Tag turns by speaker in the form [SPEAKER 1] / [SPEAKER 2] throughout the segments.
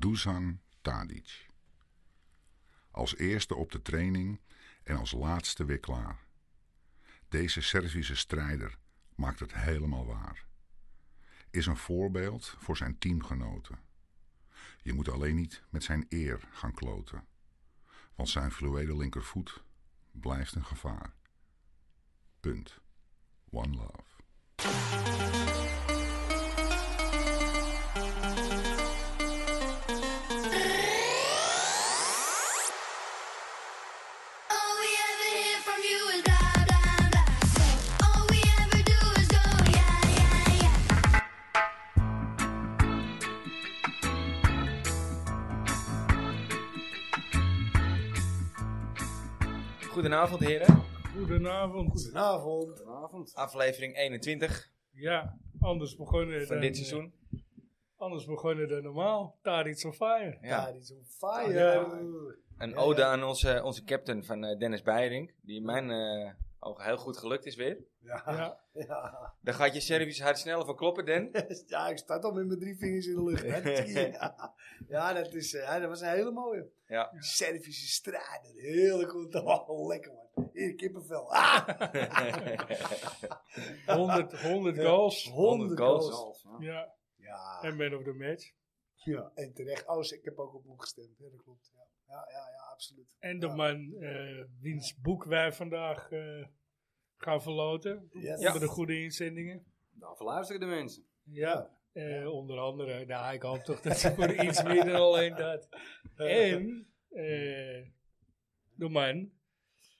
[SPEAKER 1] Dusan Tadic. Als eerste op de training en als laatste weer klaar. Deze Servische strijder maakt het helemaal waar. Is een voorbeeld voor zijn teamgenoten. Je moet alleen niet met zijn eer gaan kloten. Want zijn fluwele linkervoet blijft een gevaar. Punt. One love.
[SPEAKER 2] All we ever hear from you is blah blah blah. So all we ever do is go yeah yeah yeah.
[SPEAKER 3] Goedenavond, heren.
[SPEAKER 4] Goedenavond.
[SPEAKER 5] Goedenavond.
[SPEAKER 3] Aflevering 21
[SPEAKER 4] Ja, anders begonnen
[SPEAKER 3] van
[SPEAKER 4] dan, eh,
[SPEAKER 3] dit seizoen.
[SPEAKER 4] Anders begonnen dan normaal. Tadic on fire.
[SPEAKER 3] Ja.
[SPEAKER 5] Ja, die is on fire.
[SPEAKER 3] Een ode aan onze, onze captain van eh, Dennis Beiring, die in mijn eh ogen heel goed gelukt is weer.
[SPEAKER 5] Ja.
[SPEAKER 4] Ja,
[SPEAKER 5] Ja.
[SPEAKER 3] Daar gaat je service hard sneller voor kloppen, Den.
[SPEAKER 5] ja, ik sta toch met mijn drie vingers in de lucht. hè. Ja, ja, dat, is, eh, ja dat was een hele mooie.
[SPEAKER 3] Ja.
[SPEAKER 5] Servische strijder. Heerlijk om te oh, Lekker man. Hier, kippenvel. Ah,
[SPEAKER 4] 100, 100 goals.
[SPEAKER 5] 100 goals.
[SPEAKER 4] Ja,
[SPEAKER 5] Ja.
[SPEAKER 4] en man of the match.
[SPEAKER 5] ja, en terecht. Oh, ik heb ook op boek gestemd. Ja, dat klopt. Ja, ja, ja, ja, absoluut.
[SPEAKER 4] En de
[SPEAKER 5] Ja.
[SPEAKER 4] man eh, wiens boek wij vandaag eh, gaan verloten.
[SPEAKER 5] Yes.
[SPEAKER 4] Onder de goede inzendingen.
[SPEAKER 6] Nou, verluisteren de mensen.
[SPEAKER 4] Ja. eh, onder andere, nou ik hoop toch dat ze voor iets meer dan alleen dat. En eh, de man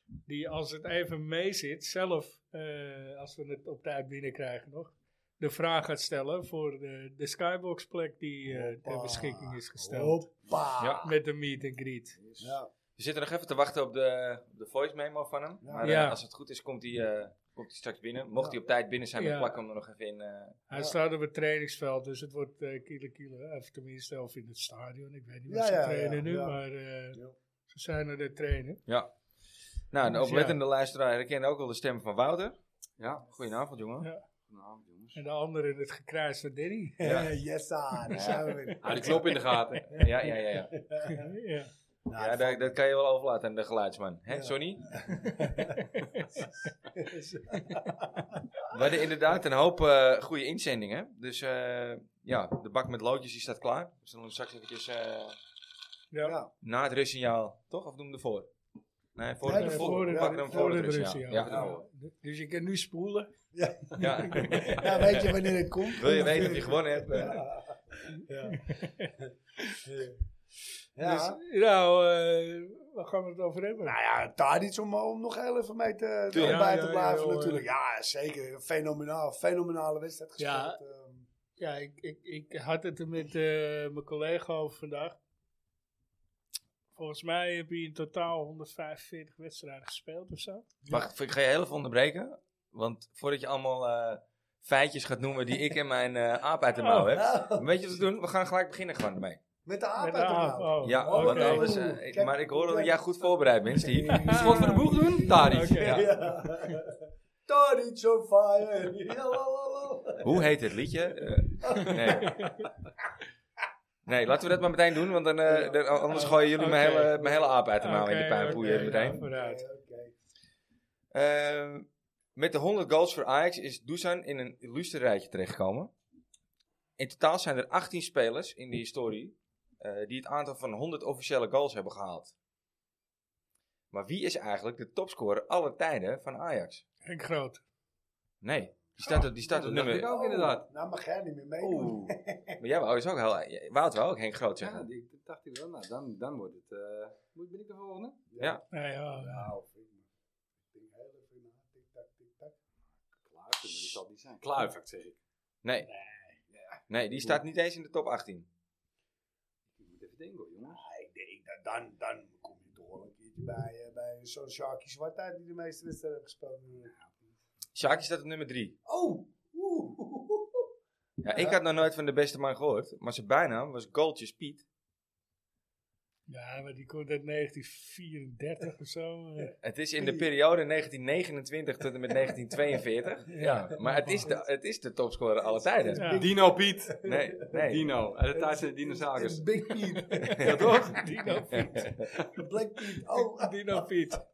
[SPEAKER 4] die als het even mee zit, zelf, eh, als we het op tijd binnenkrijgen nog, de vraag gaat stellen voor de, de skybox plek die eh, ter
[SPEAKER 5] Hoppa.
[SPEAKER 4] beschikking is gesteld.
[SPEAKER 5] Hoppa.
[SPEAKER 3] Ja.
[SPEAKER 4] Met de meet and greet.
[SPEAKER 5] Ja.
[SPEAKER 3] We zitten nog even te wachten op de, op de voice memo van hem. Maar eh,
[SPEAKER 4] Ja.
[SPEAKER 3] als het goed is, komt hij eh, komt hij straks binnen. Mocht hij op tijd binnen zijn, we
[SPEAKER 4] Ja.
[SPEAKER 3] plakken hem er nog even in. eh.
[SPEAKER 4] Hij
[SPEAKER 5] Ja.
[SPEAKER 4] staat op het trainingsveld, dus het wordt eh kiele kiele, of tenminste, of in het stadion. Ik weet niet waar
[SPEAKER 5] Ja,
[SPEAKER 4] ze
[SPEAKER 5] ja,
[SPEAKER 4] trainen
[SPEAKER 5] ja,
[SPEAKER 4] nu,
[SPEAKER 5] ja.
[SPEAKER 4] maar eh,
[SPEAKER 5] Ja.
[SPEAKER 4] ze zijn aan het trainen.
[SPEAKER 3] ja. Nou, de
[SPEAKER 4] Dus ja.
[SPEAKER 3] oplettende luisteraar herkende ook al de stem van Wouter.
[SPEAKER 6] Ja,
[SPEAKER 3] Goedenavond, jongen.
[SPEAKER 4] Ja.
[SPEAKER 6] goedenavond
[SPEAKER 5] Dus-
[SPEAKER 6] jongens.
[SPEAKER 4] En de andere in het gekruis van Danny.
[SPEAKER 3] Ja.
[SPEAKER 5] yes, ah, daar zijn we weer.
[SPEAKER 6] Hou die knop in de gaten.
[SPEAKER 3] ja, ja, ja. ja.
[SPEAKER 4] ja.
[SPEAKER 5] Nou,
[SPEAKER 3] Ja, daar, dat kan je wel overlaten aan de geluidsman. Hè,
[SPEAKER 5] Ja.
[SPEAKER 3] Sonny? We hadden inderdaad een hoop eh, goede inzendingen. Dus eh, ja, de bak met loodjes die staat klaar. We zullen hem straks eventjes eh,
[SPEAKER 4] Ja.
[SPEAKER 5] Ja.
[SPEAKER 3] na het rustsignaal, toch? Of doen we ervoor? Nee, voor,
[SPEAKER 5] Ja,
[SPEAKER 4] Eh,
[SPEAKER 3] het-
[SPEAKER 5] ervoor.
[SPEAKER 3] voor, we
[SPEAKER 5] Ja,
[SPEAKER 3] pakken hem voor het rustsignaal.
[SPEAKER 4] rustsignaal.
[SPEAKER 3] Ja,
[SPEAKER 5] Ja.
[SPEAKER 3] ervoor.
[SPEAKER 4] Dus je kan nu spoelen.
[SPEAKER 3] ja.
[SPEAKER 5] Ja, weet je wanneer het komt?
[SPEAKER 3] Wil je weten of je gewonnen hebt? Eh,
[SPEAKER 5] Ja. Ja.
[SPEAKER 4] Ja.
[SPEAKER 5] ja.
[SPEAKER 4] Dus, nou, eh, waar gaan we het over hebben?
[SPEAKER 5] Nou ja, Tadic om, om nog heel even mee te,
[SPEAKER 4] Tuurlijk.
[SPEAKER 5] bij
[SPEAKER 4] Ja,
[SPEAKER 5] te
[SPEAKER 4] ja,
[SPEAKER 5] blijven
[SPEAKER 4] ja, hoor.
[SPEAKER 5] natuurlijk. Ja, zeker. Fenomenaal. Fenomenale wedstrijd gespeeld.
[SPEAKER 4] Ja.
[SPEAKER 5] ehm.
[SPEAKER 4] Ja, ik, ik, ik had het er met eh, mijn collega over vandaag. Volgens mij heb je in totaal 145 wedstrijden gespeeld of zo.
[SPEAKER 3] Wacht, ik ga je heel even onderbreken. Want voordat je allemaal eh, feitjes gaat noemen die ik en mijn eh, aap uit de mouw heb.
[SPEAKER 5] Ah,
[SPEAKER 3] Weet je wat we doen? We gaan gelijk beginnen gewoon mee.
[SPEAKER 5] met de aap
[SPEAKER 4] Met
[SPEAKER 5] uit de
[SPEAKER 4] aap,
[SPEAKER 5] mouw.
[SPEAKER 4] oh.
[SPEAKER 3] Ja,
[SPEAKER 5] Oké.
[SPEAKER 3] want alles. eh,
[SPEAKER 5] Oeh,
[SPEAKER 3] ik-
[SPEAKER 5] kijk,
[SPEAKER 3] maar ik hoor dat
[SPEAKER 5] kijk.
[SPEAKER 3] jij goed voorbereid bent, Steve.
[SPEAKER 4] Ja. Slot van de boeg
[SPEAKER 3] doen? Tadic.
[SPEAKER 4] Oké.
[SPEAKER 3] Ja.
[SPEAKER 5] Ja. Tadic on fire. Ja, la, la, la.
[SPEAKER 3] Hoe heet het liedje? Eh, nee. nee, laten we dat maar meteen doen, want dan, eh, dan- anders gooien jullie mijn,
[SPEAKER 4] Oké.
[SPEAKER 3] hele, mijn hele aap uit de mouw in de
[SPEAKER 4] Oké,
[SPEAKER 3] puinpoeien
[SPEAKER 4] oké,
[SPEAKER 3] meteen.
[SPEAKER 4] ja, vooruit.
[SPEAKER 5] Oké, oké.
[SPEAKER 3] Eh, met de 100 goals voor Ajax is Dusan in een illustre rijtje terechtgekomen. In totaal zijn er 18 spelers in de historie eh, die het aantal van 100 officiële goals hebben gehaald. Maar wie is eigenlijk de topscorer alle tijden van Ajax?
[SPEAKER 4] En groot.
[SPEAKER 3] Nee, die staat op, die staat op
[SPEAKER 6] dat dacht
[SPEAKER 3] nummer...
[SPEAKER 6] ik ook inderdaad.
[SPEAKER 5] Nou mag jij niet meer meedoen.
[SPEAKER 3] Oeh. Maar jij wou dus ook heel... jij wou het wel ook Henk Groot
[SPEAKER 6] Ja,
[SPEAKER 3] zeggen.
[SPEAKER 6] die- dat dacht ik wel. Nou, dan, dan wordt het... eh, moet ben ik de volgende?
[SPEAKER 4] Nee, ja.
[SPEAKER 5] Nou, vind ik niet. Ik denk heel even na. Tik tak, tik tak.
[SPEAKER 6] Kluivert, maar die zal het niet zijn. Kluivert, zeg ik.
[SPEAKER 3] Nee. Nee, die staat niet eens in de top 18.
[SPEAKER 6] Ik moet even denken hoor, jongens.
[SPEAKER 5] Ja, Ah, ik denk, dat- dan, dan kom je toch wel een keertje bij, eh, bij zo'n Sharky Zwart uit die de meeste wedstrijden heeft gespeeld.
[SPEAKER 3] Sjaakje staat op nummer 3.
[SPEAKER 5] Oh! Oeh! oeh, oeh, oeh.
[SPEAKER 3] Ja, ik had nog nooit van de beste man gehoord, maar zijn bijnaam was Goaltjes Piet.
[SPEAKER 4] Ja, maar die komt uit 1934 of zo. eh.
[SPEAKER 3] Het is in de periode 1929 tot en met 1942. Ja, maar het is de, het is de topscorer alle tijden.
[SPEAKER 4] Ja.
[SPEAKER 6] Dino Piet.
[SPEAKER 3] Nee, nee.
[SPEAKER 6] Dino. Uit de tijd zijn de dinosaurus.
[SPEAKER 5] Een Big Piet.
[SPEAKER 6] Ja, toch?
[SPEAKER 4] Dino
[SPEAKER 3] nou
[SPEAKER 4] Piet.
[SPEAKER 5] Een Black Piet. Oh,
[SPEAKER 4] Dino Piet.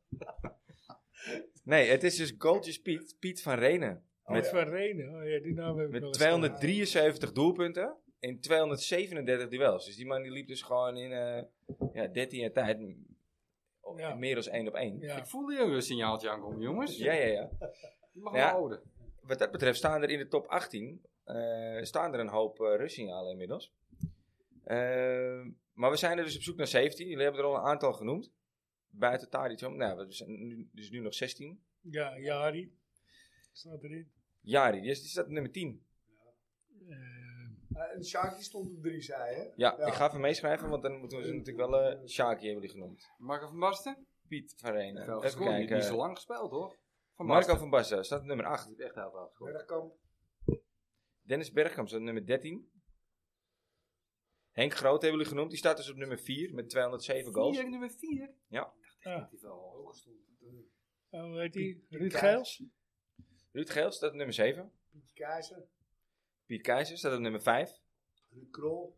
[SPEAKER 3] nee, het is dus Goaltjes Piet, Piet van Renen.
[SPEAKER 4] Oh, Met Van Renen. Oh ja, die naam heb ik wel
[SPEAKER 3] Met
[SPEAKER 4] eens
[SPEAKER 3] 273 doelpunten in 237 duels. Dus die man die liep dus gewoon in eh, ja, 13 jaar tijd m- op-
[SPEAKER 4] Ja.
[SPEAKER 3] meer dan één op één.
[SPEAKER 4] gehoord.
[SPEAKER 6] Ik voelde hier weer een signaaltje aankomen, jongens.
[SPEAKER 3] Ja, ja, ja.
[SPEAKER 6] Je mag
[SPEAKER 3] Ja.
[SPEAKER 6] wel ouder.
[SPEAKER 3] Wat dat betreft staan er in de top 18 eh, staan er een hoop eh rustsignalen inmiddels. Eh, maar we zijn er dus op zoek naar 17. Jullie hebben er al een aantal genoemd. Buiten Tadic om. Nou, we zijn nu, dus nu nog 16.
[SPEAKER 4] Ja, ja Jari. Staat erin.
[SPEAKER 3] Jari, die is, die staat op nummer 10.
[SPEAKER 4] Eh,
[SPEAKER 5] en Sharky stond op drie, zei hè?
[SPEAKER 3] Ja,
[SPEAKER 5] Ja.
[SPEAKER 3] ik ga even meeschrijven, want dan moeten we ze natuurlijk wel... eh Shaki hebben jullie genoemd.
[SPEAKER 6] Marco van Basten?
[SPEAKER 3] Piet van Renen.
[SPEAKER 6] Veel
[SPEAKER 3] Even
[SPEAKER 6] gescoord. Die- Die is
[SPEAKER 3] kijken.
[SPEAKER 6] lang gespeeld, hoor. Van
[SPEAKER 3] Marco
[SPEAKER 6] Basten.
[SPEAKER 3] van Basten staat op nummer 8.
[SPEAKER 6] Die heeft echt heel veel gescoord.
[SPEAKER 5] Bergkamp.
[SPEAKER 3] Dennis Bergkamp staat op nummer 13. Henk Groot hebben jullie genoemd. Die staat dus op nummer 4 met 207 goals.
[SPEAKER 6] Vier, nummer 4.
[SPEAKER 4] ah,
[SPEAKER 6] Die wel hoog stond.
[SPEAKER 4] oh, hoe heet die? Ruud
[SPEAKER 5] Kaas.
[SPEAKER 4] Geels?
[SPEAKER 3] Ruud Geel staat op nummer 7.
[SPEAKER 5] Pietje Keizer.
[SPEAKER 3] Piet Keizer staat op nummer 5.
[SPEAKER 5] Ruud Krol.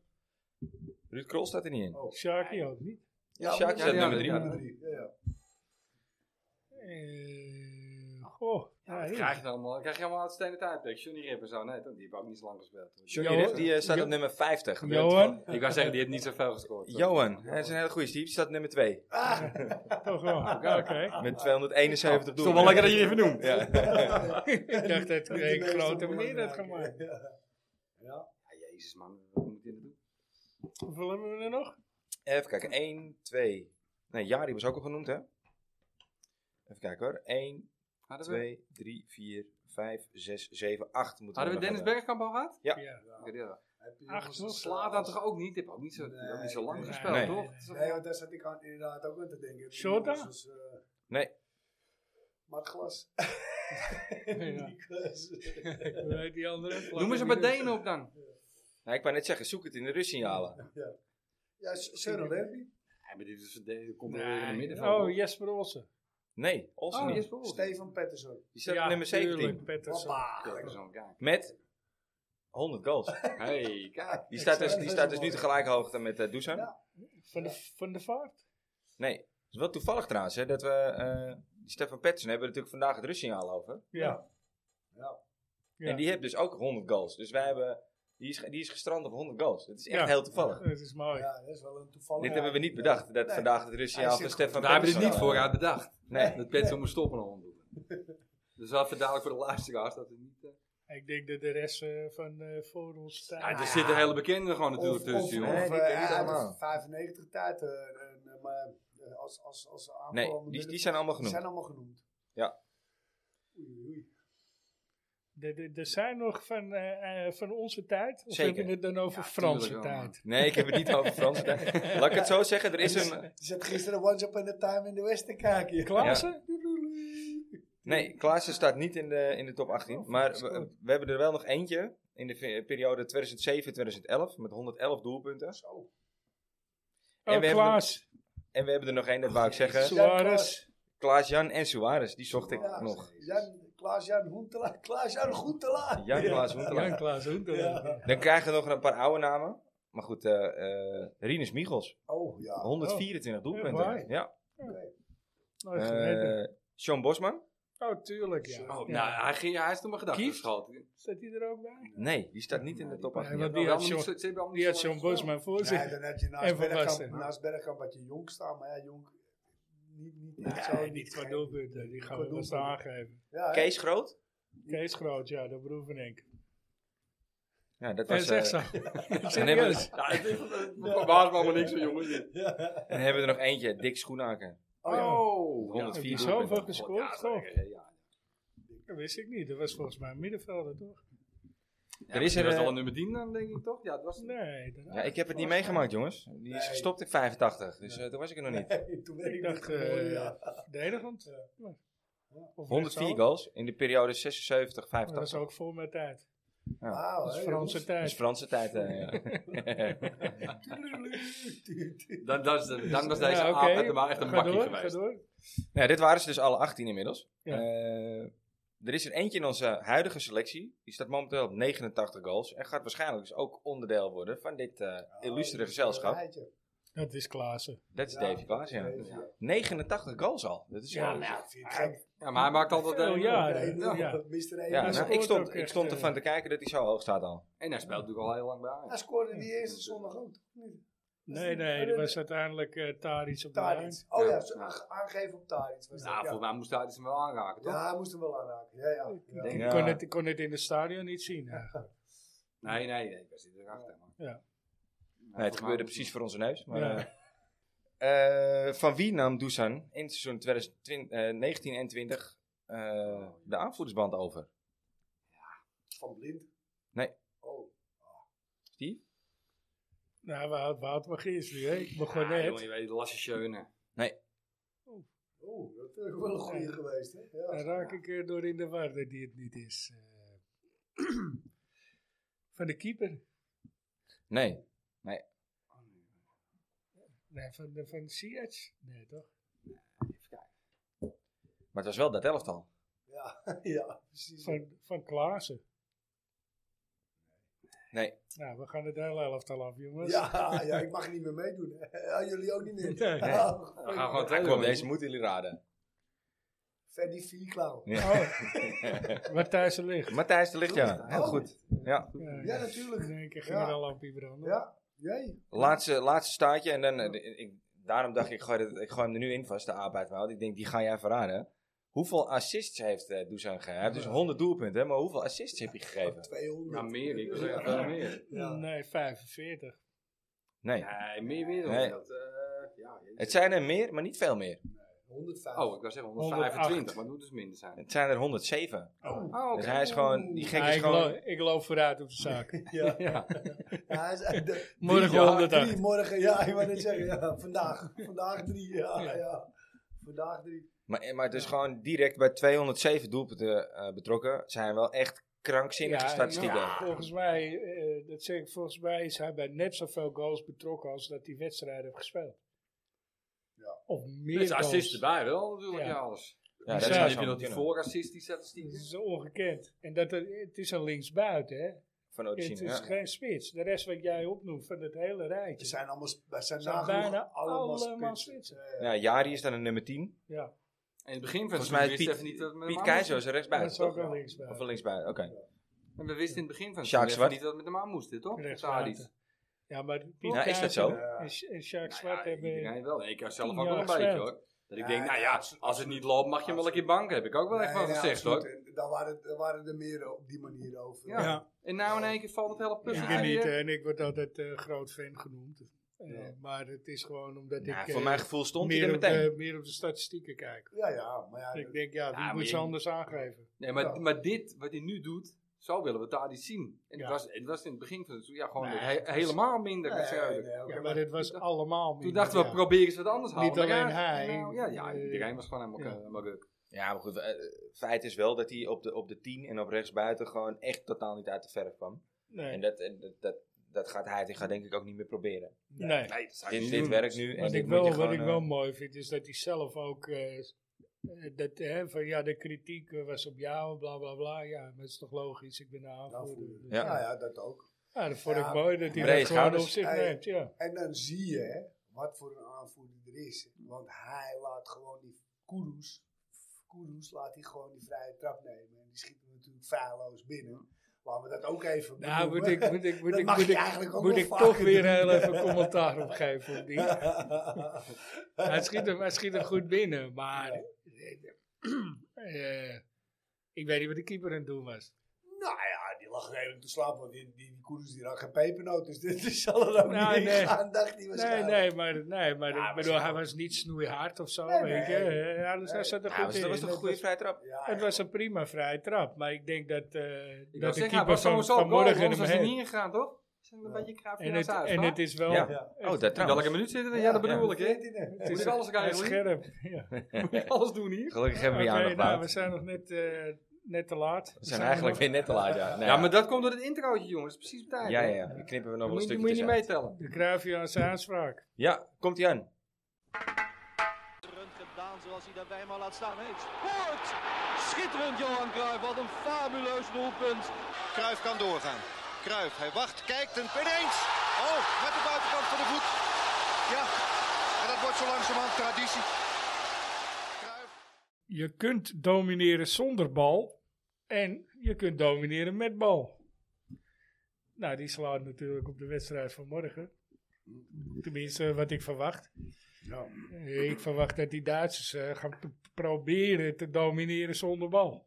[SPEAKER 3] Ruud Krol staat er niet in.
[SPEAKER 5] Oh.
[SPEAKER 4] Sharky ook niet.
[SPEAKER 5] Ja,
[SPEAKER 3] Sjaak
[SPEAKER 5] ja,
[SPEAKER 3] staat
[SPEAKER 5] ja,
[SPEAKER 3] nummer
[SPEAKER 5] ja,
[SPEAKER 3] drie.
[SPEAKER 5] nummer drie, ja, ja.
[SPEAKER 4] Eh, goh. Ja,
[SPEAKER 6] Dat
[SPEAKER 4] hier.
[SPEAKER 6] krijg je dan allemaal. Dan krijg je allemaal uit stenen tijdperk. Johnny Rip en zo. Nee, toch? die heeft ook niet zo lang gespeeld. hoor.
[SPEAKER 3] Johnny
[SPEAKER 4] Johan-
[SPEAKER 3] Rep, die eh, staat op
[SPEAKER 4] Jo-
[SPEAKER 3] nummer 50.
[SPEAKER 4] Johan.
[SPEAKER 6] Ik wou zeggen, die heeft niet zoveel gescoord.
[SPEAKER 3] Johan, hij is een hele goede Steve. Die staat op nummer 2
[SPEAKER 4] Toch wel. Oké.
[SPEAKER 3] met 271 doelen.
[SPEAKER 6] wel lekker dat je even noemt.
[SPEAKER 3] Ja.
[SPEAKER 4] Ik dacht dat
[SPEAKER 5] Niet de
[SPEAKER 4] ik
[SPEAKER 5] meeste
[SPEAKER 4] grote
[SPEAKER 5] woorden
[SPEAKER 4] meer had
[SPEAKER 5] maken.
[SPEAKER 4] gemaakt.
[SPEAKER 5] Ja. Ja.
[SPEAKER 6] Ja, jezus man, wat moet je nou doen?
[SPEAKER 4] Hoeveel hebben we er nog?
[SPEAKER 3] Even kijken. 1, 2. Nee, Jari was ook al genoemd, hè? Even kijken hoor. 1,
[SPEAKER 6] Hadden we,
[SPEAKER 3] 2, 3, 4, 5, 6, 7, 8 moeten
[SPEAKER 6] hadden we
[SPEAKER 3] we nog
[SPEAKER 6] Dennis
[SPEAKER 3] hebben.
[SPEAKER 6] Bergkamp al gehad?
[SPEAKER 3] Ja.
[SPEAKER 4] Ja.
[SPEAKER 6] Ja, die hadden we.
[SPEAKER 5] Heb je
[SPEAKER 4] Ach,
[SPEAKER 5] nog
[SPEAKER 4] zo
[SPEAKER 5] eens-
[SPEAKER 6] Slaat dan toch ook niet? Die heeft ook niet zo,
[SPEAKER 5] Nee.
[SPEAKER 6] ook niet zo lang
[SPEAKER 5] Nee.
[SPEAKER 6] gespeeld,
[SPEAKER 3] Nee.
[SPEAKER 6] toch? Dat is toch-
[SPEAKER 5] Nee, want daar zat ik aan, inderdaad ook aan te denken.
[SPEAKER 4] Shota?
[SPEAKER 5] Dus, eh,
[SPEAKER 3] Nee.
[SPEAKER 5] Matglas.
[SPEAKER 4] Ja.
[SPEAKER 5] Niklas.
[SPEAKER 4] Hoe heet die andere?
[SPEAKER 6] Noem eens een paar Denen op dan.
[SPEAKER 3] Nou, ik wou net zeggen, zoek het in de rustsignalen.
[SPEAKER 5] Ja, Cyril Levy.
[SPEAKER 6] Ja, maar dit is een Deen, komt
[SPEAKER 4] Nee.
[SPEAKER 6] er weer in het middenveld.
[SPEAKER 4] Oh, Jesper Olsen.
[SPEAKER 3] Nee, Olsen
[SPEAKER 6] Oh,
[SPEAKER 3] niet.
[SPEAKER 6] die is volgens.
[SPEAKER 5] Stefan Pettersson.
[SPEAKER 3] Die staat op nummer 17
[SPEAKER 4] tuurlijk, Pettersson.
[SPEAKER 5] Hoppa.
[SPEAKER 6] Kijk eens aan, kijk.
[SPEAKER 3] met 100 goals.
[SPEAKER 6] Hey, kijk.
[SPEAKER 3] Die staat dus,
[SPEAKER 5] zei-
[SPEAKER 3] die staat dus nu tegelijk hoogte met eh Dusan.
[SPEAKER 5] Ja.
[SPEAKER 4] Van de, van de vaart.
[SPEAKER 3] Nee, het is wel toevallig trouwens hè, dat we... eh, die Stefan Petsen hebben we natuurlijk vandaag het rustsignaal over.
[SPEAKER 4] Ja.
[SPEAKER 5] Ja.
[SPEAKER 4] Ja.
[SPEAKER 3] En die heeft dus ook 100 goals. Dus wij hebben... Die is, die is gestrand op 100 goals. Dat is echt
[SPEAKER 4] Ja.
[SPEAKER 3] heel toevallig.
[SPEAKER 4] Dat is mooi.
[SPEAKER 5] Ja, dat is wel een toevallig.
[SPEAKER 3] Dit hebben we niet bedacht, dat
[SPEAKER 5] Nee.
[SPEAKER 3] vandaag het
[SPEAKER 5] Hij
[SPEAKER 3] rustsignaal
[SPEAKER 5] zit
[SPEAKER 3] van
[SPEAKER 5] goed.
[SPEAKER 3] Stefan
[SPEAKER 6] Daar hebben we
[SPEAKER 3] Petsen
[SPEAKER 6] dit niet
[SPEAKER 3] staat.
[SPEAKER 6] vooruit bedacht.
[SPEAKER 3] Nee.
[SPEAKER 6] Dat Pet moet stoppen al Dus wel even duidelijk voor de luisteraars dat het niet... eh,
[SPEAKER 4] Ik denk dat de rest eh, van eh, voor ons staat.
[SPEAKER 6] Ja, er zitten hele bekenden gewoon natuurlijk
[SPEAKER 5] Of, of,
[SPEAKER 6] tussen, jongen.
[SPEAKER 3] Nee,
[SPEAKER 5] of,
[SPEAKER 3] die
[SPEAKER 5] eh,
[SPEAKER 3] ken ik
[SPEAKER 5] uit de
[SPEAKER 3] allemaal.
[SPEAKER 5] 95 tijd. eh, eh, maar eh, als, als, als aanval aan de
[SPEAKER 3] Nee, die,
[SPEAKER 5] midden-
[SPEAKER 3] die zijn allemaal genoemd.
[SPEAKER 5] zijn allemaal genoemd.
[SPEAKER 3] Ja.
[SPEAKER 5] Oei, oei.
[SPEAKER 4] Er- Er er zijn nog van, eh, eh, van onze tijd. Of
[SPEAKER 3] Zeker.
[SPEAKER 4] hebben we het dan over
[SPEAKER 6] Ja,
[SPEAKER 4] Franse
[SPEAKER 6] tuurlijk wel,
[SPEAKER 4] tijd?
[SPEAKER 3] Nee, ik heb het niet over Frans. Laat ik het zo zeggen, er is een...
[SPEAKER 5] Je zat gisteren Once Upon a Time in the West te kijken.
[SPEAKER 4] Klaassen? Oh,
[SPEAKER 3] Nee, Klaassen staat niet in de, in de top 18. Maar
[SPEAKER 4] is goed.
[SPEAKER 3] we, we hebben er wel nog eentje in de ve- periode 2007-2011 met 111 doelpunten.
[SPEAKER 5] Zo.
[SPEAKER 3] En
[SPEAKER 4] Oh,
[SPEAKER 3] we hebben-
[SPEAKER 4] Klaas.
[SPEAKER 3] En we hebben er nog één, dat wou
[SPEAKER 5] Oh,
[SPEAKER 3] ik zeggen.
[SPEAKER 4] Suarez.
[SPEAKER 3] Klaas-Jan en Suarez, die zocht ik
[SPEAKER 5] Ja,
[SPEAKER 3] nog.
[SPEAKER 5] Jan, Klaas-Jan Hoentelaar. Klaas-Jan Hoentelaar.
[SPEAKER 3] Jan Klaas
[SPEAKER 4] Jan
[SPEAKER 3] Hoentelaar.
[SPEAKER 4] Klaas ook.
[SPEAKER 5] Ja.
[SPEAKER 3] Dan krijgen we nog een paar oude namen. Maar goed, eh eh, Rinus Michels,
[SPEAKER 5] Oh, ja.
[SPEAKER 3] 124
[SPEAKER 4] waar?
[SPEAKER 3] doelpunten. Ja.
[SPEAKER 4] Oh, geweten.
[SPEAKER 3] Eh Sean Bosman?
[SPEAKER 4] oh, tuurlijk, ja.
[SPEAKER 6] Oh,
[SPEAKER 4] Ja.
[SPEAKER 6] nou, hij, ging, hij is toen maar gedacht.
[SPEAKER 4] Kieft?
[SPEAKER 6] geschoten.
[SPEAKER 4] Staat die er ook bij?
[SPEAKER 3] Nee, die staat niet in de top
[SPEAKER 4] Nee,
[SPEAKER 3] 18.
[SPEAKER 4] want
[SPEAKER 6] Die
[SPEAKER 4] die had
[SPEAKER 6] had
[SPEAKER 4] John,
[SPEAKER 6] John,
[SPEAKER 4] die had John Bosman voor zich.
[SPEAKER 5] Ja, dan had je
[SPEAKER 4] En
[SPEAKER 5] naast
[SPEAKER 4] Van
[SPEAKER 5] Bergkamp,
[SPEAKER 4] Basten.
[SPEAKER 5] naast Bergkamp had je Jonk staan. Maar ja, Jonk... Niet, niet, niet
[SPEAKER 4] Nee,
[SPEAKER 5] zo.
[SPEAKER 4] niet qua doelpunten. Die gaan we wel
[SPEAKER 5] doelpunten.
[SPEAKER 4] aangeven.
[SPEAKER 5] Ja, hè?
[SPEAKER 3] Kees Groot?
[SPEAKER 4] Kees Groot, ja, dat bedoel ik.
[SPEAKER 3] Ja, dat
[SPEAKER 4] Dat
[SPEAKER 3] was...
[SPEAKER 4] is
[SPEAKER 3] eh,
[SPEAKER 4] echt zo.
[SPEAKER 3] dan hebben we,
[SPEAKER 4] Serieus.
[SPEAKER 6] Ja, het is- het verbaast me allemaal niks van jongens. dit.
[SPEAKER 3] dan hebben we er nog eentje, Dick Schoenaker.
[SPEAKER 5] Oh, ja.
[SPEAKER 6] Oh,
[SPEAKER 3] Ja, 104
[SPEAKER 4] Heb je
[SPEAKER 3] doelpunten.
[SPEAKER 4] zoveel
[SPEAKER 6] Ja,
[SPEAKER 4] gescoord? Goh,
[SPEAKER 6] zeker, ja.
[SPEAKER 4] Dat wist ik niet. Dat was volgens mij een middenvelder, toch?
[SPEAKER 3] Er is
[SPEAKER 6] Die
[SPEAKER 3] er,
[SPEAKER 6] was
[SPEAKER 3] eh,
[SPEAKER 6] al een nummer 10 dan, denk ik toch? Ja, het was
[SPEAKER 4] Nee. dat-
[SPEAKER 3] Ja, ik heb het niet meegemaakt, jongens. Die is
[SPEAKER 5] Nee.
[SPEAKER 3] gestopt in 85, dus eh, toen was ik er nog niet.
[SPEAKER 5] Toen ben
[SPEAKER 4] Ik
[SPEAKER 5] ik
[SPEAKER 4] dacht,
[SPEAKER 5] dacht...
[SPEAKER 4] eh
[SPEAKER 5] ja.
[SPEAKER 4] verdedigend. eh, Ja. Of
[SPEAKER 3] 104
[SPEAKER 4] rechtshalve.
[SPEAKER 3] goals in de periode 76,
[SPEAKER 4] Maar Dat is
[SPEAKER 3] 85.
[SPEAKER 4] ook voor mijn tijd.
[SPEAKER 5] Wauw,
[SPEAKER 4] Dat is
[SPEAKER 5] hè,
[SPEAKER 4] Franse
[SPEAKER 3] Dat is
[SPEAKER 4] tijd.
[SPEAKER 3] Franse tijd. eh, ja.
[SPEAKER 5] jongens.
[SPEAKER 6] Dan, dan, is- dan was deze
[SPEAKER 4] Ja,
[SPEAKER 6] aap
[SPEAKER 4] oké.
[SPEAKER 6] met hem maar echt een
[SPEAKER 4] Ga
[SPEAKER 6] bakkie
[SPEAKER 4] door,
[SPEAKER 6] geweest.
[SPEAKER 4] Ga door.
[SPEAKER 3] Nou, dit waren ze dus alle 18 inmiddels.
[SPEAKER 4] Ja.
[SPEAKER 3] Eh, er is er eentje in onze huidige selectie. Die staat momenteel op 89 goals. En gaat waarschijnlijk dus ook onderdeel worden van dit eh, illustere gezelschap.
[SPEAKER 4] Dat is Klaassen.
[SPEAKER 3] Dat is Davy Klaas, ja.
[SPEAKER 5] Davy, ja.
[SPEAKER 3] 89 goals al. Dat is
[SPEAKER 4] Ja,
[SPEAKER 3] ja,
[SPEAKER 4] nou,
[SPEAKER 5] Ik vind het gek.
[SPEAKER 6] Ja, maar hij maakt altijd... eh,
[SPEAKER 4] Oh, ja.
[SPEAKER 5] Nee,
[SPEAKER 4] Ja.
[SPEAKER 5] ja. Mr.
[SPEAKER 3] ja,
[SPEAKER 5] Eden.
[SPEAKER 4] hij
[SPEAKER 3] nou,
[SPEAKER 4] scoort
[SPEAKER 3] ik,
[SPEAKER 4] ook
[SPEAKER 3] stond, ik
[SPEAKER 4] echt,
[SPEAKER 3] stond
[SPEAKER 4] eh,
[SPEAKER 3] ervan te kijken dat hij zo hoog staat al.
[SPEAKER 6] En hij speelt natuurlijk al heel lang bij Ajax.
[SPEAKER 5] Hij scoorde die eerste zondag ook. toch niet? Oh,
[SPEAKER 4] Nee, nee, dat was uiteindelijk eh Taric op de lijn.
[SPEAKER 5] Tadic. Oh ja,
[SPEAKER 6] Ja.
[SPEAKER 5] zo- aange- aangeven op Tadic. Was
[SPEAKER 6] Nou,
[SPEAKER 5] dat, ja.
[SPEAKER 6] volgens mij moest hij dus hem wel aanraken, toch?
[SPEAKER 5] ja, hij moest hem wel aanraken. Ja, ja. ja.
[SPEAKER 6] Denk-
[SPEAKER 4] Ik kon het, ik kon het in het stadion niet zien.
[SPEAKER 6] Nee, nee, nee, ik zit erachter. man.
[SPEAKER 4] Ja.
[SPEAKER 6] Nou,
[SPEAKER 3] Nee, het
[SPEAKER 6] volgens
[SPEAKER 3] gebeurde
[SPEAKER 6] mij moest
[SPEAKER 3] precies
[SPEAKER 6] hij-
[SPEAKER 3] voor onze neus. Maar,
[SPEAKER 4] Ja.
[SPEAKER 3] eh, eh, van wie nam Dusan in het seizoen 2020, eh, 19 en 20 eh, de aanvoerdersband over?
[SPEAKER 5] Van Blind.
[SPEAKER 3] Nee.
[SPEAKER 5] Oh.
[SPEAKER 3] Steve?
[SPEAKER 4] Nou, we hadden water maar gisteren, hè. Ik begon
[SPEAKER 6] Ah,
[SPEAKER 4] net.
[SPEAKER 6] jongen, je weet, Lasse Schöne.
[SPEAKER 5] Oeh, dat is wel een goeie geweest, hè? Ja.
[SPEAKER 4] Dan raak ik eh, door in de war dat die het niet is. eh. van de keeper.
[SPEAKER 3] Nee.
[SPEAKER 4] Nee, van, de- van Siac. Nee, toch?
[SPEAKER 3] Maar het was wel dat elftal.
[SPEAKER 5] Ja, ja, precies.
[SPEAKER 4] Van, van Klaassen.
[SPEAKER 3] Nee.
[SPEAKER 4] Nou, we gaan het hele elftal af, jongens.
[SPEAKER 5] Ja, ja, ik mag niet meer meedoen. hè. Ja, jullie ook niet meer.
[SPEAKER 4] Nee.
[SPEAKER 5] Oh,
[SPEAKER 6] We gaan gewoon
[SPEAKER 3] Ja,
[SPEAKER 6] twee
[SPEAKER 3] kom,
[SPEAKER 6] doen.
[SPEAKER 3] deze moeten jullie raden.
[SPEAKER 5] Freddy Vierklauw.
[SPEAKER 4] Oh, waar thuis er ligt.
[SPEAKER 3] Matthijs de Ligt, ja. Heel
[SPEAKER 5] Oh.
[SPEAKER 3] goed. Ja.
[SPEAKER 5] Ja, natuurlijk.
[SPEAKER 4] In één keer ging
[SPEAKER 5] Ja.
[SPEAKER 4] er een lampje branden.
[SPEAKER 5] Ja, jij.
[SPEAKER 3] Laatste, laatste staartje. En dan, eh, de- ik, daarom dacht ik, ik gooi, dit- ik gooi hem er nu in vast, de aap uit mijn hoofd. Ik denk, die ga jij verraden. Hoeveel assists heeft eh Dusan gegeven? Hij heeft dus 100 doelpunten, hè, maar hoeveel assists heb je gegeven?
[SPEAKER 5] 200.
[SPEAKER 6] Maar meer, ik wil zeggen, veel meer.
[SPEAKER 5] Ja.
[SPEAKER 4] Nee, 45.
[SPEAKER 3] Nee.
[SPEAKER 6] Nee, meer meer dan
[SPEAKER 3] Nee.
[SPEAKER 6] dat. eh, ja, jezus.
[SPEAKER 4] dus-
[SPEAKER 3] Het zijn er meer, maar niet veel meer.
[SPEAKER 5] 105.
[SPEAKER 6] Oh, ik was zeggen 125, maar het moet dus minder zijn.
[SPEAKER 3] Het zijn er 107.
[SPEAKER 6] Oh,
[SPEAKER 3] Dus hij is gewoon, die gek
[SPEAKER 4] Ah,
[SPEAKER 3] is
[SPEAKER 4] ik,
[SPEAKER 3] gewoon...
[SPEAKER 4] loop, ik loop vooruit op de zaak.
[SPEAKER 5] Ja.
[SPEAKER 6] Ja.
[SPEAKER 5] Ja, hij zei de-
[SPEAKER 4] Morgen
[SPEAKER 5] drie, ja,
[SPEAKER 4] 108.
[SPEAKER 5] drie, morgen, ja, ik wou net zeggen. Ja, vandaag. Vandaag drie, ja. ja. Vandaag drie.
[SPEAKER 3] Maar, maar het is gewoon direct bij 207 doelpunten eh, betrokken. Zijn wel echt krankzinnige statistieken.
[SPEAKER 4] nou, volgens mij, eh, dat zeg ik, volgens mij is hij bij net zoveel goals betrokken als dat hij wedstrijden heeft gespeeld.
[SPEAKER 5] Ja.
[SPEAKER 4] Of meer
[SPEAKER 6] Dus
[SPEAKER 4] goals.
[SPEAKER 6] assist erbij wel, natuurlijk,
[SPEAKER 4] Ja.
[SPEAKER 6] ja, alles.
[SPEAKER 3] Ja,
[SPEAKER 6] Ja,
[SPEAKER 3] dat
[SPEAKER 6] dat
[SPEAKER 4] zou
[SPEAKER 6] heb
[SPEAKER 3] zo
[SPEAKER 6] je nog die
[SPEAKER 3] kunnen.
[SPEAKER 6] voorassist, die
[SPEAKER 4] Het
[SPEAKER 6] statistieken.
[SPEAKER 4] is ongekend. En dat, er- het is een linksbuiten, hè.
[SPEAKER 3] Van
[SPEAKER 4] Het
[SPEAKER 3] origine,
[SPEAKER 4] is
[SPEAKER 3] ja.
[SPEAKER 4] geen spits. De rest wat jij opnoemt van het hele
[SPEAKER 5] We
[SPEAKER 4] rijtje.
[SPEAKER 5] zijn allemaal, sp- we zijn,
[SPEAKER 4] Zijn
[SPEAKER 5] nagenoeg
[SPEAKER 4] bijna allemaal
[SPEAKER 5] allemaal
[SPEAKER 4] spitsen.
[SPEAKER 5] spitsen.
[SPEAKER 3] Ja, Jari is dan een nummer 10.
[SPEAKER 4] Ja,
[SPEAKER 6] In het begin van het
[SPEAKER 3] Volgens mij
[SPEAKER 6] seizoen
[SPEAKER 3] is
[SPEAKER 6] wist even
[SPEAKER 3] Piet,
[SPEAKER 6] niet dat met
[SPEAKER 3] Piet
[SPEAKER 6] hem
[SPEAKER 3] Keizer was er
[SPEAKER 6] moest.
[SPEAKER 4] dat
[SPEAKER 3] rechtsbuiten,
[SPEAKER 4] is ook
[SPEAKER 3] toch?
[SPEAKER 4] een
[SPEAKER 3] Of
[SPEAKER 4] linksbuiten.
[SPEAKER 3] een linksbuiten, oké.
[SPEAKER 6] En we wisten in het begin van het
[SPEAKER 3] Sjaak
[SPEAKER 6] seizoen even
[SPEAKER 3] Zwart.
[SPEAKER 6] niet dat we met hem aan moesten, toch?
[SPEAKER 4] Rechtsbuiten.
[SPEAKER 6] Tadic.
[SPEAKER 4] Ja, maar Piet
[SPEAKER 3] Ja, is dat zo?
[SPEAKER 4] Keizer En, Sj- en Sjaak
[SPEAKER 6] Nou
[SPEAKER 4] Zwart
[SPEAKER 6] ja,
[SPEAKER 4] hebben...
[SPEAKER 6] iedereen wel. Ik was zelf
[SPEAKER 4] tien
[SPEAKER 6] ook wel
[SPEAKER 4] jaar
[SPEAKER 6] een beetje
[SPEAKER 4] gespeeld.
[SPEAKER 6] hoor. Dat ik
[SPEAKER 5] Ja,
[SPEAKER 6] denk, nou
[SPEAKER 5] ja,
[SPEAKER 6] ja,
[SPEAKER 5] absoluut.
[SPEAKER 6] als het niet loopt mag je hem wel een keer banken. Heb ik ook wel echt
[SPEAKER 5] Nee,
[SPEAKER 6] van
[SPEAKER 5] nee,
[SPEAKER 6] gezegd
[SPEAKER 5] absoluut.
[SPEAKER 6] hoor.
[SPEAKER 5] En Daar waren, daar waren er meer op die manier over.
[SPEAKER 6] Ja. En nou in één keer valt het hele
[SPEAKER 4] Ik
[SPEAKER 6] puzzeltje
[SPEAKER 4] geniet
[SPEAKER 6] weer.
[SPEAKER 4] en ik word altijd eh, groot fan genoemd. Eh, Maar het is gewoon omdat
[SPEAKER 3] Nou,
[SPEAKER 4] ik eh,
[SPEAKER 3] voor mijn gevoel stond hij
[SPEAKER 4] meer,
[SPEAKER 3] er
[SPEAKER 4] op de,
[SPEAKER 3] meteen.
[SPEAKER 4] meer op de statistieken kijk.
[SPEAKER 5] Ja, ja, maar ja,
[SPEAKER 4] ik denk, ja, wie
[SPEAKER 6] Ja, maar
[SPEAKER 4] moet ze
[SPEAKER 6] je-
[SPEAKER 4] anders aangeven?
[SPEAKER 6] Nee,
[SPEAKER 5] Ja.
[SPEAKER 6] maar, maar dit, wat hij nu doet, zo willen we daar iets zien. En
[SPEAKER 4] Ja.
[SPEAKER 6] het, was, het was in het begin van het seizoen ja, gewoon
[SPEAKER 4] Nee,
[SPEAKER 6] he-
[SPEAKER 4] het was-
[SPEAKER 6] helemaal minder.
[SPEAKER 5] nee,
[SPEAKER 6] met Schreuder.
[SPEAKER 5] nee, oké,
[SPEAKER 4] Ja,
[SPEAKER 5] maar
[SPEAKER 4] maar het was allemaal
[SPEAKER 6] Toen
[SPEAKER 4] minder,
[SPEAKER 6] dachten we,
[SPEAKER 4] ja.
[SPEAKER 6] probeer eens wat anders halen.
[SPEAKER 4] Niet alleen
[SPEAKER 6] Maar ja,
[SPEAKER 4] hij.
[SPEAKER 6] nou, ja, ja,
[SPEAKER 4] Eh,
[SPEAKER 6] iedereen was gewoon helemaal,
[SPEAKER 4] ja.
[SPEAKER 6] helemaal ruk.
[SPEAKER 3] Ja, maar goed. eh, feit is wel dat hij op de, op de 10 en op rechtsbuiten gewoon echt totaal niet uit de verf kwam.
[SPEAKER 4] Nee,
[SPEAKER 3] En dat, en dat, dat, dat gaat hij, die gaat denk ik ook niet meer proberen.
[SPEAKER 4] nee.
[SPEAKER 6] Nee, dat zou
[SPEAKER 3] Dit,
[SPEAKER 6] je niet
[SPEAKER 3] dit
[SPEAKER 6] doen.
[SPEAKER 3] werkt nu. En
[SPEAKER 4] Wat
[SPEAKER 3] dit
[SPEAKER 4] ik
[SPEAKER 3] moet je
[SPEAKER 4] wel, wat
[SPEAKER 3] gewoon,
[SPEAKER 4] ik
[SPEAKER 3] eh,
[SPEAKER 4] wel mooi vind, is dat hij zelf ook... eh, eh, dat, hè, van, ja, de kritiek eh, was op jou, bla bla bla. Ja, maar het is toch logisch, ik ben de aanvoerder.
[SPEAKER 5] aanvoerder.
[SPEAKER 3] Ja.
[SPEAKER 5] Ja. Nou ja, dat ook.
[SPEAKER 4] Ja, dat vond ik
[SPEAKER 5] Ja.
[SPEAKER 4] mooi dat hij
[SPEAKER 3] Brede
[SPEAKER 4] dat gewoon op
[SPEAKER 3] schouders.
[SPEAKER 4] zich
[SPEAKER 5] Hij-
[SPEAKER 4] neemt. Ja.
[SPEAKER 5] En dan zie je hè, wat voor een aanvoerder er is. Want hij laat gewoon die Kudus, Kudus laat hij gewoon die vrije trap nemen. En die schiet hem natuurlijk feilloos binnen. Laten we dat ook even
[SPEAKER 4] Nou, moet
[SPEAKER 5] benoemen.
[SPEAKER 4] ik, moet ik, moet
[SPEAKER 5] Dat
[SPEAKER 4] ik,
[SPEAKER 5] mag
[SPEAKER 4] moet
[SPEAKER 5] je
[SPEAKER 4] ik,
[SPEAKER 5] eigenlijk ook
[SPEAKER 4] moet
[SPEAKER 5] wel
[SPEAKER 4] ik toch
[SPEAKER 5] vaker
[SPEAKER 4] weer
[SPEAKER 5] doen.
[SPEAKER 4] heel even commentaar op geven. Op die. Hij, schiet hem, hij schiet hem goed binnen, maar eh, ik weet niet wat de keeper aan het doen was.
[SPEAKER 5] Nou ja, die lag redelijk te slapen, want die, die, die Kudus die had geen pepernoot, dus dit dit zal er ook
[SPEAKER 4] Nou,
[SPEAKER 5] niet
[SPEAKER 4] nee.
[SPEAKER 5] in gaan, dacht hij
[SPEAKER 4] Nee,
[SPEAKER 5] waarschijnlijk.
[SPEAKER 4] nee, maar, nee, maar
[SPEAKER 5] Ja,
[SPEAKER 4] ik bedoel, hij was niet snoeihard of zo,
[SPEAKER 5] Nee,
[SPEAKER 4] weet je.
[SPEAKER 5] nee.
[SPEAKER 4] Eh, Ja, dus hij
[SPEAKER 5] Nee.
[SPEAKER 4] zat er
[SPEAKER 3] Ja,
[SPEAKER 4] goed
[SPEAKER 3] was, dat
[SPEAKER 4] in.
[SPEAKER 3] was toch een
[SPEAKER 4] Het
[SPEAKER 3] goede
[SPEAKER 4] was-
[SPEAKER 3] vrije trap?
[SPEAKER 5] Ja,
[SPEAKER 4] Het was een prima vrije trap, maar ik denk dat, eh, dat
[SPEAKER 6] Ik wou
[SPEAKER 4] de
[SPEAKER 6] zeggen, hij
[SPEAKER 4] keeper
[SPEAKER 6] was
[SPEAKER 4] van
[SPEAKER 6] sowieso op goal,
[SPEAKER 4] vanmorgen
[SPEAKER 6] anders
[SPEAKER 4] hem
[SPEAKER 6] was hij
[SPEAKER 4] heeft.
[SPEAKER 6] niet ingegaan, toch? Zijn we een beetje graaf
[SPEAKER 4] En
[SPEAKER 6] in het
[SPEAKER 4] het,
[SPEAKER 6] huis,
[SPEAKER 4] en het is wel...
[SPEAKER 3] Ja.
[SPEAKER 5] Ja.
[SPEAKER 3] Oh, dat
[SPEAKER 6] In welke
[SPEAKER 3] trouwens.
[SPEAKER 6] minuut zitten we? Ja, dat
[SPEAKER 3] Ja.
[SPEAKER 6] bedoel ik, hè?
[SPEAKER 5] Veertiende.
[SPEAKER 6] Moet ik alles
[SPEAKER 4] Hij is
[SPEAKER 6] regelen?
[SPEAKER 4] scherp. Ja.
[SPEAKER 6] Moet ik alles doen hier?
[SPEAKER 3] Gelukkig hebben we je
[SPEAKER 4] Oké,
[SPEAKER 3] aandacht
[SPEAKER 4] nou,
[SPEAKER 3] behouden.
[SPEAKER 4] we zijn nog net eh, net te laat.
[SPEAKER 3] We zijn eigenlijk weer net te laat, ja. Nou
[SPEAKER 6] Ja, maar dat komt door het introotje, jongens. Dat is precies op tijd.
[SPEAKER 3] Ja,
[SPEAKER 6] hè?
[SPEAKER 3] ja, ja. Die knippen we nog
[SPEAKER 6] Dan
[SPEAKER 3] wel een
[SPEAKER 6] moet je,
[SPEAKER 3] stukje
[SPEAKER 6] moet je niet
[SPEAKER 3] tussenuit.
[SPEAKER 4] De
[SPEAKER 6] meetellen.
[SPEAKER 4] Graviaanse aanspraak.
[SPEAKER 3] Ja, komt hij aan.
[SPEAKER 7] Schitterend gedaan zoals hij daarbij maar laat staan heeft. Sport! Schitterend Johan Cruijff, wat een fabuleus doelpunt.
[SPEAKER 8] Kruif kan doorgaan. Kruif, hij wacht, kijkt en ineens. Oh, met de buitenkant van de voet. Ja, en dat wordt zo langzamerhand traditie. Kruif.
[SPEAKER 4] Je kunt domineren zonder bal en je kunt domineren met bal. Nou, die slaat natuurlijk op de wedstrijd van morgen. Tenminste, wat ik verwacht. Eh, Ik verwacht dat die Duitsers eh, gaan p- proberen te domineren zonder bal.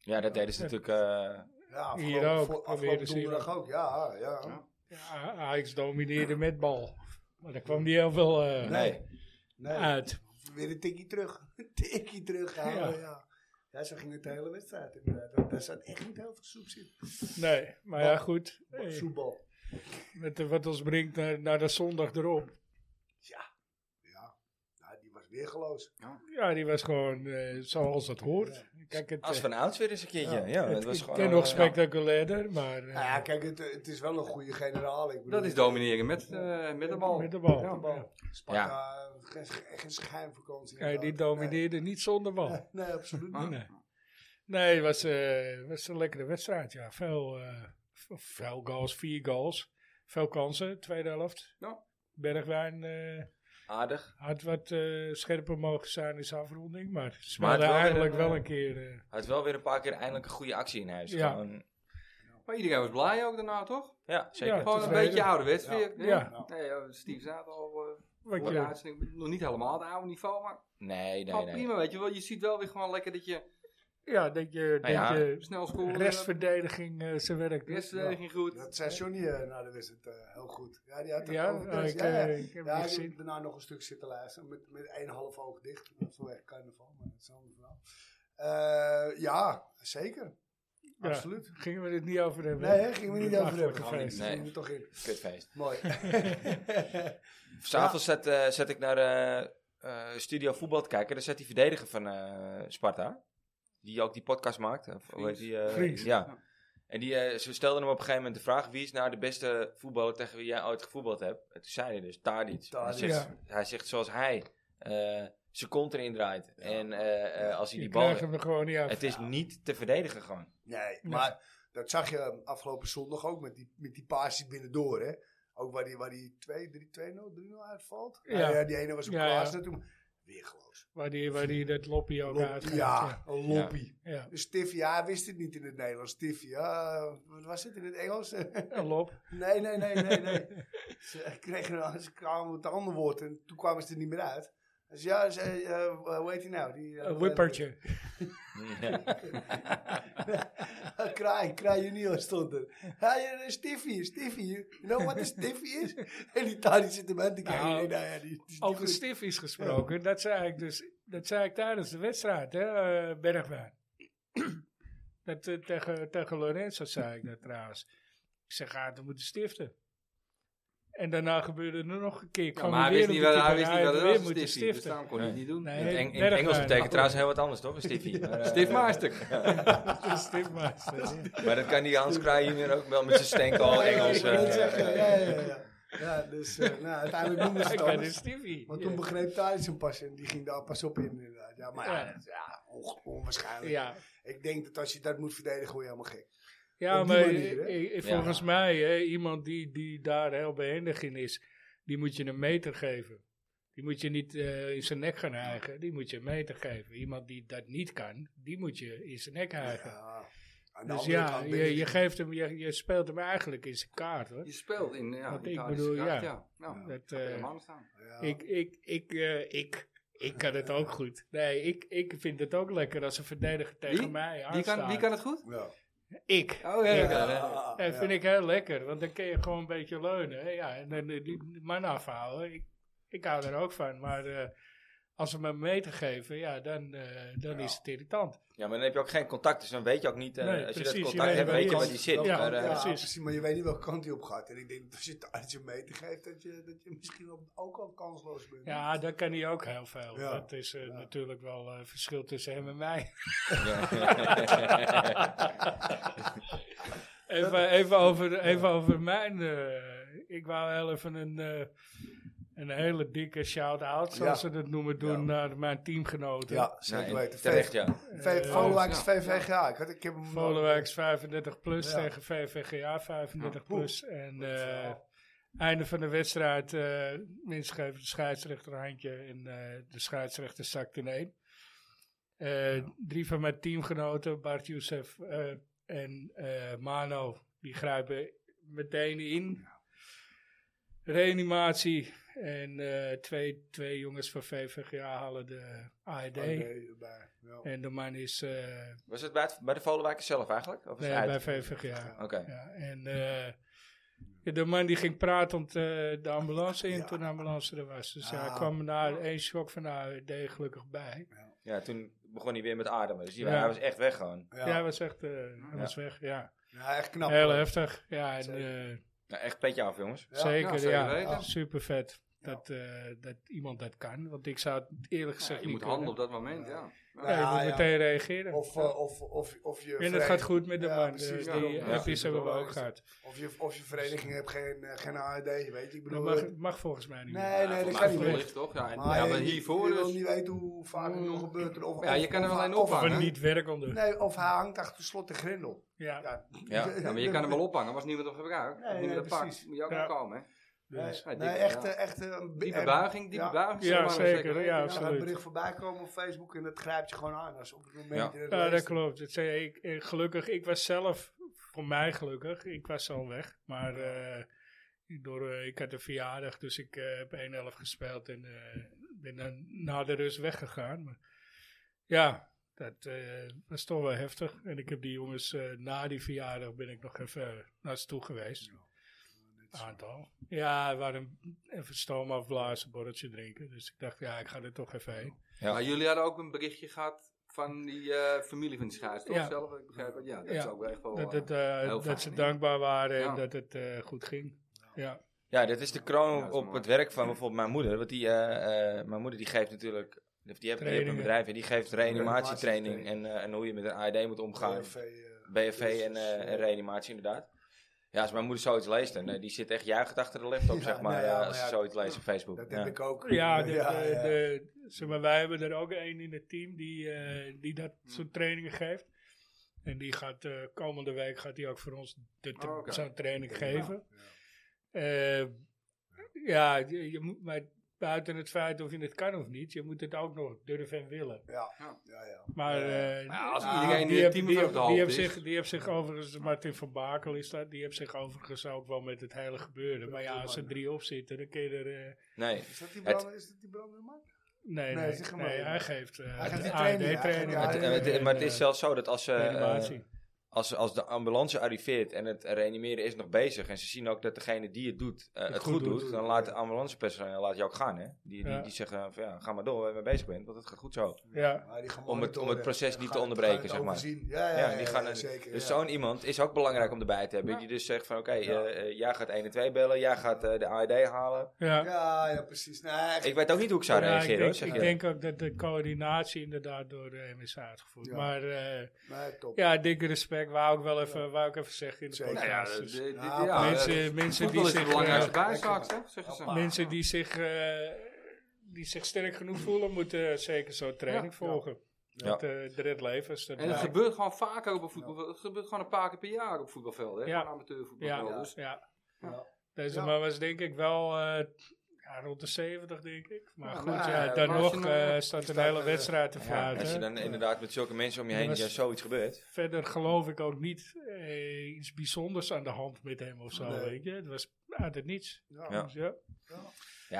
[SPEAKER 3] Ja, dat deden ze natuurlijk... eh,
[SPEAKER 5] Ja, afgelopen,
[SPEAKER 4] Hier ook,
[SPEAKER 5] voor-
[SPEAKER 4] probeerden
[SPEAKER 5] afgelopen
[SPEAKER 4] ze hier
[SPEAKER 5] donderdag ook. Ja, ja.
[SPEAKER 4] Ja, Ajax domineerde met bal. Maar daar kwam niet heel veel eh,
[SPEAKER 3] nee.
[SPEAKER 5] Nee,
[SPEAKER 4] uit.
[SPEAKER 5] weer een tikkie terug. Een tikkie terug halen,
[SPEAKER 4] Ja.
[SPEAKER 5] ja. ja. zo ging het de hele wedstrijd. inderdaad. Daar- Daar zat echt niet heel veel soep in.
[SPEAKER 4] Nee, maar ja, goed. Eh,
[SPEAKER 5] Soepbal.
[SPEAKER 4] Met, eh, wat ons brengt naar, naar de zondag erop.
[SPEAKER 5] Nou, die was weer geloos.
[SPEAKER 4] Ja, die was gewoon eh, zoals dat hoort. Kijk, het,
[SPEAKER 3] Als
[SPEAKER 4] eh,
[SPEAKER 3] van oudsher eens een keertje. Ja,
[SPEAKER 4] het,
[SPEAKER 3] dat was gewoon...
[SPEAKER 4] en nog
[SPEAKER 3] eh,
[SPEAKER 4] spectaculairder, maar eh,
[SPEAKER 5] Nou ja, kijk, het, het is wel een goede generaal. Ik bedoel,
[SPEAKER 6] Dat is domineren met, eh, met de bal.
[SPEAKER 4] met de bal.
[SPEAKER 6] Ja.
[SPEAKER 4] Ja.
[SPEAKER 5] Sparta, geen, geen schijnvakantie.
[SPEAKER 4] Ja, die
[SPEAKER 5] inderdaad.
[SPEAKER 4] domineerde niet zonder
[SPEAKER 5] Nee,
[SPEAKER 4] bal.
[SPEAKER 5] nee, absoluut niet.
[SPEAKER 4] Nee, nee het was, eh, was een lekkere wedstrijd. Ja. Veel, eh, v- veel goals, vier goals. Veel kansen, tweede helft.
[SPEAKER 6] Ja.
[SPEAKER 4] Bergwijn eh,
[SPEAKER 3] Aardig.
[SPEAKER 4] had wat eh, scherper mogen zijn in zijn afronding, maar
[SPEAKER 3] Maar
[SPEAKER 4] speelde
[SPEAKER 3] het wel
[SPEAKER 4] eigenlijk
[SPEAKER 3] weer een,
[SPEAKER 4] wel een keer. eh,
[SPEAKER 3] Hij had wel weer een paar keer eindelijk een goede actie in huis.
[SPEAKER 4] Ja.
[SPEAKER 3] Gewoon,
[SPEAKER 6] Maar iedereen was blij ook daarna, toch?
[SPEAKER 3] ja zeker.
[SPEAKER 4] Ja.
[SPEAKER 6] Gewoon een
[SPEAKER 4] tevreden.
[SPEAKER 6] beetje ouderwets weer. hè?
[SPEAKER 4] Ja.
[SPEAKER 6] Nee, ja, Steve zei het al. eh,
[SPEAKER 4] wat
[SPEAKER 6] voor
[SPEAKER 4] je-
[SPEAKER 6] de uitzending. nog niet helemaal het oude niveau, maar
[SPEAKER 3] Nee, nee,
[SPEAKER 6] maar
[SPEAKER 3] nee.
[SPEAKER 6] prima, weet je wel. Je ziet wel weer gewoon lekker dat je
[SPEAKER 4] ja, dat je, dat
[SPEAKER 3] ja,
[SPEAKER 4] je
[SPEAKER 6] snel scoort.
[SPEAKER 4] restverdediging eh, zijn werk doet.
[SPEAKER 6] eh, Restverdediging goed.
[SPEAKER 5] Dat zei Johnny eh, na de wedstrijd eh, heel goed. Ja, die had het
[SPEAKER 4] Ja,
[SPEAKER 5] over de rest.
[SPEAKER 4] ik,
[SPEAKER 5] ja, ja.
[SPEAKER 4] eh, ik heb
[SPEAKER 5] Ja,
[SPEAKER 4] het
[SPEAKER 5] ik
[SPEAKER 4] gezien.
[SPEAKER 5] heb daarna nog een stuk zitten luisteren. Met, met één half oog dicht. Dat is wel echt carnaval, maar dat is een ander verhaal. Eh, ja, zeker.
[SPEAKER 4] Ja.
[SPEAKER 5] Absoluut.
[SPEAKER 4] Gingen we het niet over hebben?
[SPEAKER 5] Nee, hè, gingen we niet over
[SPEAKER 4] Achterlijk
[SPEAKER 5] hebben.
[SPEAKER 4] feest.
[SPEAKER 5] Nee.
[SPEAKER 3] Nee.
[SPEAKER 5] er toch in.
[SPEAKER 3] Kutfeest.
[SPEAKER 5] Mooi.
[SPEAKER 3] S'avonds zet, eh, zet ik naar eh, eh, Studio Voetbal te kijken. Daar zet die verdediger van eh, Sparta. Die ook die podcast maakt. Of, hoe heet die, eh,
[SPEAKER 4] Vries.
[SPEAKER 3] Ja. En die, eh, ze stelden hem op een gegeven moment de vraag... wie is nou de beste voetballer tegen wie jij ooit gevoetbald hebt? En toen zei hij dus Tadic. Hij
[SPEAKER 5] Tadic.
[SPEAKER 3] zegt,
[SPEAKER 4] Ja.
[SPEAKER 3] hij zegt zoals hij eh zijn kont erin draait. En eh, eh, als hij
[SPEAKER 4] Je
[SPEAKER 3] die bal...
[SPEAKER 4] krijgt hem er gewoon niet af.
[SPEAKER 3] Het is niet te verdedigen gewoon.
[SPEAKER 5] nee, maar dat zag je afgelopen zondag ook met die, met die paasjes binnendoor, hè. Ook waar die, waar die 2, 3, 2, 0, 3, 0 uitvalt.
[SPEAKER 4] Ja.
[SPEAKER 5] Ja. ja, die ene was op
[SPEAKER 4] Ja, ja.
[SPEAKER 5] Klaassen toen. Weer geloos.
[SPEAKER 4] Waar die, waar die dat loppie ook
[SPEAKER 5] Loppie,
[SPEAKER 4] uitgaat.
[SPEAKER 5] ja, een loppie.
[SPEAKER 4] ja. Ja,
[SPEAKER 5] Dus Tiffy, ja, hij wist het niet in het Nederlands. Tiffy, ja, wat was het in het Engels?
[SPEAKER 4] een lop.
[SPEAKER 5] nee, nee, nee, nee, nee. Ze kregen een, ze kwamen met een ander woord en toen kwamen ze er niet meer uit. Dus ja, ze, eh, hoe heet hij nou? Die, eh,
[SPEAKER 4] Een whippertje.
[SPEAKER 5] kraai, Kraai Junior stond er. Hij is Stiffy, Stiffy. You know what a Stiffy is? En die Tani zit hem aan te kijken.
[SPEAKER 4] Nou,
[SPEAKER 5] Nee, nou ja, die, die is niet
[SPEAKER 4] Over
[SPEAKER 5] goed.
[SPEAKER 4] Stiff is gesproken. Dat, zei ik dus, dat zei ik tijdens de wedstrijd, hè, eh, Bergwijn. dat, eh, tegen, tegen Lorenzo zei ik dat trouwens. Ik zeg, gaat we moeten stiften. En daarna gebeurde er nog een keer.
[SPEAKER 6] Ja,
[SPEAKER 4] kwam
[SPEAKER 6] maar hij
[SPEAKER 4] weer
[SPEAKER 6] wist
[SPEAKER 4] een
[SPEAKER 6] niet wat
[SPEAKER 4] keer
[SPEAKER 6] hij
[SPEAKER 4] en
[SPEAKER 6] wist niet wat
[SPEAKER 4] had
[SPEAKER 6] het
[SPEAKER 4] weer
[SPEAKER 6] was.
[SPEAKER 4] moeten
[SPEAKER 6] Stiffy. Dus daarom kon hij het niet doen.
[SPEAKER 4] Nee,
[SPEAKER 3] In het, Eng- in het
[SPEAKER 4] Bergwijn.
[SPEAKER 3] Engels betekent trouwens heel wat anders, toch? Een stiffie. Maar, eh,
[SPEAKER 6] Stiftmeister.
[SPEAKER 4] Stiftmeister.
[SPEAKER 3] Maar dat kan die Hans Kraaij hier ook wel met zijn stenk al Engels.
[SPEAKER 5] Ik wil het
[SPEAKER 3] eh,
[SPEAKER 5] zeggen, Oh, ja, ja, ja. Ja, dus eh, nou, uiteindelijk noemen ze
[SPEAKER 4] Hij
[SPEAKER 5] het
[SPEAKER 4] kan een
[SPEAKER 5] anders.
[SPEAKER 4] Stiffy.
[SPEAKER 5] Maar toen begreep Thijs hem pas en die ging daar pas op in. inderdaad. Ja, maar ja,
[SPEAKER 4] Ja.
[SPEAKER 5] dat is, ja, onge- onwaarschijnlijk.
[SPEAKER 4] Ja,
[SPEAKER 5] Ik denk dat als je dat moet verdedigen, word je helemaal gek.
[SPEAKER 4] Ja,
[SPEAKER 5] Op die
[SPEAKER 4] maar
[SPEAKER 5] manier, hè?
[SPEAKER 4] eh, eh,
[SPEAKER 3] Ja.
[SPEAKER 4] volgens mij, hè, iemand die, die daar heel behendig in is, die moet je een meter geven. Die moet je niet eh, in zijn nek gaan hijgen, die moet je een meter geven. Iemand die dat niet kan, die moet je in zijn nek hijgen.
[SPEAKER 5] Ja. Aan de
[SPEAKER 4] dus
[SPEAKER 5] andere
[SPEAKER 4] ja,
[SPEAKER 5] kant ben
[SPEAKER 4] je,
[SPEAKER 5] ik-
[SPEAKER 4] je, geeft hem, je, je speelt hem eigenlijk in zijn kaart hoor.
[SPEAKER 6] Je speelt in ja,
[SPEAKER 4] Want ik
[SPEAKER 6] Italië
[SPEAKER 4] bedoel,
[SPEAKER 6] kracht,
[SPEAKER 4] ja.
[SPEAKER 6] ja. Nou,
[SPEAKER 4] Dat,
[SPEAKER 6] kan je
[SPEAKER 4] eh,
[SPEAKER 6] helemaal staan.
[SPEAKER 5] Ja.
[SPEAKER 4] ik, ik, ik, eh, ik, ik kan het ook goed. Nee, ik, ik vind het ook lekker als een verdediger tegen
[SPEAKER 6] Wie?
[SPEAKER 4] mij
[SPEAKER 6] Wie
[SPEAKER 4] aanstaat.
[SPEAKER 6] kan, wie kan het goed?
[SPEAKER 5] Ja.
[SPEAKER 4] Ik.
[SPEAKER 6] Oh ja, ja.
[SPEAKER 5] Ja,
[SPEAKER 4] Dat
[SPEAKER 5] ja.
[SPEAKER 4] vind ik heel lekker, want dan kun je gewoon een beetje leunen. hè. Ja, en dan eh, die man afhouden. Ik, ik hou er ook van, maar eh, Als ze me mee te geven, ja, dan, eh, dan is het irritant.
[SPEAKER 3] Ja, maar dan heb je ook geen contact, dus dan weet je ook niet. eh,
[SPEAKER 4] Nee,
[SPEAKER 3] als je
[SPEAKER 4] precies,
[SPEAKER 3] dat
[SPEAKER 4] je
[SPEAKER 3] contact
[SPEAKER 4] weet
[SPEAKER 3] hebt,
[SPEAKER 4] waar
[SPEAKER 3] weet je
[SPEAKER 4] die
[SPEAKER 3] waar
[SPEAKER 4] is.
[SPEAKER 3] die zit.
[SPEAKER 4] Ja,
[SPEAKER 3] maar, eh,
[SPEAKER 4] ja.
[SPEAKER 5] precies.
[SPEAKER 4] precies.
[SPEAKER 5] Maar je weet niet welke kant hij op gaat. En ik denk dat als je het taartje mee te geeft, dat je, dat je misschien ook- ook al kansloos bent.
[SPEAKER 4] Ja, dan kan hij ook heel veel.
[SPEAKER 5] Ja.
[SPEAKER 4] Dat is eh, natuurlijk wel eh, verschil tussen hem en mij. even, even, over, even over mijn. eh, ik wou heel even een, eh, een hele dikke shout-out, zoals
[SPEAKER 5] Ja.
[SPEAKER 4] ze dat noemen, doen
[SPEAKER 5] Ja.
[SPEAKER 4] naar mijn teamgenoten.
[SPEAKER 5] ja
[SPEAKER 3] nee,
[SPEAKER 5] zeker weten.
[SPEAKER 3] Terecht,
[SPEAKER 5] Terecht,
[SPEAKER 3] ja.
[SPEAKER 5] Volwijks VVGA. Ik, had, ik heb hem eh,
[SPEAKER 4] Volenwijks 35 plus
[SPEAKER 5] Ja.
[SPEAKER 4] tegen VVGA 35
[SPEAKER 3] Nou,
[SPEAKER 4] plus. En eh, einde van de wedstrijd, eh mensen geven de scheidsrechter een handje en eh, de scheidsrechter zakt ineen. Eh Drie van mijn teamgenoten, Bart Youssef eh, en eh, Mano, die grijpen meteen in. Reanimatie. En eh, twee, twee jongens van VVGA halen de AED.
[SPEAKER 5] Oh,
[SPEAKER 3] E
[SPEAKER 5] nee, bij- ja.
[SPEAKER 4] En de man is eh,
[SPEAKER 3] Was het bij, het, bij de Volwijkers zelf eigenlijk? Of is
[SPEAKER 4] nee,
[SPEAKER 3] het
[SPEAKER 4] bij
[SPEAKER 3] uit?
[SPEAKER 4] VVGA.
[SPEAKER 3] Oké.
[SPEAKER 4] Ja, en eh, ja, de man die ging praten eh, de ambulance in toen de ambulance er was. Dus ja, hij
[SPEAKER 5] Ah.
[SPEAKER 4] kwam na één shock van nou, deed gelukkig bij.
[SPEAKER 3] Ja, toen begon hij weer met ademen. Dus die-
[SPEAKER 4] Ja.
[SPEAKER 3] hij was echt weg gewoon.
[SPEAKER 4] Ja,
[SPEAKER 5] Ja.
[SPEAKER 4] hij was echt, eh, hij was weg, ja.
[SPEAKER 5] Ja, echt knap.
[SPEAKER 4] Heel
[SPEAKER 5] hoor.
[SPEAKER 4] heftig, ja, en, eh,
[SPEAKER 3] Nou, echt petje af, jongens.
[SPEAKER 5] Ja,
[SPEAKER 4] zeker,
[SPEAKER 6] zeker
[SPEAKER 4] ja,
[SPEAKER 6] weten.
[SPEAKER 4] super vet. Dat, eh, dat iemand dat kan, want ik zou het eerlijk gezegd
[SPEAKER 6] je
[SPEAKER 4] niet
[SPEAKER 6] moet handelen op
[SPEAKER 4] kunnen.
[SPEAKER 6] dat moment, ja.
[SPEAKER 4] Ja, je
[SPEAKER 5] Ja,
[SPEAKER 4] moet
[SPEAKER 5] ja.
[SPEAKER 4] meteen reageren.
[SPEAKER 5] Of, eh, of, of, of je
[SPEAKER 4] en het gaat goed met de
[SPEAKER 5] Ja,
[SPEAKER 4] man,
[SPEAKER 5] precies,
[SPEAKER 4] dus
[SPEAKER 5] daarom.
[SPEAKER 4] die
[SPEAKER 5] Ja,
[SPEAKER 4] appjes
[SPEAKER 6] precies,
[SPEAKER 4] hebben we
[SPEAKER 6] dat
[SPEAKER 4] ook
[SPEAKER 6] is-
[SPEAKER 4] gehad.
[SPEAKER 5] Of je, of je vereniging hebt geen, eh, geen ARD, weet je. Ik
[SPEAKER 4] Dat
[SPEAKER 5] bedoel, eh,
[SPEAKER 4] mag, mag volgens mij niet.
[SPEAKER 5] Nee, nee, dat
[SPEAKER 6] maar
[SPEAKER 5] kan niet
[SPEAKER 6] verlicht,
[SPEAKER 5] meer.
[SPEAKER 6] toch? Ja, en,
[SPEAKER 5] Maar
[SPEAKER 6] ja,
[SPEAKER 5] je-
[SPEAKER 6] maar
[SPEAKER 5] je
[SPEAKER 6] hiervoor
[SPEAKER 5] wil
[SPEAKER 6] dus.
[SPEAKER 5] niet weten hoe vaak het
[SPEAKER 4] Mm.
[SPEAKER 5] nog gebeurt. en Of,
[SPEAKER 6] Ja, je
[SPEAKER 5] of-
[SPEAKER 6] kan er
[SPEAKER 5] of
[SPEAKER 6] wel
[SPEAKER 5] hij-
[SPEAKER 6] een
[SPEAKER 5] of-
[SPEAKER 4] Of
[SPEAKER 6] ophangen.
[SPEAKER 4] een niet werkende.
[SPEAKER 5] Nee, of hij hangt achter slot de grendel.
[SPEAKER 4] Ja.
[SPEAKER 5] Ja,
[SPEAKER 3] Ja.
[SPEAKER 6] Ja, maar je kan hem wel ophangen, maar als niemand hem gebruikt,
[SPEAKER 5] Nee,
[SPEAKER 6] als niemand
[SPEAKER 5] nee,
[SPEAKER 6] hem pakt,
[SPEAKER 5] precies.
[SPEAKER 6] moet je ook
[SPEAKER 4] Ja.
[SPEAKER 6] wel komen. Hè?
[SPEAKER 5] Nee,
[SPEAKER 6] Dus, ja,
[SPEAKER 5] nee,
[SPEAKER 6] dik-
[SPEAKER 5] echt,
[SPEAKER 6] ja.
[SPEAKER 5] eh, echt eh, een...
[SPEAKER 6] Diepe
[SPEAKER 5] en-
[SPEAKER 6] buiging, diepe
[SPEAKER 5] ja.
[SPEAKER 6] buiging.
[SPEAKER 4] Ja,
[SPEAKER 6] zolang we
[SPEAKER 4] zeker, ja.
[SPEAKER 5] Ja, er
[SPEAKER 6] weten.
[SPEAKER 5] gaat
[SPEAKER 4] absoluut.
[SPEAKER 5] een bericht voorbij komen op Facebook en dat grijpt je gewoon aan. Als op het
[SPEAKER 3] Ja.
[SPEAKER 5] moment je dat
[SPEAKER 4] Ja, dat
[SPEAKER 5] leest.
[SPEAKER 4] klopt. Dat zei ik, eh, gelukkig, ik was zelf, voor mij gelukkig, ik was al weg. Maar eh, door, eh, ik had een verjaardag, dus ik eh, heb 1-11 gespeeld en eh, ben dan na de rust weggegaan. Maar, ja, dat eh, was toch wel heftig. En ik heb die jongens, eh, na die verjaardag ben ik nog even naar ze toe geweest. Aantal. Ja, we waren even stoom afblazen, borreltje drinken. Dus ik dacht, ja, ik ga er toch even heen.
[SPEAKER 3] Ja.
[SPEAKER 6] Maar jullie hadden ook een berichtje gehad van die eh, familie van die scheids, toch?
[SPEAKER 4] Ja.
[SPEAKER 6] Zelf, ik begrijp het. Ja, dat
[SPEAKER 4] Ja.
[SPEAKER 6] is ook wel echt wel...
[SPEAKER 4] Dat,
[SPEAKER 6] eh,
[SPEAKER 4] het, eh,
[SPEAKER 6] heel
[SPEAKER 4] dat
[SPEAKER 6] fijn,
[SPEAKER 4] ze
[SPEAKER 6] ja.
[SPEAKER 4] dankbaar waren
[SPEAKER 6] Ja.
[SPEAKER 4] en dat het eh, goed ging. Ja.
[SPEAKER 3] Ja, dit is de kroon
[SPEAKER 6] Ja, dat is
[SPEAKER 3] op
[SPEAKER 6] mooi.
[SPEAKER 3] het werk van bijvoorbeeld mijn moeder. Want die, eh, eh, mijn moeder die geeft natuurlijk, of die heeft, die heeft een
[SPEAKER 4] Trainingen.
[SPEAKER 3] bedrijf en die geeft reanimatietraining en,
[SPEAKER 5] Reanimatietraining.
[SPEAKER 3] eh, en hoe je met een AED moet omgaan.
[SPEAKER 5] BFV, eh,
[SPEAKER 3] BFV en,
[SPEAKER 5] cursus,
[SPEAKER 3] eh, en
[SPEAKER 5] eh.
[SPEAKER 3] reanimatie inderdaad. Ja, als mijn moeder zoiets leest, dan eh, die zit echt juichend achter de laptop,
[SPEAKER 5] Ja,
[SPEAKER 3] zeg maar,
[SPEAKER 5] nou ja,
[SPEAKER 3] eh,
[SPEAKER 5] maar
[SPEAKER 3] als ze
[SPEAKER 5] ja,
[SPEAKER 3] zoiets leest op Facebook.
[SPEAKER 5] Dat
[SPEAKER 3] ja.
[SPEAKER 5] heb ik ook.
[SPEAKER 4] Ja, de,
[SPEAKER 5] ja,
[SPEAKER 4] de-
[SPEAKER 5] ja.
[SPEAKER 4] de- zeg maar, wij hebben er ook één in het team die, eh, die dat
[SPEAKER 6] Mm.
[SPEAKER 4] soort trainingen geeft. En die gaat eh, komende week gaat die ook voor ons de tra-
[SPEAKER 6] Oh, oké.
[SPEAKER 4] zo'n training geven. Eh, ja, je, je moet, maar buiten het feit of je het kan of niet, je moet het ook nog durven en willen.
[SPEAKER 5] Ja, ja, ja.
[SPEAKER 4] Maar eh,
[SPEAKER 6] Ja, als
[SPEAKER 5] Ah,
[SPEAKER 6] iedereen in
[SPEAKER 4] die,
[SPEAKER 6] het
[SPEAKER 4] heb-
[SPEAKER 6] team
[SPEAKER 4] die
[SPEAKER 6] weer
[SPEAKER 4] heb-
[SPEAKER 6] op
[SPEAKER 4] die
[SPEAKER 6] de hoogte
[SPEAKER 4] heeft
[SPEAKER 6] is.
[SPEAKER 4] zich, die heeft zich overigens, Martin van Bakel is dat, die heeft zich overigens ook wel met het hele gebeuren. Maar ja, als er drie op zitten, dan kun je er... eh,
[SPEAKER 3] Nee,
[SPEAKER 5] Is dat die
[SPEAKER 3] Het-
[SPEAKER 5] brand- is dat die brandende man?
[SPEAKER 4] Nee,
[SPEAKER 5] Nee,
[SPEAKER 4] nee,
[SPEAKER 5] zeg maar.
[SPEAKER 4] nee, hij geeft, eh
[SPEAKER 5] Hij geeft die
[SPEAKER 4] de
[SPEAKER 5] training,
[SPEAKER 4] AED training.
[SPEAKER 5] ja,
[SPEAKER 3] Het-
[SPEAKER 5] ja,
[SPEAKER 3] eh, het-
[SPEAKER 4] En,
[SPEAKER 3] maar het is
[SPEAKER 4] eh,
[SPEAKER 3] zelfs zo dat als, ze, eh,
[SPEAKER 4] reanimatie.
[SPEAKER 3] als, als de ambulance arriveert en het reanimeren is nog bezig en ze zien ook dat degene die het doet eh, het, goed, doet, dan laat de ambulancepersoneel laat je ook gaan. Hè? Die, die,
[SPEAKER 4] Ja.
[SPEAKER 3] die zeggen van ja, ga maar door waar je mee bezig bent, want het gaat goed zo.
[SPEAKER 4] ja,
[SPEAKER 5] Ja,
[SPEAKER 3] Om
[SPEAKER 5] die gaan
[SPEAKER 3] het- om het
[SPEAKER 5] monitoren.
[SPEAKER 3] proces
[SPEAKER 5] Gaan
[SPEAKER 3] niet te
[SPEAKER 5] het-
[SPEAKER 3] onderbreken,
[SPEAKER 5] gaan het
[SPEAKER 3] zeg maar.
[SPEAKER 5] overzien. Ja, ja,
[SPEAKER 3] Ja,
[SPEAKER 5] ja,
[SPEAKER 3] die
[SPEAKER 5] ja,
[SPEAKER 3] gaan
[SPEAKER 5] ja,
[SPEAKER 3] een-
[SPEAKER 5] zeker.
[SPEAKER 3] dus
[SPEAKER 5] ja.
[SPEAKER 3] zo'n iemand is ook belangrijk om erbij te hebben. Die dus zegt van oké, eh, eh, jij gaat 1 en 2 bellen, jij gaat eh, de AED halen.
[SPEAKER 4] ja.
[SPEAKER 5] Ja, ja, precies. Nee, echt.
[SPEAKER 3] Ik weet ook niet hoe ik zou
[SPEAKER 4] Ja,
[SPEAKER 3] reageren.
[SPEAKER 4] ik denk,
[SPEAKER 3] hoor, zeg
[SPEAKER 4] ik
[SPEAKER 3] je.
[SPEAKER 4] denk ook dat de coördinatie inderdaad door de MSA is gevoerd.
[SPEAKER 5] Ja.
[SPEAKER 4] Maar eh,
[SPEAKER 5] Nee, top.
[SPEAKER 4] ja, dikke respect. Wou ik wel even, wou ik even zeggen in de
[SPEAKER 5] Zeker.
[SPEAKER 4] podcast.
[SPEAKER 6] Nou ja, de-
[SPEAKER 4] Dus
[SPEAKER 6] de- de-
[SPEAKER 5] Ja,
[SPEAKER 6] ja,
[SPEAKER 4] mensen,
[SPEAKER 6] eh,
[SPEAKER 4] mensen die
[SPEAKER 6] voetbal is de
[SPEAKER 4] zich...
[SPEAKER 6] belangrijkste
[SPEAKER 4] eh,
[SPEAKER 6] bijzaak, toch? Zeggen ze.
[SPEAKER 4] mensen die zich... eh, die zich sterk genoeg voelen, moeten zeker zo'n training volgen. Dat eh, de red levens. Dat
[SPEAKER 6] En het
[SPEAKER 4] ja.
[SPEAKER 6] gebeurt gewoon vaker op een voetbalveld. Het gebeurt gewoon een paar keer per jaar op voetbalvelden. hè?
[SPEAKER 4] Ja.
[SPEAKER 6] Gewoon
[SPEAKER 4] Ja,
[SPEAKER 6] amateurvoetbalvelden.
[SPEAKER 4] ja.
[SPEAKER 6] Dus
[SPEAKER 5] Ja.
[SPEAKER 4] Deze
[SPEAKER 5] Ja.
[SPEAKER 4] man was denk ik wel eh, ja, rond de 70, denk ik. Maar
[SPEAKER 6] Ja,
[SPEAKER 4] goed,
[SPEAKER 6] nou,
[SPEAKER 4] ja,
[SPEAKER 6] ja,
[SPEAKER 4] dan
[SPEAKER 6] maar als
[SPEAKER 4] nog
[SPEAKER 6] je nou-
[SPEAKER 4] eh, staat
[SPEAKER 5] je
[SPEAKER 4] een
[SPEAKER 5] staat,
[SPEAKER 4] hele
[SPEAKER 5] eh,
[SPEAKER 4] wedstrijd te
[SPEAKER 3] Ja, als je
[SPEAKER 4] fluiten.
[SPEAKER 3] dan inderdaad met zulke mensen om je
[SPEAKER 4] Ja,
[SPEAKER 3] heen
[SPEAKER 4] maar-
[SPEAKER 3] ja, zoiets gebeurt.
[SPEAKER 4] Verder geloof ik ook niet eh, iets bijzonders aan de hand met hem of zo,
[SPEAKER 5] Nee.
[SPEAKER 4] weet je. Het was uit het niets.
[SPEAKER 3] Ja.
[SPEAKER 4] Dus ja.
[SPEAKER 3] Ja,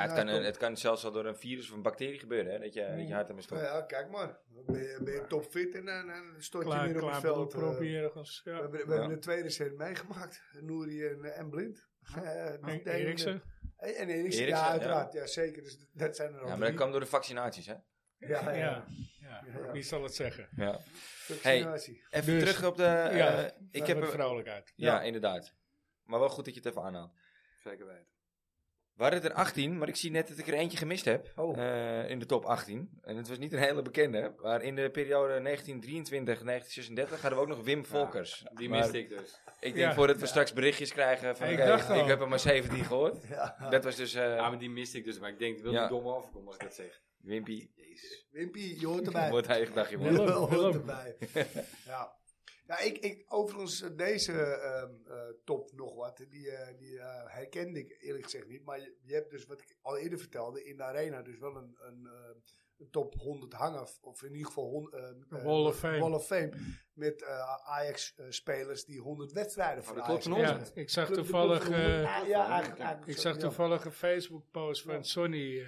[SPEAKER 3] het,
[SPEAKER 5] Ja,
[SPEAKER 3] kan,
[SPEAKER 5] klopt.
[SPEAKER 3] eh, het kan zelfs al door een virus of een bacterie gebeuren. Hè, dat je, dat je hart hem
[SPEAKER 5] Nou
[SPEAKER 3] stopt.
[SPEAKER 5] ja, kijk maar. Dan Ben je, ben je topfit en dan, dan stort je
[SPEAKER 4] Klaar,
[SPEAKER 5] weer op
[SPEAKER 4] klaar
[SPEAKER 5] het veld. eh.
[SPEAKER 4] bloedpropje ergens.
[SPEAKER 5] we
[SPEAKER 4] Ja.
[SPEAKER 5] hebben, we
[SPEAKER 3] Ja.
[SPEAKER 5] hebben de tweede set meegemaakt. Nouri en, eh, en Blind. Eh, die
[SPEAKER 4] Henk
[SPEAKER 5] deden-
[SPEAKER 4] Eriksen.
[SPEAKER 5] En en Eriksen,
[SPEAKER 3] Eriksen,
[SPEAKER 5] ja,
[SPEAKER 3] ja.
[SPEAKER 5] uiteraard. Ja. zeker. Dus dat- dat zijn er al
[SPEAKER 3] Ja, maar dat
[SPEAKER 5] drie.
[SPEAKER 3] kwam door de vaccinaties, hè?
[SPEAKER 5] Ja, ja.
[SPEAKER 4] Ja, ja, wie zal het zeggen?
[SPEAKER 3] Ja.
[SPEAKER 5] Vaccinatie.
[SPEAKER 3] Even
[SPEAKER 4] Dus,
[SPEAKER 3] terug op de...
[SPEAKER 4] ja,
[SPEAKER 3] eh, ik heb
[SPEAKER 4] een
[SPEAKER 3] een-
[SPEAKER 4] vrouwelijkheid.
[SPEAKER 3] ja, inderdaad. Maar wel goed dat je het even aanhaalt.
[SPEAKER 6] Zeker weten.
[SPEAKER 3] We hadden er 18, maar ik zie net dat ik er eentje gemist heb.
[SPEAKER 4] Oh.
[SPEAKER 3] eh, in de top 18. En het was niet een hele bekende. Maar in de periode 1923-1936 hadden we ook nog Wim Volkers.
[SPEAKER 6] Die
[SPEAKER 3] Maar
[SPEAKER 6] miste ik dus.
[SPEAKER 3] Ik denk
[SPEAKER 4] Ja.
[SPEAKER 3] voordat we straks berichtjes krijgen van...
[SPEAKER 4] Ik
[SPEAKER 3] oké,
[SPEAKER 4] dacht al.
[SPEAKER 3] ik heb er maar 17 gehoord. Dat was dus... eh,
[SPEAKER 6] Ja, maar die miste ik dus. Maar ik denk, wil
[SPEAKER 3] Ja.
[SPEAKER 6] die dom overkomen als ik dat zeg.
[SPEAKER 3] Wimpy,
[SPEAKER 5] Wimpy, je hoort erbij.
[SPEAKER 3] wordt hij dagje
[SPEAKER 5] Je
[SPEAKER 3] man.
[SPEAKER 4] Willem,
[SPEAKER 5] hoort
[SPEAKER 4] Willem.
[SPEAKER 5] erbij. Ja. Ja, ik, ik, overigens, eh, deze ehm, eh, top nog wat, die, eh, die eh, herkende ik eerlijk gezegd niet. Maar je, je hebt dus, wat ik al eerder vertelde, in de arena dus wel een, een, eh, een top 100 hangen. of- Of in ieder geval hon- eh, eh,
[SPEAKER 4] Wall of Fame.
[SPEAKER 5] Wall of Fame. Met eh, Ajax-spelers die 100 wedstrijden voor
[SPEAKER 6] dat
[SPEAKER 5] Ajax
[SPEAKER 6] klopt van
[SPEAKER 5] hebben.
[SPEAKER 6] ons.
[SPEAKER 4] Ja, ik zag toevallig, eh,
[SPEAKER 5] Ja, ja, eigenlijk- eigenlijk
[SPEAKER 4] ik
[SPEAKER 5] zo,
[SPEAKER 4] zag
[SPEAKER 5] ja,
[SPEAKER 4] toevallig een Facebook-post van Sonny. eh,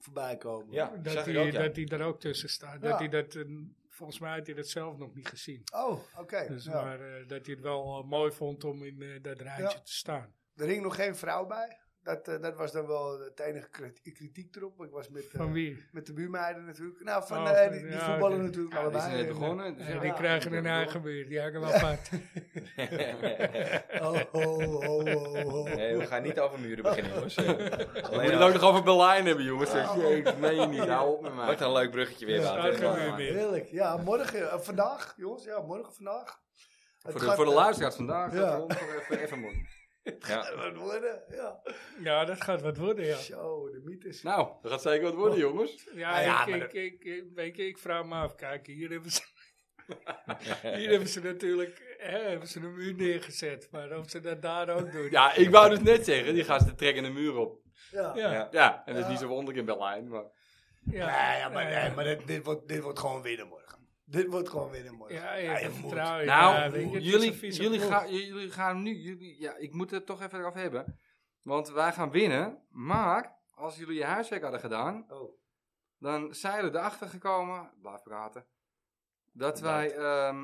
[SPEAKER 5] voorbij komen.
[SPEAKER 3] Ja,
[SPEAKER 4] dat
[SPEAKER 3] zag ik ook,
[SPEAKER 4] hij
[SPEAKER 3] ja.
[SPEAKER 4] dat hij er ook tussen staat.
[SPEAKER 5] Ja.
[SPEAKER 4] Dat hij dat, eh, volgens mij had hij dat zelf nog niet gezien.
[SPEAKER 5] Oh, oké.
[SPEAKER 4] Dus,
[SPEAKER 5] ja.
[SPEAKER 4] Maar eh, dat hij het wel eh, mooi vond om in eh, dat rijtje
[SPEAKER 5] Ja.
[SPEAKER 4] te staan.
[SPEAKER 5] Er hing nog geen vrouw bij. Dat, eh, dat was dan wel het enige kriti- kritiek erop. Ik was met, eh,
[SPEAKER 4] Van wie?
[SPEAKER 5] met de buurmeiden natuurlijk. Nou, van
[SPEAKER 4] Oh,
[SPEAKER 5] eh,
[SPEAKER 4] van-
[SPEAKER 5] die, die
[SPEAKER 4] ja,
[SPEAKER 5] voetballen
[SPEAKER 4] oké.
[SPEAKER 5] natuurlijk
[SPEAKER 6] Ja, die
[SPEAKER 5] allebei.
[SPEAKER 6] zijn net
[SPEAKER 5] En,
[SPEAKER 6] begonnen. Dus
[SPEAKER 4] Ja,
[SPEAKER 6] ja,
[SPEAKER 4] die krijgen een
[SPEAKER 6] ja,
[SPEAKER 4] eigen buurt. Die hangen wel apart.
[SPEAKER 5] eh, Oh, oh, oh, oh, oh.
[SPEAKER 3] Nee, we gaan niet over muren beginnen, jongens. Eh,
[SPEAKER 6] We
[SPEAKER 3] Alleen
[SPEAKER 6] moeten het ook nog over Berlijn hebben, jongens. Dat jeet, meen je niet. Hou op met mij.
[SPEAKER 3] Wat een leuk bruggetje weer,
[SPEAKER 4] Ja,
[SPEAKER 3] Wouter.
[SPEAKER 4] daar gaan we weer mee.
[SPEAKER 5] Heerlijk. Ja, morgen, eh, vandaag, jongens. Ja, morgen, vandaag. Het
[SPEAKER 6] Voor de,
[SPEAKER 5] gaat,
[SPEAKER 6] voor de
[SPEAKER 5] eh,
[SPEAKER 6] luisteraars vandaag.
[SPEAKER 5] ja.
[SPEAKER 6] Ja. Even, even mooi.
[SPEAKER 3] Ja.
[SPEAKER 5] wat worden, ja.
[SPEAKER 4] Ja, dat gaat wat worden, ja.
[SPEAKER 5] Zo, de mythes.
[SPEAKER 6] Nou, dat gaat zeker wat worden, jongens.
[SPEAKER 4] Ja, ik, ik, ik, ik- weet je, ik vraag me af. Kijk, hier hebben ze, hier hebben ze natuurlijk hè, hebben ze een muur neergezet. Maar of ze dat daar ook doen.
[SPEAKER 6] Ja, ik wou dus net zeggen, die gaan ze trekken de muur op.
[SPEAKER 5] Ja.
[SPEAKER 4] ja.
[SPEAKER 3] Ja.
[SPEAKER 6] Ja, en dat is niet zo wonderlijk in Berlijn, maar...
[SPEAKER 5] Ja, ja, maar, nee, maar dit, dit, wordt, dit wordt gewoon winnen morgen. Dit wordt gewoon winnen morgen.
[SPEAKER 4] Ja,
[SPEAKER 5] Ja, je
[SPEAKER 4] ja,
[SPEAKER 5] moet.
[SPEAKER 4] vertrouwen. ja,
[SPEAKER 6] Nou,
[SPEAKER 4] weet je, het is een
[SPEAKER 6] jullie,
[SPEAKER 4] vieze
[SPEAKER 6] jullie,
[SPEAKER 4] ploeg.
[SPEAKER 6] gaan, jullie gaan nu. Jullie, ja, ik moet het toch even eraf hebben. Want wij gaan winnen. Maar als jullie je huiswerk hadden gedaan.
[SPEAKER 5] Oh,
[SPEAKER 6] Dan zijn we erachter gekomen. Blijf praten. Dat wij. ehm,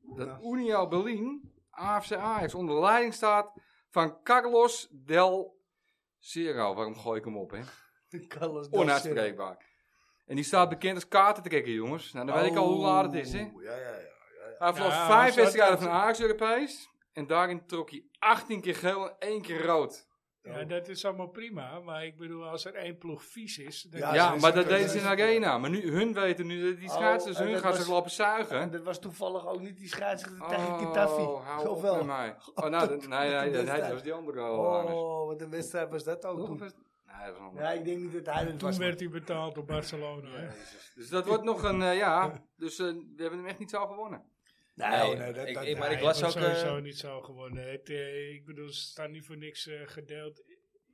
[SPEAKER 6] dat Union Berlin. AFC Ajax onder leiding staat. Van Carlos Del Cero. Waarom gooi ik hem op, hè?
[SPEAKER 5] Carlos Del Cerro.
[SPEAKER 6] Onuitspreekbaar. En die staat bekend als kaartentrekker, jongens. Nou, dan weet ik al hoe laat het is, hè?
[SPEAKER 5] Oeh, Ja, ja, ja.
[SPEAKER 6] Hij verloor
[SPEAKER 4] Ja,
[SPEAKER 6] vijf
[SPEAKER 4] zo-
[SPEAKER 6] wedstrijden van Ajax Europees. En daarin trok hij 18 keer geel en 1 keer rood.
[SPEAKER 4] Ja, dat is allemaal prima. Maar ik bedoel, als er één ploeg vies is... Dan
[SPEAKER 5] Ja,
[SPEAKER 6] Ja,
[SPEAKER 5] ze is-
[SPEAKER 6] maar dat
[SPEAKER 5] ze is-
[SPEAKER 6] deden ze nou- in de arena. Maar nu, hun weten nu dat die
[SPEAKER 5] Oh,
[SPEAKER 6] schaatsers,
[SPEAKER 5] en
[SPEAKER 6] hun
[SPEAKER 5] dat
[SPEAKER 6] gaan
[SPEAKER 5] was-
[SPEAKER 6] ze lopen
[SPEAKER 5] En
[SPEAKER 6] zuigen.
[SPEAKER 5] dat was toevallig ook niet die scheidsrechter tegen Kitafi.
[SPEAKER 6] Oh, hou
[SPEAKER 5] of
[SPEAKER 6] op
[SPEAKER 5] wel?
[SPEAKER 6] met mij. Oh, nou, dat- nee,
[SPEAKER 5] Wat
[SPEAKER 6] nee,
[SPEAKER 5] een
[SPEAKER 6] nee, nee, dat
[SPEAKER 5] wedstrijd.
[SPEAKER 6] was die andere al.
[SPEAKER 5] Oh, wat een wedstrijd was dat ook
[SPEAKER 6] Nee,
[SPEAKER 5] toen.
[SPEAKER 6] dat was
[SPEAKER 5] Ja,
[SPEAKER 6] een andere.
[SPEAKER 5] ik denk niet dat hij het
[SPEAKER 4] Toen
[SPEAKER 5] was.
[SPEAKER 4] werd hij betaald door Barcelona. hè.
[SPEAKER 6] Dus dat wordt nog een, eh, ja. Dus eh, we hebben hem echt niet zo gewonnen.
[SPEAKER 5] maar-
[SPEAKER 3] Nee,
[SPEAKER 5] oh, dat-
[SPEAKER 3] ik-
[SPEAKER 5] dat-
[SPEAKER 3] ik- maar
[SPEAKER 5] nee,
[SPEAKER 3] ik las ook...
[SPEAKER 4] wordt sowieso
[SPEAKER 3] eh,
[SPEAKER 4] niet zo gewonnen. Het, eh, ik bedoel, ze staan niet voor niks eh, gedeeld.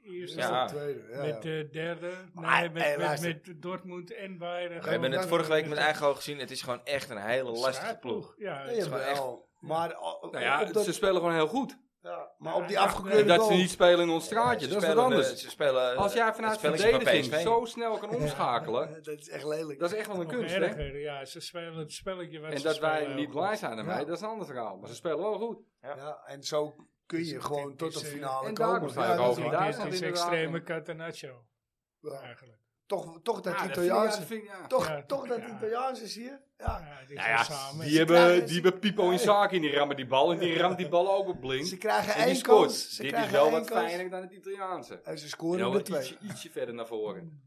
[SPEAKER 4] Eerst
[SPEAKER 5] dat was
[SPEAKER 3] Ja.
[SPEAKER 5] de tweede, ja,
[SPEAKER 4] met eh,
[SPEAKER 5] ja.
[SPEAKER 4] de derde,
[SPEAKER 5] Maar,
[SPEAKER 4] nee, met,
[SPEAKER 5] eh,
[SPEAKER 4] met-
[SPEAKER 5] luister.
[SPEAKER 4] met, Dortmund en Bayern.
[SPEAKER 3] We hebben het
[SPEAKER 5] Gewoon-
[SPEAKER 3] vorige week met eigen ogen gezien. Het is gewoon echt een hele lastige ploeg.
[SPEAKER 4] Ja,
[SPEAKER 5] Nee,
[SPEAKER 4] het is-
[SPEAKER 3] gewoon
[SPEAKER 5] jawel. Maar, oh,
[SPEAKER 6] Nou ja,
[SPEAKER 5] op dat-
[SPEAKER 6] ze spelen gewoon heel goed.
[SPEAKER 5] ja, maar op die
[SPEAKER 6] En
[SPEAKER 5] afgekeurde
[SPEAKER 6] dat ze
[SPEAKER 5] goal.
[SPEAKER 6] niet spelen in ons straatje,
[SPEAKER 3] Ze
[SPEAKER 6] dat is wat
[SPEAKER 3] spelen, eh,
[SPEAKER 6] anders.
[SPEAKER 3] Ze spelen,
[SPEAKER 6] Als jij
[SPEAKER 3] het
[SPEAKER 6] vanuit
[SPEAKER 3] spel is van
[SPEAKER 6] verdediging
[SPEAKER 3] PSV.
[SPEAKER 6] zo snel kan omschakelen,
[SPEAKER 5] Ja, Dat is echt lelijk.
[SPEAKER 6] Dat is echt wel een
[SPEAKER 4] nog
[SPEAKER 6] kunst, hè?
[SPEAKER 4] erger. Ja, ze spelen het spelletje wat
[SPEAKER 6] En
[SPEAKER 4] ze
[SPEAKER 6] dat
[SPEAKER 4] spelen
[SPEAKER 6] wij
[SPEAKER 4] heel
[SPEAKER 6] niet
[SPEAKER 4] goed.
[SPEAKER 6] blij zijn ermee,
[SPEAKER 5] Ja.
[SPEAKER 6] dat is een ander verhaal. Maar ze spelen wel goed.
[SPEAKER 5] ja, en zo kun je gewoon tot de
[SPEAKER 4] is, eh,
[SPEAKER 5] finale
[SPEAKER 6] en
[SPEAKER 5] komen.
[SPEAKER 6] daarom sta ik
[SPEAKER 5] Ja, dat is
[SPEAKER 6] over.
[SPEAKER 4] Het
[SPEAKER 5] waar.
[SPEAKER 6] Daar
[SPEAKER 4] is-
[SPEAKER 6] staat
[SPEAKER 4] Het is
[SPEAKER 6] inderdaad
[SPEAKER 4] extreme
[SPEAKER 6] een-
[SPEAKER 4] Catenaccio,
[SPEAKER 5] Ja,
[SPEAKER 4] eigenlijk.
[SPEAKER 5] Toch, toch dat
[SPEAKER 6] Ja,
[SPEAKER 5] Italiaanse.
[SPEAKER 6] vind ik- ja.
[SPEAKER 5] toch,
[SPEAKER 4] Ja, dat
[SPEAKER 5] toch
[SPEAKER 4] vind
[SPEAKER 5] dat
[SPEAKER 4] ik- ja.
[SPEAKER 5] Italiaanse zie je. Ja,
[SPEAKER 4] Ja, die
[SPEAKER 6] Nou
[SPEAKER 4] gaan
[SPEAKER 6] ja,
[SPEAKER 4] samen.
[SPEAKER 6] die
[SPEAKER 5] krijgen-
[SPEAKER 6] hebben,
[SPEAKER 5] ze-
[SPEAKER 6] die hebben Pipo in zaken en die rammen die bal en die ramt die bal ook op blink.
[SPEAKER 5] ze krijgen
[SPEAKER 6] en die
[SPEAKER 5] één
[SPEAKER 6] scoort.
[SPEAKER 5] kans. Ze
[SPEAKER 6] Dit is
[SPEAKER 5] krijgen
[SPEAKER 6] wel
[SPEAKER 5] één
[SPEAKER 6] wat
[SPEAKER 5] kans.
[SPEAKER 6] fijner dan het Italiaanse.
[SPEAKER 5] En ze
[SPEAKER 6] En
[SPEAKER 5] scoren
[SPEAKER 6] dan
[SPEAKER 5] de
[SPEAKER 6] wordt
[SPEAKER 5] twee.
[SPEAKER 6] ietsje, ietsje verder naar voren.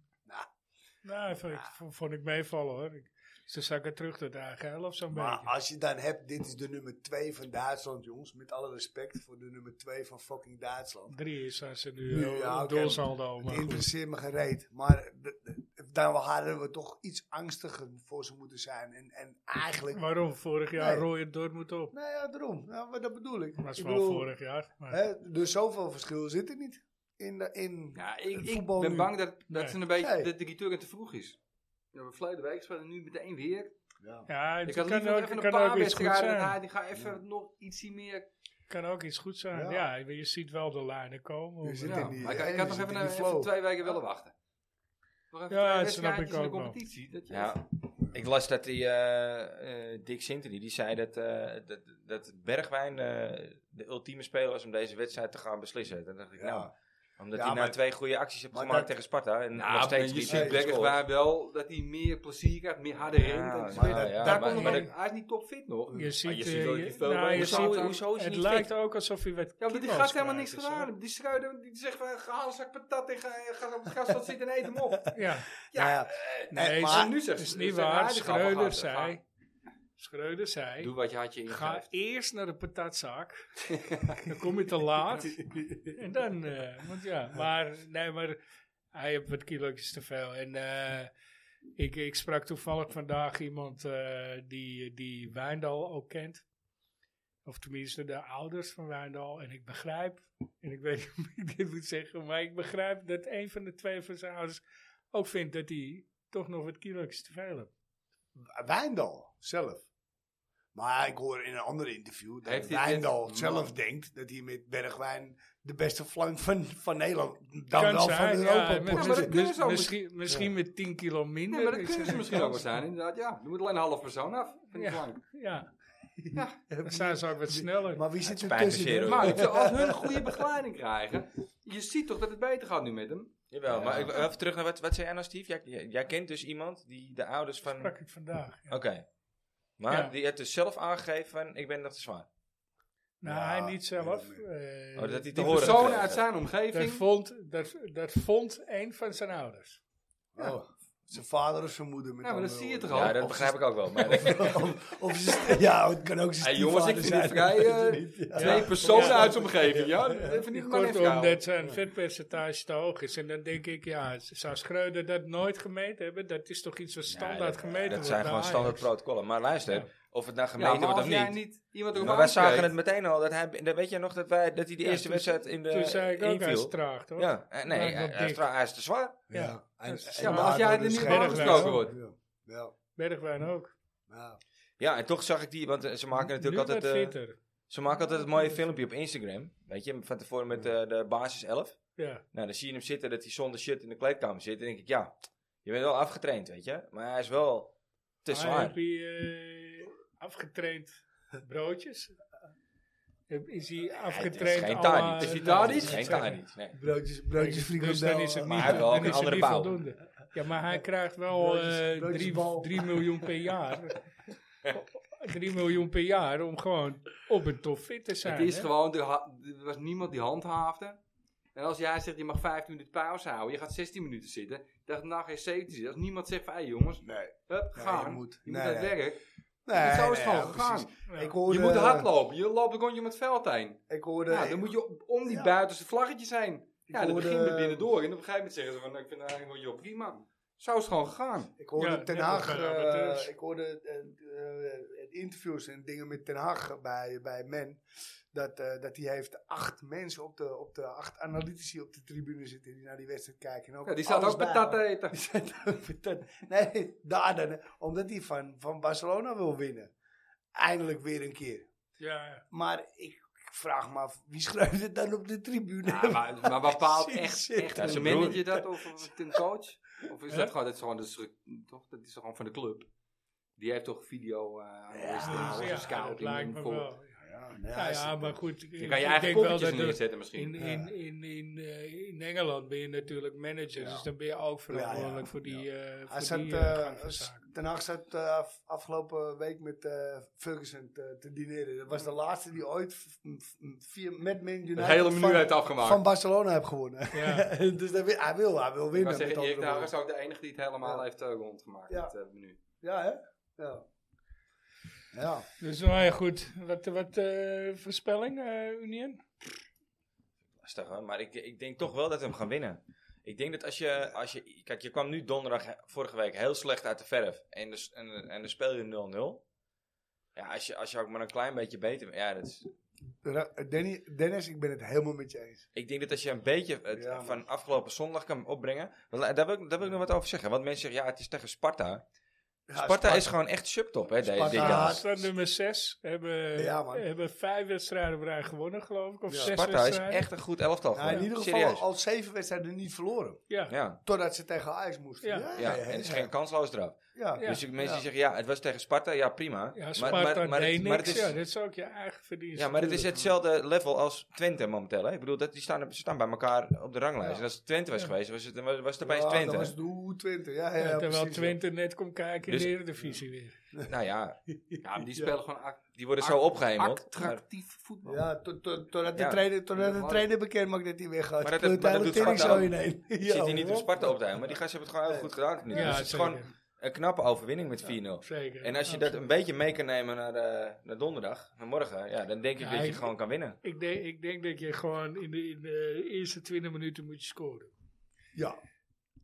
[SPEAKER 4] Nou, vond ik, vond ik meevallen, hoor. Ik- Ze zakken terug tot de eigen helft, zo'n
[SPEAKER 5] Maar
[SPEAKER 4] beetje.
[SPEAKER 5] als je dan hebt, dit is de nummer 2 van Duitsland, jongens. Met alle respect voor de nummer 2 van fucking Duitsland.
[SPEAKER 4] Drie zijn ze
[SPEAKER 5] Nu,
[SPEAKER 4] nu eh,
[SPEAKER 5] ja,
[SPEAKER 4] op
[SPEAKER 5] oké.
[SPEAKER 4] doelsaldo.
[SPEAKER 5] Het
[SPEAKER 4] maar goed.
[SPEAKER 5] interesseert me gereed. Maar de- de- dan hadden we toch iets angstiger voor ze moeten zijn. En, en eigenlijk...
[SPEAKER 4] Waarom? Vorig jaar
[SPEAKER 5] Nee.
[SPEAKER 4] rooien Dortmund op.
[SPEAKER 5] Nou ja, daarom. Nou, maar dat bedoel ik.
[SPEAKER 4] Dat is
[SPEAKER 5] Ik
[SPEAKER 4] wel
[SPEAKER 5] bedoel,
[SPEAKER 4] vorig jaar. Maar
[SPEAKER 5] hè, dus zoveel verschil zit er niet. In, de- in,
[SPEAKER 6] Ja, ik, ik
[SPEAKER 5] Voetbal nu.
[SPEAKER 6] ben bang dat, dat
[SPEAKER 4] Nee.
[SPEAKER 6] ze een beetje
[SPEAKER 5] Nee.
[SPEAKER 6] dat de return te vroeg is. We hebben verleden week gespeeld en nu meteen weer.
[SPEAKER 4] ja, het
[SPEAKER 6] Ik had
[SPEAKER 4] kan
[SPEAKER 6] liever
[SPEAKER 4] ook,
[SPEAKER 6] even een
[SPEAKER 4] kan
[SPEAKER 6] paar
[SPEAKER 4] ook iets goed
[SPEAKER 6] wedstrijden en
[SPEAKER 4] zijn.
[SPEAKER 6] hij die gaat even nog ietsie meer
[SPEAKER 4] Kan ook iets goed zijn. Ja, je ziet wel de lijnen komen.
[SPEAKER 5] Je
[SPEAKER 4] hoe-
[SPEAKER 5] zit
[SPEAKER 6] Ja,
[SPEAKER 5] in die-
[SPEAKER 6] maar ik,
[SPEAKER 5] ja,
[SPEAKER 6] ik
[SPEAKER 5] je
[SPEAKER 6] had nog
[SPEAKER 5] zit
[SPEAKER 6] even,
[SPEAKER 5] in die
[SPEAKER 6] even
[SPEAKER 5] flow.
[SPEAKER 6] twee weken willen wachten. Nog even
[SPEAKER 4] Ja,
[SPEAKER 6] twee
[SPEAKER 4] dat snap ik
[SPEAKER 6] wedstrijdjes in de
[SPEAKER 4] ook wel.
[SPEAKER 6] competitie. Dat je
[SPEAKER 3] Ja, ik las dat die eh, eh, Dick Sintony, die zei dat, eh, dat, dat Bergwijn eh, de ultieme speler was om deze wedstrijd te gaan beslissen. Dan dacht ik,
[SPEAKER 5] Ja.
[SPEAKER 3] nou, Omdat
[SPEAKER 5] Ja,
[SPEAKER 3] hij nou
[SPEAKER 5] maar-
[SPEAKER 3] twee goede acties heeft
[SPEAKER 5] maar
[SPEAKER 3] gemaakt
[SPEAKER 5] dat-
[SPEAKER 3] tegen Sparta. En
[SPEAKER 6] Nou,
[SPEAKER 3] nog
[SPEAKER 6] maar
[SPEAKER 3] steeds
[SPEAKER 6] je
[SPEAKER 3] niet
[SPEAKER 6] ziet
[SPEAKER 5] Nee,
[SPEAKER 6] Beckerswaar wel dat hij meer plezier krijgt, meer harder
[SPEAKER 3] Ja,
[SPEAKER 6] rent. Dat is
[SPEAKER 3] maar-
[SPEAKER 6] beter.
[SPEAKER 3] ja,
[SPEAKER 6] Daar
[SPEAKER 3] maar-
[SPEAKER 6] komt
[SPEAKER 3] maar
[SPEAKER 6] nog
[SPEAKER 3] dat-
[SPEAKER 6] niet- hij is niet top fit nog.
[SPEAKER 4] Je ziet,
[SPEAKER 3] je
[SPEAKER 4] eh,
[SPEAKER 3] ziet wel
[SPEAKER 4] je-
[SPEAKER 3] dat je veel
[SPEAKER 4] nou,
[SPEAKER 3] beter-
[SPEAKER 4] je
[SPEAKER 3] Hoezo-
[SPEAKER 4] ziet-
[SPEAKER 3] hoezo is hij
[SPEAKER 4] Het
[SPEAKER 3] niet
[SPEAKER 4] lijkt
[SPEAKER 3] fit?
[SPEAKER 4] ook alsof hij werd
[SPEAKER 6] Ja, maar die gaat helemaal niks gedaan. Die schruiden, die zegt van, ga een zak patat en ga, ga op het gasveld zitten en eet hem op.
[SPEAKER 4] Ja,
[SPEAKER 5] Nou ja,
[SPEAKER 4] nee,
[SPEAKER 5] Eh,
[SPEAKER 4] maar,
[SPEAKER 5] maar-
[SPEAKER 4] nu
[SPEAKER 6] nu
[SPEAKER 4] zegt,
[SPEAKER 6] zegt-
[SPEAKER 4] is
[SPEAKER 6] nu
[SPEAKER 4] niet
[SPEAKER 6] zegt hij,
[SPEAKER 4] waar.
[SPEAKER 6] die gaan we
[SPEAKER 4] Schreuder
[SPEAKER 6] gaan,
[SPEAKER 4] zei,
[SPEAKER 6] gaan.
[SPEAKER 4] Schreuder
[SPEAKER 6] Doe
[SPEAKER 4] zei,
[SPEAKER 6] wat je had je
[SPEAKER 4] ga
[SPEAKER 6] ingegeven.
[SPEAKER 4] eerst naar de patatzaak. dan kom je te laat. En dan, eh, want ja, maar, nee, maar hij heeft wat kilo's te veel. En eh, ik, ik sprak toevallig vandaag iemand eh, die, die Wijndal ook kent. Of tenminste de ouders van Wijndal. En ik begrijp, en ik weet niet hoe ik dit moet zeggen, maar ik begrijp dat een van de twee van zijn ouders ook vindt dat hij toch nog wat kilo's te veel heeft.
[SPEAKER 5] Wijndal zelf. Maar ik hoor in een ander interview dat
[SPEAKER 6] Heeft hij
[SPEAKER 5] Wijndal
[SPEAKER 6] dit-
[SPEAKER 5] zelf
[SPEAKER 6] Man.
[SPEAKER 5] denkt dat hij met Bergwijn de beste flank van, van Nederland, dan
[SPEAKER 4] Kan
[SPEAKER 5] wel
[SPEAKER 4] zijn,
[SPEAKER 5] van
[SPEAKER 4] ja,
[SPEAKER 5] Europa.
[SPEAKER 4] met-
[SPEAKER 5] op
[SPEAKER 6] maar dat
[SPEAKER 5] zit.
[SPEAKER 3] Dus
[SPEAKER 6] kunnen ze ook.
[SPEAKER 4] Misschien, misschien met 10 kilo minder.
[SPEAKER 6] Nee, maar dat
[SPEAKER 4] is
[SPEAKER 6] kunnen ze
[SPEAKER 4] er-
[SPEAKER 6] misschien ook wel zijn, inderdaad. Ja, er moet alleen een half persoon af. Van die
[SPEAKER 4] Ja.
[SPEAKER 6] flank.
[SPEAKER 4] Ja, dan zijn ze ook wat sneller.
[SPEAKER 5] Maar wie zit er
[SPEAKER 3] spijt me zeer,
[SPEAKER 5] tussen?
[SPEAKER 3] hoor.
[SPEAKER 6] Maar ik zou- als hun een goede begeleiding krijgen, je ziet toch dat het beter gaat nu met hem.
[SPEAKER 3] Jawel, maar ik, even terug naar wat, wat zei jij nou, Steve? Jij, jij, jij kent dus iemand die de ouders van...
[SPEAKER 4] sprak
[SPEAKER 3] Oké.
[SPEAKER 4] ik vandaag.
[SPEAKER 3] Oh.
[SPEAKER 4] ja.
[SPEAKER 3] Maar
[SPEAKER 4] Ja.
[SPEAKER 3] die heeft dus zelf aangegeven van, ik ben nog te zwaar.
[SPEAKER 4] Nou,
[SPEAKER 5] Ja,
[SPEAKER 4] hij niet zelf.
[SPEAKER 5] ja,
[SPEAKER 4] eh,
[SPEAKER 3] Oh, dat hij te
[SPEAKER 6] Die
[SPEAKER 3] horen
[SPEAKER 6] persoon
[SPEAKER 3] gekregen.
[SPEAKER 6] uit zijn
[SPEAKER 4] dat,
[SPEAKER 6] omgeving.
[SPEAKER 4] vond, dat, dat vond een van zijn ouders.
[SPEAKER 5] Oh, zijn vader of zijn moeder. Met
[SPEAKER 6] Ja, maar dat
[SPEAKER 5] andere
[SPEAKER 6] zie je toch
[SPEAKER 5] woorden.
[SPEAKER 6] al.
[SPEAKER 3] Ja, dat begrijp ik ook wel. Maar dat-
[SPEAKER 5] Of, of zijn- ja, het kan ook zijn
[SPEAKER 6] Hey, jongens, ik vind
[SPEAKER 5] stiefvader
[SPEAKER 6] het
[SPEAKER 5] zijn.
[SPEAKER 6] vrij eh, twee personen
[SPEAKER 4] Ja.
[SPEAKER 6] uit zijn omgeving. Ja, dat vind ik maar even
[SPEAKER 4] Kortom,
[SPEAKER 6] koud.
[SPEAKER 4] dat zijn vetpercentage te hoog is. En dan denk ik, ja, zou Schreuder dat nooit gemeten hebben? Dat is toch iets wat standaard
[SPEAKER 3] Ja,
[SPEAKER 4] gemeten wordt?
[SPEAKER 3] Dat zijn
[SPEAKER 4] bij
[SPEAKER 3] gewoon
[SPEAKER 4] Ajax?
[SPEAKER 3] standaard protocollen. Maar luister,
[SPEAKER 4] Ja.
[SPEAKER 3] of het nou
[SPEAKER 6] Ja,
[SPEAKER 3] gemeten
[SPEAKER 6] maar
[SPEAKER 3] wordt
[SPEAKER 6] als
[SPEAKER 3] of
[SPEAKER 6] jij
[SPEAKER 3] niet.
[SPEAKER 6] niet iemand erop
[SPEAKER 3] Maar wij zagen het
[SPEAKER 6] aanspreekt-
[SPEAKER 3] meteen al. Dat hij, dat weet je nog dat, wij, dat hij de
[SPEAKER 4] Ja,
[SPEAKER 3] eerste
[SPEAKER 4] toen-
[SPEAKER 3] wedstrijd in de
[SPEAKER 4] Toen zei ik ook, hij is
[SPEAKER 3] inviel.
[SPEAKER 4] traag, toch?
[SPEAKER 3] Ja, eh, nee, hij,
[SPEAKER 4] Lijkt wel
[SPEAKER 3] hij is
[SPEAKER 4] dik.
[SPEAKER 3] tra- hij is te zwaar.
[SPEAKER 4] Ja. Ja,
[SPEAKER 5] En- en
[SPEAKER 4] maar
[SPEAKER 6] als
[SPEAKER 5] daardoor
[SPEAKER 6] jij er
[SPEAKER 5] dus
[SPEAKER 6] niet
[SPEAKER 5] geen-
[SPEAKER 6] op aangesproken
[SPEAKER 5] Ja,
[SPEAKER 6] wordt.
[SPEAKER 5] Ja, ja,
[SPEAKER 4] Bergwijn ook.
[SPEAKER 5] ja.
[SPEAKER 3] Ja, en toch zag ik die, want eh, ze maken
[SPEAKER 4] Nu
[SPEAKER 3] natuurlijk
[SPEAKER 4] wat
[SPEAKER 3] altijd, eh,
[SPEAKER 4] fitter.
[SPEAKER 3] ze maken altijd het mooie filmpje op Instagram. Weet je, van tevoren met eh, de basis 11.
[SPEAKER 4] Ja.
[SPEAKER 3] Nou, dan zie je hem zitten dat hij zonder shit in de kleedkamer zit. En denk ik, ja, je bent wel afgetraind, weet je. Maar hij is wel te
[SPEAKER 4] Hij
[SPEAKER 3] zwaar.
[SPEAKER 4] heeft die, eh, afgetraind broodjes. Heb- Is hij afgetraind?
[SPEAKER 3] het is geen
[SPEAKER 4] à
[SPEAKER 3] Tadic.
[SPEAKER 4] la-
[SPEAKER 3] Het is
[SPEAKER 6] die
[SPEAKER 4] Nee,
[SPEAKER 6] Tadic?
[SPEAKER 4] het is
[SPEAKER 3] Geen
[SPEAKER 4] geen-
[SPEAKER 3] Tadic, nee.
[SPEAKER 5] Broodjes, broodjes eh,
[SPEAKER 4] Dus
[SPEAKER 5] frikandel.
[SPEAKER 4] dan is het
[SPEAKER 3] Maar
[SPEAKER 4] niet,
[SPEAKER 3] hij heeft wel
[SPEAKER 4] dan
[SPEAKER 3] een
[SPEAKER 4] is het
[SPEAKER 3] andere
[SPEAKER 4] niet
[SPEAKER 3] bouw.
[SPEAKER 4] voldoende. Ja, maar hij krijgt wel
[SPEAKER 5] Broodjes-
[SPEAKER 4] eh,
[SPEAKER 5] broodjes
[SPEAKER 4] drie
[SPEAKER 5] bal.
[SPEAKER 4] 3 miljoen per jaar. 3 miljoen per jaar om gewoon op een top fit te zijn.
[SPEAKER 6] Het is
[SPEAKER 4] hè?
[SPEAKER 6] gewoon, er, ha- er was niemand die handhaafde. En als jij zegt, je mag 15 minuten pauze houden, je gaat 16 minuten zitten, dan nou geen 17 zitten. Als niemand zegt van, hé jongens,
[SPEAKER 5] Nee.
[SPEAKER 6] hup,
[SPEAKER 5] Nee,
[SPEAKER 6] gaan,
[SPEAKER 5] je
[SPEAKER 6] je
[SPEAKER 5] moet.
[SPEAKER 6] moet,
[SPEAKER 5] Nee,
[SPEAKER 6] aan het
[SPEAKER 5] nee.
[SPEAKER 6] werk.
[SPEAKER 5] Nee,
[SPEAKER 6] zo
[SPEAKER 5] nee,
[SPEAKER 6] is het gewoon
[SPEAKER 5] ja,
[SPEAKER 6] gegaan.
[SPEAKER 5] precies.
[SPEAKER 4] Ja.
[SPEAKER 5] Ik hoorde,
[SPEAKER 6] Je moet hardlopen, je loopt een rondje om het veld heen.
[SPEAKER 5] Ik hoorde,
[SPEAKER 6] Ja, dan moet je op- om die
[SPEAKER 5] Ja.
[SPEAKER 6] buitenste vlaggetjes heen. Ja, dan
[SPEAKER 5] hoorde-
[SPEAKER 6] begint het binnendoor en op een gegeven moment zeggen ze van, nou, ik vind het eigenlijk wel joh, prima. Zo is het gewoon gegaan.
[SPEAKER 5] ik hoorde
[SPEAKER 4] Ja,
[SPEAKER 5] Ten
[SPEAKER 4] net
[SPEAKER 5] Haag,
[SPEAKER 4] als bij
[SPEAKER 5] eh,
[SPEAKER 4] amateurs.
[SPEAKER 5] ik hoorde eh, eh, interviews en dingen met Ten Haag bij, bij Men. Dat, eh, dat hij heeft acht mensen op de, op de acht analytici op de tribune zitten die naar die wedstrijd kijken. En ook
[SPEAKER 6] Ja, die staat
[SPEAKER 5] alles
[SPEAKER 6] ook eh,
[SPEAKER 5] bij
[SPEAKER 6] patat
[SPEAKER 5] houden.
[SPEAKER 6] te eten.
[SPEAKER 5] Die staat ook patat. Nee, daar dan, omdat hij van, van Barcelona wil winnen. Eindelijk weer een keer.
[SPEAKER 4] Ja,
[SPEAKER 5] Maar ik vraag me af, wie schrijft het dan op de tribune?
[SPEAKER 6] Ja, maar, maar bepaalt
[SPEAKER 5] Zit-
[SPEAKER 6] echt,
[SPEAKER 5] zit-
[SPEAKER 6] echt
[SPEAKER 3] Ja,
[SPEAKER 6] een
[SPEAKER 3] zijn broer.
[SPEAKER 6] manager dat of of een coach? Of is
[SPEAKER 4] Hè?
[SPEAKER 6] dat gewoon, dat is gewoon, de stru- toch, dat is gewoon van de club? Die heeft toch video eh
[SPEAKER 3] Ah,
[SPEAKER 6] analisten
[SPEAKER 5] ja,
[SPEAKER 6] en
[SPEAKER 4] dus
[SPEAKER 6] alles,
[SPEAKER 4] ja,
[SPEAKER 6] een
[SPEAKER 4] dat
[SPEAKER 6] scouting
[SPEAKER 4] lijkt
[SPEAKER 6] en
[SPEAKER 4] me
[SPEAKER 6] vol-
[SPEAKER 4] wel.
[SPEAKER 5] Ja, eh,
[SPEAKER 4] Ja, ja, maar goed.
[SPEAKER 6] Je
[SPEAKER 4] ik-
[SPEAKER 6] kan je
[SPEAKER 4] ik
[SPEAKER 6] eigen
[SPEAKER 4] denk wel
[SPEAKER 6] kopjes
[SPEAKER 4] dat er-
[SPEAKER 6] neerzetten misschien.
[SPEAKER 4] In, in, in, in, eh, in Engeland ben je natuurlijk manager, dus dan ben je ook verantwoordelijk
[SPEAKER 5] Ja, ja.
[SPEAKER 4] voor die, eh
[SPEAKER 5] Hij
[SPEAKER 4] voor
[SPEAKER 5] zat,
[SPEAKER 4] die
[SPEAKER 5] eh,
[SPEAKER 4] eh, gang van
[SPEAKER 5] s-
[SPEAKER 4] zaken.
[SPEAKER 5] Ten Hag zat eh, af- afgelopen week met eh, Ferguson te, te dineren. Dat was de laatste die ooit v- v- via, met Man United
[SPEAKER 6] Het hele menu
[SPEAKER 5] van,
[SPEAKER 6] heeft afgemaakt.
[SPEAKER 5] van Barcelona heeft gewonnen.
[SPEAKER 4] Ja.
[SPEAKER 5] dus dat wil- hij wil, hij wil
[SPEAKER 6] ik kan
[SPEAKER 5] winnen. met
[SPEAKER 6] zeggen,
[SPEAKER 5] andere
[SPEAKER 6] Erik
[SPEAKER 3] nou,
[SPEAKER 6] Dagen is
[SPEAKER 5] woorden.
[SPEAKER 6] ook de enige die het helemaal
[SPEAKER 5] Ja.
[SPEAKER 6] heeft eh, rondgemaakt,
[SPEAKER 5] Ja.
[SPEAKER 6] het eh, menu.
[SPEAKER 5] Ja, hè? Ja. Ja.
[SPEAKER 4] Dus nou ja, goed. Wat, wat eh, voorspelling, eh Union?
[SPEAKER 3] Lastig, hoor. Maar ik, ik denk toch wel dat we hem gaan winnen. Ik denk dat als je, als je... Kijk, je kwam nu donderdag eh, vorige week heel slecht uit de verf. En dus, en, en dan speel je 0-0. Ja, als je, als je ook maar een klein beetje beter... Ja, dat is,
[SPEAKER 5] Ra- Danny, Dennis, ik ben het helemaal met je eens.
[SPEAKER 3] ik denk dat als je een beetje het
[SPEAKER 5] Ja, maar-
[SPEAKER 3] van eh, afgelopen zondag kan opbrengen... want la- Daar wil, ik, daar wil ik nog wat over zeggen. Want mensen zeggen, ja, het is tegen Sparta. Sparta is gewoon echt subtop, hè, de-
[SPEAKER 5] Sparta
[SPEAKER 3] dit
[SPEAKER 5] Ja,
[SPEAKER 4] Ja,
[SPEAKER 3] jaar.
[SPEAKER 5] had-
[SPEAKER 4] nummer 6 hebben,
[SPEAKER 5] Ja, man.
[SPEAKER 4] hebben vijf wedstrijden op rij gewonnen, geloof ik. Of
[SPEAKER 5] Ja.
[SPEAKER 4] zes
[SPEAKER 3] Sparta is
[SPEAKER 4] wedstrijden.
[SPEAKER 3] echt een goed elftal
[SPEAKER 5] Ja, in
[SPEAKER 3] geworden.
[SPEAKER 5] ieder geval
[SPEAKER 3] eh, Serieus.
[SPEAKER 5] al zeven wedstrijden niet verloren.
[SPEAKER 4] Ja.
[SPEAKER 3] Ja,
[SPEAKER 5] Totdat ze tegen Ajax moesten.
[SPEAKER 4] Ja.
[SPEAKER 3] ja, en het is geen kansloos draf.
[SPEAKER 5] ja.
[SPEAKER 4] Ja.
[SPEAKER 3] Dus ik- mensen die
[SPEAKER 5] Ja.
[SPEAKER 3] zeggen, ja, het was tegen Sparta, ja, prima.
[SPEAKER 4] Ja, Sparta
[SPEAKER 3] het-
[SPEAKER 4] deed niks.
[SPEAKER 3] maar het
[SPEAKER 4] ja,
[SPEAKER 3] is,
[SPEAKER 4] dat is ook je eigen verdienste.
[SPEAKER 3] ja, maar het is
[SPEAKER 4] natuurlijk.
[SPEAKER 3] hetzelfde level als Twente momenteel. Hè? Ik bedoel, dat, die staan, ze staan bij elkaar op de ranglijst.
[SPEAKER 5] Ja.
[SPEAKER 3] En als het Twente was geweest, was het, was het opeens
[SPEAKER 5] Ja,
[SPEAKER 3] Twente.
[SPEAKER 5] dat was doe 20. Ja, ja,
[SPEAKER 4] Ja, terwijl
[SPEAKER 5] precies, ja.
[SPEAKER 4] Twente net komt kijken
[SPEAKER 3] Dus-
[SPEAKER 4] in de Eredivisie weer.
[SPEAKER 3] Nou ja,
[SPEAKER 6] Ja, maar die spelen gewoon act-
[SPEAKER 3] die worden zo opgehemeld. Maar,
[SPEAKER 6] attractief voetbal.
[SPEAKER 5] Ja, tot- tot- totdat de
[SPEAKER 3] Ja.
[SPEAKER 5] trainer, totdat de
[SPEAKER 6] Ja.
[SPEAKER 5] trainer bekend maakt dat hij weggaat.
[SPEAKER 3] Maar dat-
[SPEAKER 5] Speelt
[SPEAKER 3] maar dat
[SPEAKER 5] hij
[SPEAKER 3] doet
[SPEAKER 5] Tering
[SPEAKER 3] Sparta
[SPEAKER 5] zo
[SPEAKER 3] ook.
[SPEAKER 5] ineen.
[SPEAKER 3] je
[SPEAKER 5] Ja,
[SPEAKER 3] zit hier niet om
[SPEAKER 5] hoor.
[SPEAKER 3] Sparta op te houden, maar die gasten hebben het gewoon heel goed gedaan. tot nu toe.
[SPEAKER 4] Ja,
[SPEAKER 3] dus het is
[SPEAKER 4] zeker.
[SPEAKER 3] gewoon een knappe overwinning met 4-0.
[SPEAKER 4] Zeker.
[SPEAKER 3] En als je dat een beetje mee kan nemen naar, eh, naar donderdag, naar morgen, ja, dan denk ik
[SPEAKER 4] Ja,
[SPEAKER 3] dat je
[SPEAKER 4] ik-
[SPEAKER 3] gewoon kan winnen.
[SPEAKER 4] Ik denk, ik denk dat je gewoon in de, in de eerste 20 minuten moet je scoren.
[SPEAKER 5] Ja,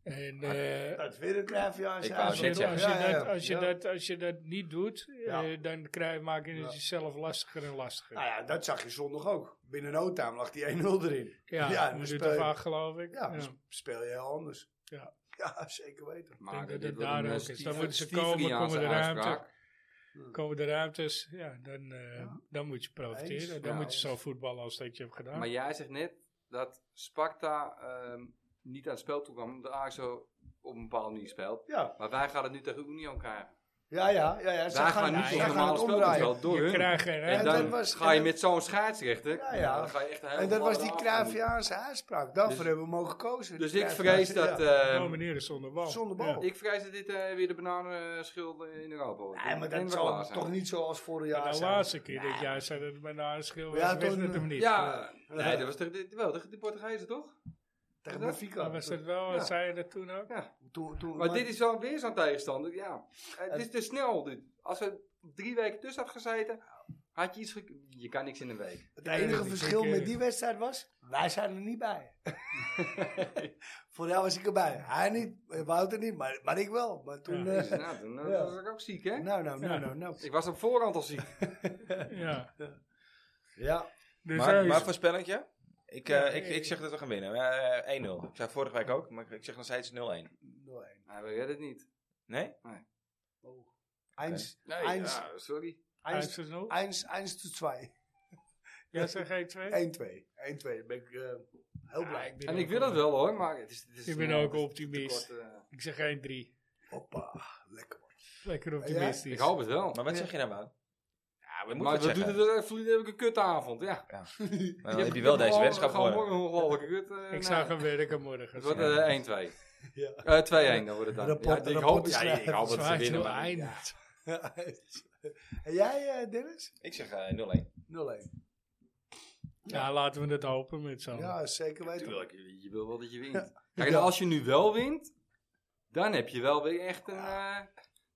[SPEAKER 4] En eh,
[SPEAKER 5] dat weer een kruifjaar.
[SPEAKER 3] Ik wou
[SPEAKER 4] als, je,
[SPEAKER 3] net zeggen.
[SPEAKER 4] als, je
[SPEAKER 5] Ah, Ja, ja, ja.
[SPEAKER 4] dat, als, je
[SPEAKER 5] Ja.
[SPEAKER 4] dat, als je dat niet doet, eh,
[SPEAKER 5] Ja.
[SPEAKER 4] dan krijg, maak je het
[SPEAKER 5] Ja.
[SPEAKER 4] jezelf lastiger en lastiger.
[SPEAKER 5] Nou ja, dat zag je zondag ook. Binnen no time lag die 1-0 erin.
[SPEAKER 4] ja,
[SPEAKER 5] ja,
[SPEAKER 4] een
[SPEAKER 5] dan
[SPEAKER 4] minuut
[SPEAKER 5] speel
[SPEAKER 4] of
[SPEAKER 5] je-
[SPEAKER 4] acht, geloof ik.
[SPEAKER 5] Ja,
[SPEAKER 4] Ja.
[SPEAKER 5] dus speel je heel anders.
[SPEAKER 4] Ja.
[SPEAKER 5] Ja, zeker weten.
[SPEAKER 6] Maar
[SPEAKER 4] denk dat
[SPEAKER 6] dit
[SPEAKER 4] het
[SPEAKER 6] wordt
[SPEAKER 4] daar
[SPEAKER 6] een, eh,
[SPEAKER 4] ook is. Dan
[SPEAKER 6] Steve-
[SPEAKER 4] moeten ze
[SPEAKER 6] Steve
[SPEAKER 4] komen,
[SPEAKER 6] Riaanse
[SPEAKER 4] komen de ruimte.
[SPEAKER 6] uitspraak.
[SPEAKER 4] Komen de ruimtes, ja, dan, eh, dan moet je profiteren. Dan
[SPEAKER 5] Eens.
[SPEAKER 6] Ja,
[SPEAKER 4] moet je
[SPEAKER 5] eens.
[SPEAKER 4] zo voetballen als dat je hebt gedaan.
[SPEAKER 6] Maar jij zegt net dat Sparta ehm, niet aan het spel toe kwam. Omdat Ajax zo op een bepaalde manier speelt.
[SPEAKER 5] Ja,
[SPEAKER 6] Maar wij gaan het nu tegen Union krijgen.
[SPEAKER 5] ja, ja. ja, ja. Ze
[SPEAKER 6] Wij gaan
[SPEAKER 5] gaan,
[SPEAKER 6] nu
[SPEAKER 5] ze
[SPEAKER 6] toch
[SPEAKER 5] gaan
[SPEAKER 6] normaal
[SPEAKER 5] het
[SPEAKER 6] spelen
[SPEAKER 5] omdraaien.
[SPEAKER 6] wel door
[SPEAKER 4] je
[SPEAKER 6] hun.
[SPEAKER 4] krijgt geen
[SPEAKER 6] En
[SPEAKER 4] ruimte.
[SPEAKER 5] dat
[SPEAKER 6] dan
[SPEAKER 5] was-
[SPEAKER 6] ga je
[SPEAKER 5] en dat-
[SPEAKER 6] met zo'n scheidsrechter.
[SPEAKER 5] Ja, ja.
[SPEAKER 6] Dan ga je echt een hele
[SPEAKER 5] En dat was
[SPEAKER 6] andere
[SPEAKER 5] die
[SPEAKER 6] afstand
[SPEAKER 5] Cruyffiaanse uitspraak. Daarvoor
[SPEAKER 6] Dus-
[SPEAKER 5] hebben we mogen kozen.
[SPEAKER 6] moeten. Dus
[SPEAKER 5] Die
[SPEAKER 6] ik vrees
[SPEAKER 5] Cruyffiaanse-
[SPEAKER 6] dat...
[SPEAKER 3] eh,
[SPEAKER 5] ja.
[SPEAKER 6] ehm,
[SPEAKER 4] Oh, meneer is zonder bal.
[SPEAKER 5] Zonder bal.
[SPEAKER 4] Ja.
[SPEAKER 6] ik vrees dat dit eh, weer de bananenschil in Europa wordt.
[SPEAKER 5] Nee, maar
[SPEAKER 6] En
[SPEAKER 5] dat
[SPEAKER 6] we klaar
[SPEAKER 5] zal
[SPEAKER 6] zijn.
[SPEAKER 5] toch niet zoals vorig jaar
[SPEAKER 4] Maar de
[SPEAKER 5] zijn.
[SPEAKER 4] laatste keer dit jaar zei dat het met een schil was,
[SPEAKER 5] Ja,
[SPEAKER 4] wist
[SPEAKER 5] toen,
[SPEAKER 4] het hem
[SPEAKER 5] eh,
[SPEAKER 4] niet.
[SPEAKER 6] Ja,
[SPEAKER 5] Ja.
[SPEAKER 6] nee, dat was tegen de, wel, tegen de Portugezen toch?
[SPEAKER 5] Tegen
[SPEAKER 6] Dat-
[SPEAKER 4] Maar
[SPEAKER 5] Benfica.
[SPEAKER 4] was dat wel,
[SPEAKER 6] Ja.
[SPEAKER 4] zei je dat toen ook?
[SPEAKER 6] Ja.
[SPEAKER 5] Toen- toen-
[SPEAKER 6] Maar dit is wel weer zo'n tegenstander. Ja. Eh, Het is te snel. Dit. Als we drie weken tussen had gezeten, had je iets. gek- Je kan niks in een week.
[SPEAKER 5] Het enige
[SPEAKER 4] ik
[SPEAKER 5] verschil
[SPEAKER 4] denk, eh,
[SPEAKER 5] met die wedstrijd was, wij zijn er niet bij. Vorig jaar was ik erbij. Hij niet, eh, Wouter niet, maar, maar ik wel. Maar toen...
[SPEAKER 4] Ja,
[SPEAKER 5] eh,
[SPEAKER 6] Nou, dan eh,
[SPEAKER 5] Ja.
[SPEAKER 6] was ik ook ziek, hè?
[SPEAKER 5] nou, nou, nou,
[SPEAKER 4] Ja.
[SPEAKER 5] nou, nou.
[SPEAKER 6] Ik was op voorhand al ziek.
[SPEAKER 4] Ja.
[SPEAKER 5] Ja,
[SPEAKER 4] Dus hij
[SPEAKER 3] maar,
[SPEAKER 4] is-
[SPEAKER 3] maar voorspel ik je? Ik, eh,
[SPEAKER 4] Ja,
[SPEAKER 3] ik,
[SPEAKER 4] ik-
[SPEAKER 3] ik zeg dat we gaan winnen. Eh, 1-0. Ik zei vorige week ook, maar ik zeg nog steeds 0-1.
[SPEAKER 5] 0-1.
[SPEAKER 6] Nee, we redden het niet.
[SPEAKER 3] Nee?
[SPEAKER 5] Oh. Eins,
[SPEAKER 6] Nee,
[SPEAKER 5] Eins.
[SPEAKER 6] ja, Nou, sorry.
[SPEAKER 4] hij
[SPEAKER 5] eins,
[SPEAKER 4] is er nog.
[SPEAKER 5] eins, eins tot twee.
[SPEAKER 4] Ja, zeg geen twee.
[SPEAKER 5] 1-2. 1-2. Ben ik eh, heel
[SPEAKER 4] Ja,
[SPEAKER 5] blij.
[SPEAKER 4] ik ben
[SPEAKER 6] En ik
[SPEAKER 4] ook
[SPEAKER 6] wil
[SPEAKER 4] op-
[SPEAKER 6] het wel hoor, maar het is. Het is
[SPEAKER 4] Ik ben
[SPEAKER 6] eh,
[SPEAKER 4] ook
[SPEAKER 6] het is
[SPEAKER 4] optimist.
[SPEAKER 6] te kort, eh.
[SPEAKER 4] Ik zeg geen drie.
[SPEAKER 5] Hoppa. Lekker man.
[SPEAKER 4] Lekker optimistisch.
[SPEAKER 6] Ik hoop het wel.
[SPEAKER 3] Maar wat zeg je nou, Wout?
[SPEAKER 6] Ja,
[SPEAKER 3] moet
[SPEAKER 6] maar
[SPEAKER 3] het
[SPEAKER 6] we doen
[SPEAKER 3] zeggen.
[SPEAKER 6] het er even. heb ik een kutavond. Ja.
[SPEAKER 3] Dan heb je wel deze wedstrijd
[SPEAKER 6] gewoon
[SPEAKER 3] gewonnen.
[SPEAKER 6] morgen nog wel een kut. eh,
[SPEAKER 4] Ik
[SPEAKER 6] nee.
[SPEAKER 4] zou gaan werken morgen.
[SPEAKER 6] Het wordt
[SPEAKER 4] Ja.
[SPEAKER 6] eh, 1-2.
[SPEAKER 5] Ja.
[SPEAKER 6] Eh, 2-1 dan wordt het dan.
[SPEAKER 5] Rapport-
[SPEAKER 6] ja, ik, hoop,
[SPEAKER 5] rapport
[SPEAKER 6] ja, ik hoop dat ze
[SPEAKER 4] Zwaar
[SPEAKER 6] winnen.
[SPEAKER 4] heel
[SPEAKER 6] maar-
[SPEAKER 4] eind.
[SPEAKER 5] en jij eh, Dennis?
[SPEAKER 3] Ik zeg eh, 0-1.
[SPEAKER 5] 0-1.
[SPEAKER 4] Ja, laten we het hopen met z'n allen.
[SPEAKER 5] Ja, zeker weten.
[SPEAKER 6] Tuurlijk, je je wil wel dat je wint. Kijk, en als je nu wel wint, dan heb je wel weer echt een... eh,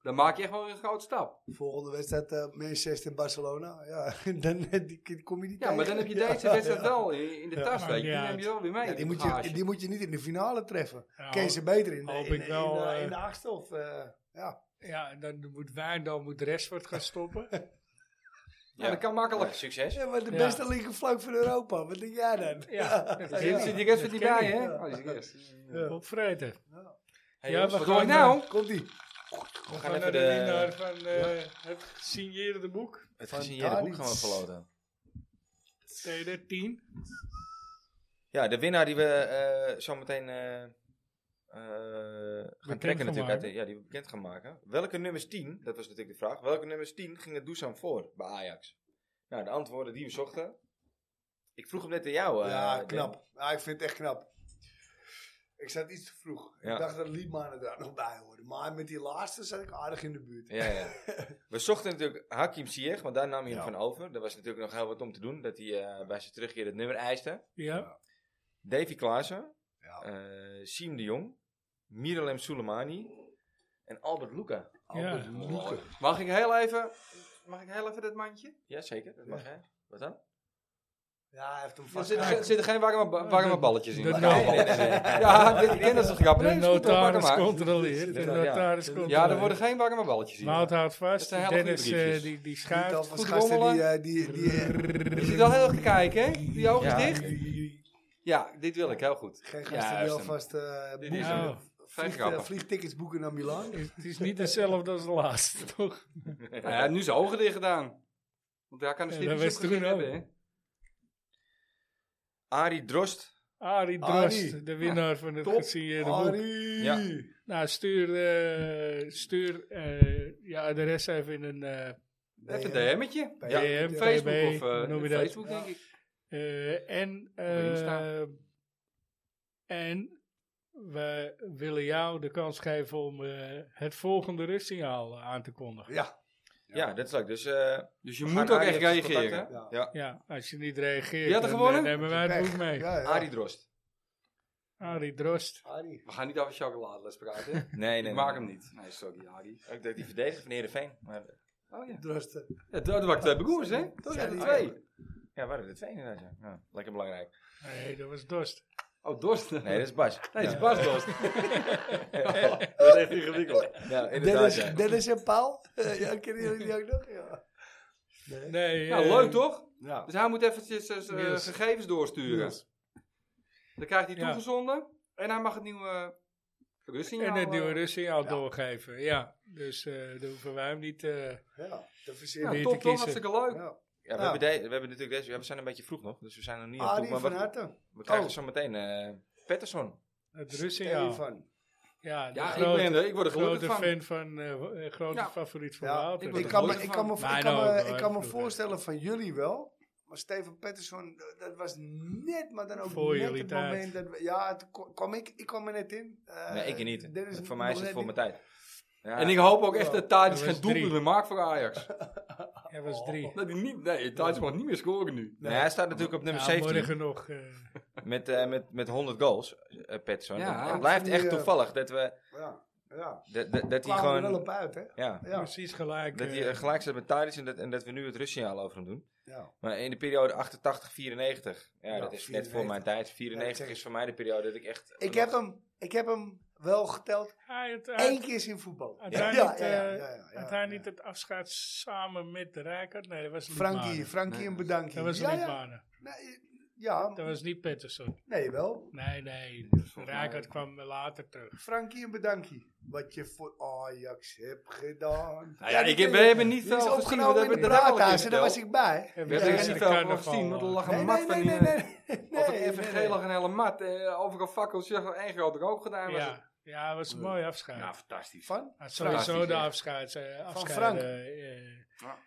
[SPEAKER 6] dan maak je echt wel weer een grote stap.
[SPEAKER 5] Volgende wedstrijd eh, Manchester Barcelona. Ja, dan eh, die kom je niet
[SPEAKER 6] Ja, maar
[SPEAKER 5] tegen.
[SPEAKER 6] dan heb je deze wedstrijd wel in, in de tas,
[SPEAKER 4] maakt
[SPEAKER 6] weet je.
[SPEAKER 4] niet
[SPEAKER 6] Dan heb
[SPEAKER 4] uit.
[SPEAKER 6] je wel weer mee.
[SPEAKER 5] Ja, die, moet je, die moet je niet in de finale treffen.
[SPEAKER 4] Ja,
[SPEAKER 5] Ken je ze beter in de,
[SPEAKER 4] hoop
[SPEAKER 5] in,
[SPEAKER 4] ik wel,
[SPEAKER 5] in, eh,
[SPEAKER 4] eh,
[SPEAKER 5] in de achtste of... eh, ja.
[SPEAKER 4] Ja, en dan moet Wijndal, moet Rashford gaan stoppen.
[SPEAKER 6] ja, dat kan makkelijk.
[SPEAKER 3] Ja, succes.
[SPEAKER 5] ja, maar de
[SPEAKER 4] Ja.
[SPEAKER 5] beste linkerflank van Europa. Wat denk jij dan?
[SPEAKER 4] Ja, Nou.
[SPEAKER 6] Die
[SPEAKER 4] ja.
[SPEAKER 6] zit die rest er niet
[SPEAKER 4] Dat ken
[SPEAKER 6] bij,
[SPEAKER 4] ik,
[SPEAKER 6] hè?
[SPEAKER 5] ja.
[SPEAKER 6] Oh, die is er eerst.
[SPEAKER 4] Op vrijdag.
[SPEAKER 3] Hey,
[SPEAKER 4] Ja,
[SPEAKER 3] jongens,
[SPEAKER 4] we
[SPEAKER 6] Wat
[SPEAKER 4] gaan,
[SPEAKER 6] doe ik nou?
[SPEAKER 5] Komt-ie.
[SPEAKER 4] We gaan,
[SPEAKER 3] even
[SPEAKER 4] naar de
[SPEAKER 3] de-
[SPEAKER 4] winnaar van eh, het gesigneerde boek.
[SPEAKER 3] het
[SPEAKER 5] Van
[SPEAKER 3] gesigneerde boek
[SPEAKER 5] Tadic.
[SPEAKER 3] gaan we verloten.
[SPEAKER 4] Ken je dat? 10.
[SPEAKER 3] Ja, de winnaar die we eh zo meteen eh, eh, gaan
[SPEAKER 4] Bekend
[SPEAKER 3] trekken
[SPEAKER 4] gaan
[SPEAKER 3] natuurlijk. Uit,
[SPEAKER 4] maken.
[SPEAKER 3] de- ja, die we bekend gaan maken. Welke nummers 10, dat was natuurlijk de vraag. Welke nummers 10 gingen Dusan voor bij Ajax? Nou, de antwoorden die we zochten. Ik vroeg hem net aan jou. eh,
[SPEAKER 5] Ja,
[SPEAKER 3] Tim.
[SPEAKER 5] knap. Ja, ik vind het echt knap. Ik zat iets te vroeg.
[SPEAKER 3] Ja.
[SPEAKER 5] Ik dacht dat Liedmanen daar nog bij hoorde. Maar met die laatste zat ik aardig in de buurt.
[SPEAKER 3] Ja, ja. We zochten natuurlijk Hakim Ziyech, want daar nam hij hem
[SPEAKER 5] Ja.
[SPEAKER 3] van over. Er was natuurlijk nog heel wat om te doen, dat hij eh, bij zijn terugkeer het nummer eiste.
[SPEAKER 4] Ja.
[SPEAKER 3] Davy Klaassen,
[SPEAKER 5] Ja.
[SPEAKER 3] eh, Siem de Jong, Miralem Soleimani en Albert Luca.
[SPEAKER 5] Albert
[SPEAKER 4] Ja.
[SPEAKER 5] Loeken.
[SPEAKER 6] Mag ik heel even... Mag ik heel even dat mandje?
[SPEAKER 3] Jazeker, dat mag hè. Wat dan?
[SPEAKER 5] Ja, hij heeft hem
[SPEAKER 6] Er
[SPEAKER 5] vast.
[SPEAKER 6] zitten er zitten geen warme, ba- warme
[SPEAKER 4] Dat-
[SPEAKER 6] balletjes in.
[SPEAKER 4] dat
[SPEAKER 6] maar-
[SPEAKER 4] nou-
[SPEAKER 6] Nee, nee, nee, nee. Ja, ik ken dat soort grappen.
[SPEAKER 4] De
[SPEAKER 6] Nee, dat is goed, hoor, pak hem
[SPEAKER 4] notaris
[SPEAKER 6] maar.
[SPEAKER 4] controleert. De
[SPEAKER 3] Ja.
[SPEAKER 4] notaris controleert.
[SPEAKER 6] Ja, er worden geen warme balletjes in.
[SPEAKER 4] Wout houdt
[SPEAKER 6] Dat
[SPEAKER 4] vast.
[SPEAKER 6] zijn hele goede
[SPEAKER 4] Dennis eh,
[SPEAKER 6] briefjes.
[SPEAKER 4] die, die
[SPEAKER 5] Niet
[SPEAKER 4] schuift.
[SPEAKER 5] alvast
[SPEAKER 6] goed
[SPEAKER 5] gasten die...
[SPEAKER 6] rommelen.
[SPEAKER 5] eh, die, die
[SPEAKER 6] Je zit al heel erg te kijken, hè? Die ogen
[SPEAKER 3] Ja.
[SPEAKER 6] is dicht. Ja, dit wil ik, heel goed.
[SPEAKER 5] geen
[SPEAKER 6] Ja,
[SPEAKER 5] gasten die
[SPEAKER 6] juist hem.
[SPEAKER 5] alvast eh
[SPEAKER 6] Dit
[SPEAKER 5] boeven.
[SPEAKER 4] is hem.
[SPEAKER 6] Geen
[SPEAKER 5] Vlieg, eh,
[SPEAKER 6] grappen.
[SPEAKER 5] vliegtickets boeken naar Milaan.
[SPEAKER 4] Het is- Het is niet hetzelfde als de laatste, toch?
[SPEAKER 6] Hij heeft Nou nu zijn ogen dicht gedaan. Want daar kan de
[SPEAKER 4] Ja,
[SPEAKER 6] stipjes
[SPEAKER 4] dat
[SPEAKER 6] op
[SPEAKER 4] was toen
[SPEAKER 6] gezet hebben,
[SPEAKER 4] ook.
[SPEAKER 6] hè.
[SPEAKER 3] Arie Drost.
[SPEAKER 4] Arie Drost,
[SPEAKER 5] Arie.
[SPEAKER 4] de winnaar van het
[SPEAKER 5] Top.
[SPEAKER 4] gesigneerde boek.
[SPEAKER 5] Arie!
[SPEAKER 3] Ja.
[SPEAKER 4] Nou, stuur, eh, stuur eh, je adres even in een eh
[SPEAKER 6] Even een DM'tje.
[SPEAKER 5] Ja,
[SPEAKER 4] DM,
[SPEAKER 5] DB,
[SPEAKER 6] Facebook
[SPEAKER 4] DB,
[SPEAKER 6] of eh,
[SPEAKER 4] noem je dat.
[SPEAKER 6] Facebook, denk ik.
[SPEAKER 4] Eh, en,
[SPEAKER 6] Op Insta.
[SPEAKER 4] eh, en we willen jou de kans geven om eh, het volgende rustsignaal eh, aan te kondigen.
[SPEAKER 5] Ja.
[SPEAKER 3] Ja, dat is leuk. Dus eh,
[SPEAKER 6] Dus je
[SPEAKER 3] we
[SPEAKER 6] moet
[SPEAKER 3] gaan
[SPEAKER 6] ook
[SPEAKER 3] Arie
[SPEAKER 6] echt
[SPEAKER 3] even
[SPEAKER 6] reageren.
[SPEAKER 3] contacten.
[SPEAKER 5] Ja.
[SPEAKER 3] Ja,
[SPEAKER 4] Ja, als je niet reageert,
[SPEAKER 6] Je had er
[SPEAKER 4] dan
[SPEAKER 6] gewonnen?
[SPEAKER 4] eh, nemen wij het boek mee.
[SPEAKER 5] Ja, ja.
[SPEAKER 3] Arie Drost.
[SPEAKER 4] Arie Drost.
[SPEAKER 5] Arie.
[SPEAKER 6] We gaan niet over chocoladelles praten. hè.
[SPEAKER 3] Nee, nee.
[SPEAKER 6] Ik
[SPEAKER 3] nee.
[SPEAKER 6] maak hem niet. Nee, sorry, Arie.
[SPEAKER 3] Ik dacht die verdediger van Heerenveen. Maar,
[SPEAKER 6] Oh ja.
[SPEAKER 5] Drosten.
[SPEAKER 6] ja dat waren twee begoers, hè? Dat
[SPEAKER 5] Zijn
[SPEAKER 6] waren
[SPEAKER 5] die
[SPEAKER 6] twee.
[SPEAKER 3] ja, waren er twee inderdaad. Ja. Ja, lekker belangrijk.
[SPEAKER 4] Nee, dat was Dorst.
[SPEAKER 6] Oh, Dorst.
[SPEAKER 3] Nee, dat is Bas.
[SPEAKER 6] Nee, het
[SPEAKER 3] Ja.
[SPEAKER 6] is Bas Dorst. dat is echt ingewikkeld.
[SPEAKER 3] Ja, inderdaad.
[SPEAKER 5] Dennis,
[SPEAKER 3] Ja.
[SPEAKER 5] Dennis en Paul. Eh, ja, kennen jullie die ook nog? Ja. Nee.
[SPEAKER 4] Nee,
[SPEAKER 6] Nou,
[SPEAKER 4] eh,
[SPEAKER 6] leuk toch?
[SPEAKER 5] Ja.
[SPEAKER 6] Dus hij moet eventjes eh, zijn, eh,
[SPEAKER 4] Niels.
[SPEAKER 6] gegevens doorsturen.
[SPEAKER 5] Niels.
[SPEAKER 6] Dan krijgt hij
[SPEAKER 4] Ja.
[SPEAKER 6] toegezonden. En hij mag het nieuwe nou, eh, Russie
[SPEAKER 5] Nou,
[SPEAKER 4] En het
[SPEAKER 5] eh,
[SPEAKER 4] nieuwe
[SPEAKER 6] Russie.
[SPEAKER 4] rustsignaal doorgeven, ja. Dus eh dan hoeven wij hem niet... eh,
[SPEAKER 5] Ja, dat verzin
[SPEAKER 6] Ja,
[SPEAKER 4] weer
[SPEAKER 5] ik.
[SPEAKER 4] te
[SPEAKER 6] top toch?
[SPEAKER 4] kiezen.
[SPEAKER 6] Hartstikke leuk.
[SPEAKER 5] Ja.
[SPEAKER 3] Ja, we,
[SPEAKER 5] Ja.
[SPEAKER 3] Hebben de- we hebben natuurlijk deze. ja, we zijn een beetje vroeg nog, dus we zijn er niet aan toe.
[SPEAKER 5] Arie
[SPEAKER 3] Maar
[SPEAKER 5] van
[SPEAKER 3] we,
[SPEAKER 5] harte.
[SPEAKER 3] we krijgen
[SPEAKER 5] Oh.
[SPEAKER 3] zo meteen eh Pettersson.
[SPEAKER 4] het
[SPEAKER 5] Arie
[SPEAKER 4] rustsignaal.
[SPEAKER 5] van.
[SPEAKER 4] Ja, de
[SPEAKER 6] Ja, ik,
[SPEAKER 4] grote,
[SPEAKER 6] ben er, ik word er gelukkig
[SPEAKER 4] grote fan
[SPEAKER 6] van.
[SPEAKER 4] van... eh, eh, grote
[SPEAKER 6] Ja.
[SPEAKER 4] favoriet van
[SPEAKER 5] Ja,
[SPEAKER 4] Wouter.
[SPEAKER 6] ik
[SPEAKER 5] Ik
[SPEAKER 6] er
[SPEAKER 5] kan me,
[SPEAKER 6] gelukkig
[SPEAKER 5] ik kan me,
[SPEAKER 4] van.
[SPEAKER 5] ik kan
[SPEAKER 4] Mijn
[SPEAKER 5] me,
[SPEAKER 4] ook,
[SPEAKER 5] ik
[SPEAKER 4] hoor,
[SPEAKER 5] kan me
[SPEAKER 4] vroeger.
[SPEAKER 5] voorstellen van jullie wel. Maar Steven Patterson, dat- dat was net, maar dan ook
[SPEAKER 4] Voor
[SPEAKER 5] net
[SPEAKER 4] jullie
[SPEAKER 5] het
[SPEAKER 4] tijd.
[SPEAKER 5] moment dat we- ja, toen ko- kwam ik, ik kwam er net in. Eh,
[SPEAKER 3] nee, ik niet.
[SPEAKER 5] Dennis
[SPEAKER 3] Voor mij is
[SPEAKER 5] nog
[SPEAKER 3] het
[SPEAKER 5] net
[SPEAKER 3] voor
[SPEAKER 5] niet.
[SPEAKER 3] mijn tijd. Ja.
[SPEAKER 6] En ik hoop ook echt dat Thadis
[SPEAKER 4] Dat
[SPEAKER 6] geen
[SPEAKER 4] was
[SPEAKER 6] doelpunt
[SPEAKER 4] drie.
[SPEAKER 6] meer maakt voor Ajax.
[SPEAKER 4] Hij was
[SPEAKER 5] Oh,
[SPEAKER 4] drie.
[SPEAKER 6] Dat hij niet, nee, Thadis mag niet meer scoren nu.
[SPEAKER 3] Nee, hij staat natuurlijk op nummer
[SPEAKER 4] Ja,
[SPEAKER 3] 17
[SPEAKER 4] morgen nog. eh,
[SPEAKER 3] met, eh, met, met 100 goals, eh Pettersson.
[SPEAKER 6] Ja.
[SPEAKER 3] En het blijft
[SPEAKER 5] Die,
[SPEAKER 3] echt
[SPEAKER 5] eh,
[SPEAKER 3] toevallig dat we
[SPEAKER 5] Ja, ja.
[SPEAKER 3] dat, dat, dat hij
[SPEAKER 5] Kwamen er wel
[SPEAKER 3] gewoon
[SPEAKER 5] op uit, hè?
[SPEAKER 3] ja,
[SPEAKER 5] Ja,
[SPEAKER 4] Precies gelijk.
[SPEAKER 3] dat hij
[SPEAKER 4] eh,
[SPEAKER 3] eh, gelijk staat met Thadis en dat, en dat we nu het rustsignaal over hem doen.
[SPEAKER 5] ja.
[SPEAKER 3] Maar in de periode 88, 94. Ja,
[SPEAKER 5] Ja,
[SPEAKER 3] dat is net voor mijn
[SPEAKER 5] 94.
[SPEAKER 3] tijd.
[SPEAKER 5] Nou, Ja, dat
[SPEAKER 3] 94
[SPEAKER 5] zeg
[SPEAKER 3] is voor mij de periode dat ik echt.
[SPEAKER 5] Ik heb hem, ik heb hem wel geteld
[SPEAKER 4] hij had- hij
[SPEAKER 5] één
[SPEAKER 4] had-
[SPEAKER 5] keer in voetbal.
[SPEAKER 4] had
[SPEAKER 5] Ja,
[SPEAKER 4] hij
[SPEAKER 5] ja,
[SPEAKER 4] niet,
[SPEAKER 5] ja,
[SPEAKER 4] eh,
[SPEAKER 5] ja, ja, ja,
[SPEAKER 4] had hij
[SPEAKER 5] ja.
[SPEAKER 4] niet het afscheid samen met de Rijkaard? Nee, dat was
[SPEAKER 5] Frankie,
[SPEAKER 4] Liedmanen.
[SPEAKER 5] Frankie
[SPEAKER 6] Nee.
[SPEAKER 5] een bedankje.
[SPEAKER 4] Dat was
[SPEAKER 5] ja, ja.
[SPEAKER 4] Liedmanen.
[SPEAKER 5] Nee, ja,
[SPEAKER 4] Dat was niet Pettersson.
[SPEAKER 5] nee wel.
[SPEAKER 4] Nee, nee. Rijkaard kwam later terug.
[SPEAKER 5] Frankie een bedankje. Wat je voor Ajax hebt gedaan.
[SPEAKER 6] Nou ja,
[SPEAKER 5] die
[SPEAKER 6] ik heb, we
[SPEAKER 5] ken je.
[SPEAKER 6] hebben
[SPEAKER 5] Die
[SPEAKER 6] niet
[SPEAKER 5] is
[SPEAKER 6] veel gezien. want
[SPEAKER 5] opgenomen
[SPEAKER 6] dat
[SPEAKER 5] in de
[SPEAKER 6] hebben- dat hebben we al
[SPEAKER 5] praathuis
[SPEAKER 6] een
[SPEAKER 5] en
[SPEAKER 6] keer
[SPEAKER 5] daar was
[SPEAKER 6] verteld.
[SPEAKER 5] ik bij.
[SPEAKER 4] En
[SPEAKER 6] We hebben
[SPEAKER 4] is
[SPEAKER 6] er
[SPEAKER 4] de
[SPEAKER 6] niet veel van
[SPEAKER 4] carnaval,
[SPEAKER 6] gezien, want er lag
[SPEAKER 5] Nee,
[SPEAKER 6] een
[SPEAKER 5] nee,
[SPEAKER 6] mat van
[SPEAKER 5] nee,
[SPEAKER 6] die...
[SPEAKER 5] nee,
[SPEAKER 6] eh,
[SPEAKER 5] nee.
[SPEAKER 6] Of
[SPEAKER 5] nee,
[SPEAKER 6] een FNG
[SPEAKER 5] nee.
[SPEAKER 6] lag een hele mat. eh, overal fakkels, zeg maar, één grote rook gedaan. Was het.
[SPEAKER 4] Ja, ja, het was een mooi afscheid.
[SPEAKER 6] Nou, fantastisch.
[SPEAKER 5] Van?
[SPEAKER 4] Maar Ah, sowieso
[SPEAKER 6] fantastisch,
[SPEAKER 4] de
[SPEAKER 6] ja.
[SPEAKER 4] afscheid. eh, afscheid,
[SPEAKER 5] Frank.
[SPEAKER 4] eh, eh,
[SPEAKER 6] Ja.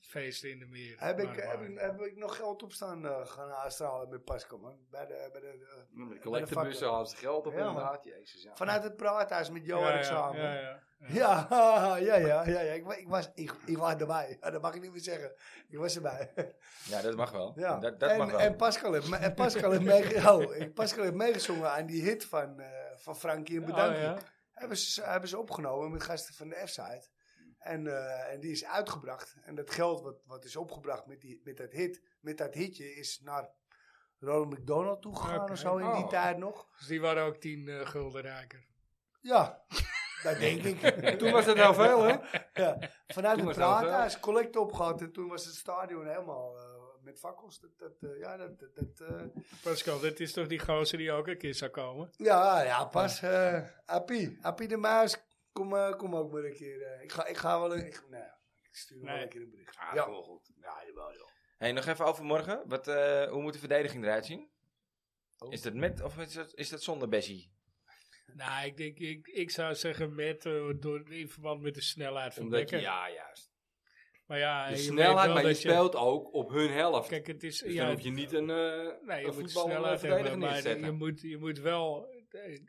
[SPEAKER 4] Feesten in de meer.
[SPEAKER 5] Heb ik,
[SPEAKER 4] Maar-
[SPEAKER 5] heb, ik, heb ik nog geld opstaan eh, gaan aanstralen met Pascal, man. Bij de, bij de, eh,
[SPEAKER 6] Met de
[SPEAKER 5] Bij de
[SPEAKER 6] collectebussen
[SPEAKER 5] vakken.
[SPEAKER 6] hadden ze geld op
[SPEAKER 5] Ja, man.
[SPEAKER 6] inderdaad. Jezus, ja.
[SPEAKER 5] vanuit het praathuis met
[SPEAKER 4] Ja,
[SPEAKER 5] Johan
[SPEAKER 4] ja,
[SPEAKER 5] samen.
[SPEAKER 4] ja,
[SPEAKER 5] Ja,
[SPEAKER 4] ja.
[SPEAKER 5] ja, ja, ja, ja, ja. Ik, wa- ik, was, ik, ik was erbij. Ja, Dat mag ik niet meer zeggen. Ik was erbij.
[SPEAKER 3] Ja, dat mag wel.
[SPEAKER 5] Ja.
[SPEAKER 3] Dat, dat
[SPEAKER 5] en,
[SPEAKER 3] mag wel.
[SPEAKER 5] en Pascal heeft, me- en Pascal heeft, meege- oh, en Pascal heeft meegezongen aan die hit van, eh, van Frankie en Bedankt.
[SPEAKER 4] Oh, ja.
[SPEAKER 5] hebben, ze, hebben ze opgenomen met gasten van de F-site. En, eh, en die is uitgebracht. En dat geld wat, wat is opgebracht met, die, met, dat hit, met dat hitje is naar Ronald McDonald toegegaan
[SPEAKER 4] Oké.
[SPEAKER 5] of zo in die
[SPEAKER 6] Oh.
[SPEAKER 5] tijd nog.
[SPEAKER 4] Dus die waren ook tien eh, gulden rijker.
[SPEAKER 5] Ja, dat denk ik.
[SPEAKER 6] Toen was het heel veel, hè?
[SPEAKER 5] ja. Vanuit
[SPEAKER 6] Toen
[SPEAKER 5] het
[SPEAKER 6] was dat wel.
[SPEAKER 5] praathuis collect opgehad en toen was het stadion helemaal eh, met fakkels. Dat, dat, eh, ja, dat, dat, dat, eh,
[SPEAKER 4] Pascal, dit is toch die gozer die ook een keer zou komen?
[SPEAKER 5] ja, ja, pas. eh Appie, Appie de Muis, kom, eh, kom ook maar een keer. eh. ik, ga, ik ga wel een... Ik, nou, ja, ik stuur hem wel
[SPEAKER 4] Nee.
[SPEAKER 5] een keer een bericht.
[SPEAKER 6] Ah,
[SPEAKER 5] Ja.
[SPEAKER 6] wel goed. Ja, jawel, joh.
[SPEAKER 3] Hey, nog even over morgen. Wat, eh, hoe moet de verdediging eruit zien?
[SPEAKER 5] Oh.
[SPEAKER 3] Is dat met of is dat, is dat zonder Bessie?
[SPEAKER 4] Nou, ik, denk, ik, ik zou zeggen met, eh, door, in verband met de snelheid van
[SPEAKER 6] Omdat je,
[SPEAKER 4] Bekker.
[SPEAKER 6] ja, juist.
[SPEAKER 4] Maar ja,
[SPEAKER 6] De
[SPEAKER 4] je weet
[SPEAKER 6] snelheid,
[SPEAKER 4] wel
[SPEAKER 6] maar je
[SPEAKER 4] dat je-
[SPEAKER 6] speelt ook op hun helft.
[SPEAKER 4] Kijk, het is...
[SPEAKER 6] dus
[SPEAKER 4] ja,
[SPEAKER 6] dan hoef je niet een, eh
[SPEAKER 4] nee, je
[SPEAKER 6] een
[SPEAKER 4] moet
[SPEAKER 6] voetballer
[SPEAKER 4] snelheid hebben,
[SPEAKER 6] verdediger
[SPEAKER 4] maar
[SPEAKER 6] neer te
[SPEAKER 4] je
[SPEAKER 6] zetten.
[SPEAKER 4] moet, je moet wel... eh,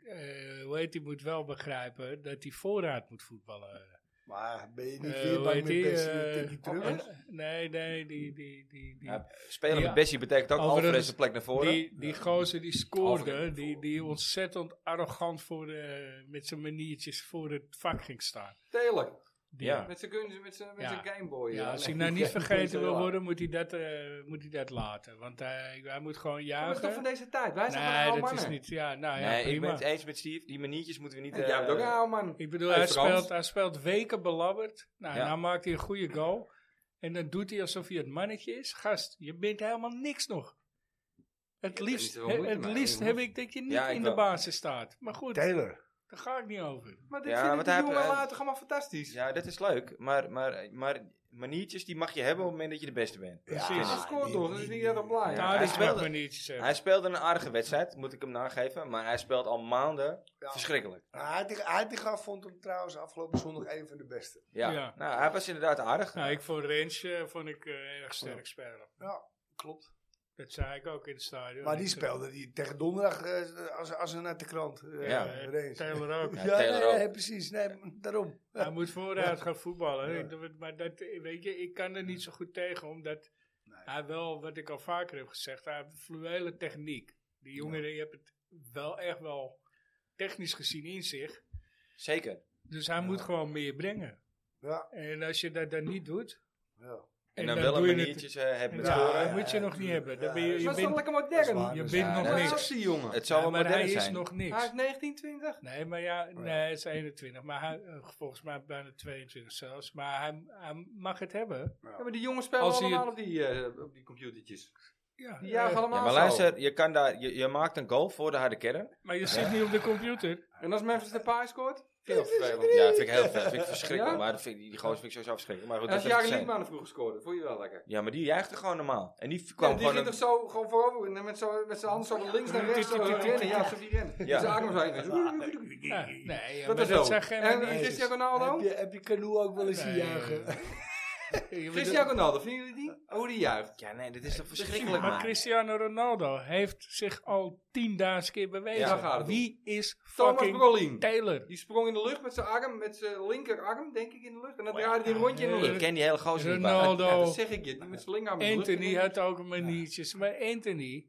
[SPEAKER 4] eh, hoe heet die moet wel begrijpen dat hij vooruit moet voetballen.
[SPEAKER 5] Maar ben je niet
[SPEAKER 4] Eh,
[SPEAKER 5] weer
[SPEAKER 4] hoe
[SPEAKER 5] bij
[SPEAKER 4] heet
[SPEAKER 5] met
[SPEAKER 4] die,
[SPEAKER 5] Bessie
[SPEAKER 4] eh,
[SPEAKER 5] en die terug?
[SPEAKER 4] eh, nee, nee, die... die, die, die
[SPEAKER 3] Ja, spelen
[SPEAKER 4] Ja.
[SPEAKER 3] met Bessie betekent ook
[SPEAKER 4] Overigens,
[SPEAKER 3] Alvarez een plek naar voren.
[SPEAKER 4] Die, die gozer die
[SPEAKER 6] Alfred.
[SPEAKER 4] scoorde, die, die ontzettend arrogant voor de, met zijn maniertjes voor het vak ging staan.
[SPEAKER 6] Telen.
[SPEAKER 4] Die-
[SPEAKER 3] Ja.
[SPEAKER 6] Met zijn kunst, met zijn met
[SPEAKER 4] Ja.
[SPEAKER 6] zijn Gameboy. eh,
[SPEAKER 4] Ja, als
[SPEAKER 6] nee.
[SPEAKER 4] hij nou niet vergeten wil
[SPEAKER 6] Ja.
[SPEAKER 4] worden, moet hij dat, eh, moet hij dat laten. Want hij, hij moet gewoon
[SPEAKER 6] Ja, Maar dat is toch van
[SPEAKER 4] jagen.
[SPEAKER 6] deze tijd? Wij zijn
[SPEAKER 4] nee,
[SPEAKER 6] gewoon
[SPEAKER 4] dat
[SPEAKER 6] oude mannen.
[SPEAKER 4] is niet. Ja, nou ja,
[SPEAKER 3] nee, ik ben
[SPEAKER 4] prima.
[SPEAKER 3] het eens met Steve. Die maniertjes moeten we niet...
[SPEAKER 6] En
[SPEAKER 3] eh,
[SPEAKER 6] jij bent ook een oude man.
[SPEAKER 4] Ik bedoel,
[SPEAKER 6] Hey,
[SPEAKER 4] hij
[SPEAKER 6] Frans.
[SPEAKER 4] speelt, hij speelt weken belabberd. Nou,
[SPEAKER 3] Ja.
[SPEAKER 4] nou maakt hij een goede goal. En dan doet hij alsof hij het mannetje is. Gast, je bent helemaal niks nog. Het
[SPEAKER 6] daar
[SPEAKER 4] liefst,
[SPEAKER 6] niet zoveel moeite
[SPEAKER 4] het
[SPEAKER 6] mee,
[SPEAKER 4] liefst
[SPEAKER 6] jongen.
[SPEAKER 4] heb ik dat je niet
[SPEAKER 3] Ja, ik
[SPEAKER 4] in de
[SPEAKER 3] wel.
[SPEAKER 4] basis staat. Maar goed,
[SPEAKER 5] Taylor.
[SPEAKER 4] Daar ga ik niet over.
[SPEAKER 6] Maar dit
[SPEAKER 3] Ja,
[SPEAKER 6] vinden
[SPEAKER 3] want
[SPEAKER 6] die
[SPEAKER 3] hij-
[SPEAKER 6] jongen
[SPEAKER 3] hij-
[SPEAKER 6] later allemaal fantastisch.
[SPEAKER 3] Ja, dat is leuk. Maar, maar, maar maniertjes die mag je hebben op het moment dat je de beste bent.
[SPEAKER 6] Hij
[SPEAKER 4] Precies. Nou,
[SPEAKER 6] scoort toch, dat is niet dat dan
[SPEAKER 3] Ja,
[SPEAKER 4] Ja,
[SPEAKER 6] blij.
[SPEAKER 4] dus
[SPEAKER 3] hij
[SPEAKER 4] dat mag
[SPEAKER 3] speelde-
[SPEAKER 4] me niet zeggen.
[SPEAKER 3] Hij speelde een aardige wedstrijd, moet ik hem nageven. Maar hij speelt al maanden
[SPEAKER 5] Ja.
[SPEAKER 3] verschrikkelijk.
[SPEAKER 5] Heitinga- Heitinga Nou, vond hem trouwens afgelopen zondag een van de beste.
[SPEAKER 3] Ja.
[SPEAKER 4] Ja.
[SPEAKER 3] Nou, hij was inderdaad aardig.
[SPEAKER 4] Nou, ik vond Rens eh, vond ik eh, erg sterk spelen.
[SPEAKER 5] Ja, klopt.
[SPEAKER 4] Dat zei ik ook in het stadion.
[SPEAKER 5] Maar die
[SPEAKER 4] Ik, eh,
[SPEAKER 5] speelde die tegen donderdag eh, als, als een uit de krant. eh,
[SPEAKER 3] Ja.
[SPEAKER 5] eh,
[SPEAKER 4] eh,
[SPEAKER 5] race.
[SPEAKER 4] Taylor ook.
[SPEAKER 5] Ja,
[SPEAKER 3] Ja, Taylor
[SPEAKER 5] nee,
[SPEAKER 3] ook.
[SPEAKER 5] nee, precies. Nee, m- daarom.
[SPEAKER 4] Hij moet vooruit gaan voetballen.
[SPEAKER 5] Ja.
[SPEAKER 4] Ik doe het- Maar dat, eh, weet je, ik kan er niet zo goed tegen, omdat hij wel, wat ik al vaker heb gezegd, hij heeft fluwele techniek. Die jongen, die heeft het wel echt wel technisch gezien in zich.
[SPEAKER 3] Zeker.
[SPEAKER 4] Dus hij moet gewoon meer brengen.
[SPEAKER 5] Ja,
[SPEAKER 4] En als je dat dan niet doet,
[SPEAKER 5] ja.
[SPEAKER 3] En,
[SPEAKER 4] En
[SPEAKER 3] dan
[SPEAKER 4] dan
[SPEAKER 3] wel een
[SPEAKER 4] doe je
[SPEAKER 3] maniertjes eh, hebben met
[SPEAKER 4] ja,
[SPEAKER 3] scoren.
[SPEAKER 4] dat moet je nog niet hebben. Dan ben je,
[SPEAKER 5] Ja,
[SPEAKER 4] je
[SPEAKER 6] Dat is toch
[SPEAKER 4] bent,
[SPEAKER 6] lekker modern.
[SPEAKER 5] waar.
[SPEAKER 4] je
[SPEAKER 5] Ja,
[SPEAKER 4] bent
[SPEAKER 3] dat
[SPEAKER 4] nog
[SPEAKER 3] is
[SPEAKER 4] niks.
[SPEAKER 3] waar.
[SPEAKER 6] Actie, jongen.
[SPEAKER 3] Het zou
[SPEAKER 4] Ja,
[SPEAKER 3] wel
[SPEAKER 4] maar hij
[SPEAKER 3] modern
[SPEAKER 4] is
[SPEAKER 3] zijn.
[SPEAKER 4] nog
[SPEAKER 6] Hij is
[SPEAKER 4] niks.
[SPEAKER 6] 1920.
[SPEAKER 4] Nee, maar ja, nee, hij is 21. Maar hij, eh, volgens mij bijna 22 zelfs. Maar hij, hij mag het hebben.
[SPEAKER 6] Ja, maar die jongens spelen
[SPEAKER 4] Als hij
[SPEAKER 6] allemaal
[SPEAKER 4] het-
[SPEAKER 6] op, die, eh, op die computertjes.
[SPEAKER 4] Ja,
[SPEAKER 6] Die jagen
[SPEAKER 4] eh,
[SPEAKER 6] allemaal
[SPEAKER 3] Ja, maar
[SPEAKER 6] zo.
[SPEAKER 3] luister, je, kan daar, je, je maakt een goal voor de harde kern.
[SPEAKER 4] maar je zit niet op de computer.
[SPEAKER 6] En als Memphis Depay scoort?
[SPEAKER 3] Heel vervelend. Ja, vind ik heel vind ik verschrikkelijk.
[SPEAKER 6] Ja?
[SPEAKER 3] Maar dat vind, ik- die gozer vind ik sowieso verschrikkelijk. Maar goed,
[SPEAKER 6] En als
[SPEAKER 3] dat is
[SPEAKER 6] Jaren
[SPEAKER 3] niet
[SPEAKER 6] Liedmanen vroeger scoorde, vond je wel lekker.
[SPEAKER 3] Ja, maar die juichte gewoon normaal. En die kwam
[SPEAKER 6] Ja, die
[SPEAKER 3] gewoon...
[SPEAKER 6] ging
[SPEAKER 3] een-
[SPEAKER 6] toch zo gewoon voorover en dan met, zo, met zijn handen zo van links naar rechts zo die rennen. Ja, zo die rennen.
[SPEAKER 3] Ja.
[SPEAKER 6] Ja. Zijn armen zo heen.
[SPEAKER 4] Ja, nee, ja, maar
[SPEAKER 6] Dat
[SPEAKER 4] dat,
[SPEAKER 6] is zo.
[SPEAKER 4] zijn geen
[SPEAKER 6] En
[SPEAKER 4] manieren.
[SPEAKER 6] Cristiano Ronaldo?
[SPEAKER 5] Heb je, heb je Canoe ook wel eens
[SPEAKER 4] Nee,
[SPEAKER 5] zien juichen?
[SPEAKER 4] Je bedoelt-
[SPEAKER 6] Cristiano Ronaldo, vinden jullie die? Hoe die juicht.
[SPEAKER 3] Ja, nee, dit is toch verschrikkelijk,
[SPEAKER 4] Maar
[SPEAKER 3] man.
[SPEAKER 4] Cristiano Ronaldo heeft zich al tienduizend keer bewezen.
[SPEAKER 3] Ja, daar
[SPEAKER 6] gaat het om.
[SPEAKER 4] Wie is
[SPEAKER 6] Thomas
[SPEAKER 4] fucking
[SPEAKER 6] Brolin.
[SPEAKER 4] Taylor?
[SPEAKER 6] Die sprong in de lucht met zijn arm, met zijn linkerarm, denk ik, in de lucht. En dan
[SPEAKER 3] Wow.
[SPEAKER 6] draaide hij een rondje in de
[SPEAKER 4] Nee.
[SPEAKER 3] Ik
[SPEAKER 6] lucht.
[SPEAKER 3] ken die hele gozer niet, man.
[SPEAKER 4] Ronaldo.
[SPEAKER 6] Ja, dat zeg ik je. Die met zijn linkerarm in de lucht.
[SPEAKER 4] Anthony had ook maniertjes. Maar Anthony,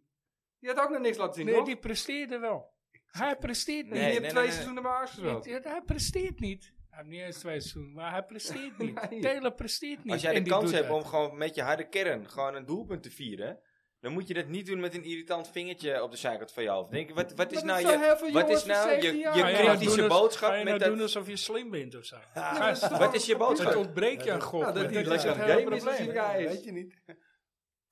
[SPEAKER 6] Die had ook nog niks laten zien,
[SPEAKER 4] nee,
[SPEAKER 6] toch?
[SPEAKER 4] die presteerde wel. Hij presteert
[SPEAKER 6] Die
[SPEAKER 3] Nee,
[SPEAKER 4] niet.
[SPEAKER 6] heeft
[SPEAKER 3] nee,
[SPEAKER 6] twee
[SPEAKER 3] nee.
[SPEAKER 6] seizoenen bij Arsenal gespeeld.
[SPEAKER 4] Ja, hij presteert niet. Hij heeft niet eens twee seizoenen, maar hij presteert niet.
[SPEAKER 6] Nee.
[SPEAKER 4] Taylor presteert niet.
[SPEAKER 3] Als jij
[SPEAKER 4] en
[SPEAKER 3] de
[SPEAKER 4] die
[SPEAKER 3] kans
[SPEAKER 4] doet
[SPEAKER 3] hebt
[SPEAKER 4] dat.
[SPEAKER 3] om gewoon met je harde kern gewoon een doelpunt te vieren, dan moet je dat niet doen met een irritant vingertje op de zijkant van je hoofd. Denk, wat, wat is
[SPEAKER 6] Maar
[SPEAKER 3] nou
[SPEAKER 6] dat zijn heel veel
[SPEAKER 3] je, wat
[SPEAKER 6] jongens
[SPEAKER 3] is
[SPEAKER 6] van
[SPEAKER 3] nou je,
[SPEAKER 6] 17 jaar.
[SPEAKER 3] je
[SPEAKER 6] Ga
[SPEAKER 4] Ga je
[SPEAKER 6] nou
[SPEAKER 3] kritische
[SPEAKER 4] doen als-
[SPEAKER 3] boodschap
[SPEAKER 4] ga je nou
[SPEAKER 3] met dat...
[SPEAKER 4] doen alsof je slim bent of zo?
[SPEAKER 6] dat is
[SPEAKER 4] Gast,
[SPEAKER 6] toch-
[SPEAKER 3] Wat is je
[SPEAKER 4] het
[SPEAKER 3] boodschap?
[SPEAKER 4] ontbreekt je aan God.
[SPEAKER 6] Ja, dat
[SPEAKER 4] want
[SPEAKER 6] die
[SPEAKER 4] is
[SPEAKER 6] lekker
[SPEAKER 4] het
[SPEAKER 6] aan
[SPEAKER 4] hele
[SPEAKER 6] het gamen is als
[SPEAKER 4] probleem.
[SPEAKER 6] hij elkaar is.
[SPEAKER 5] Weet je niet.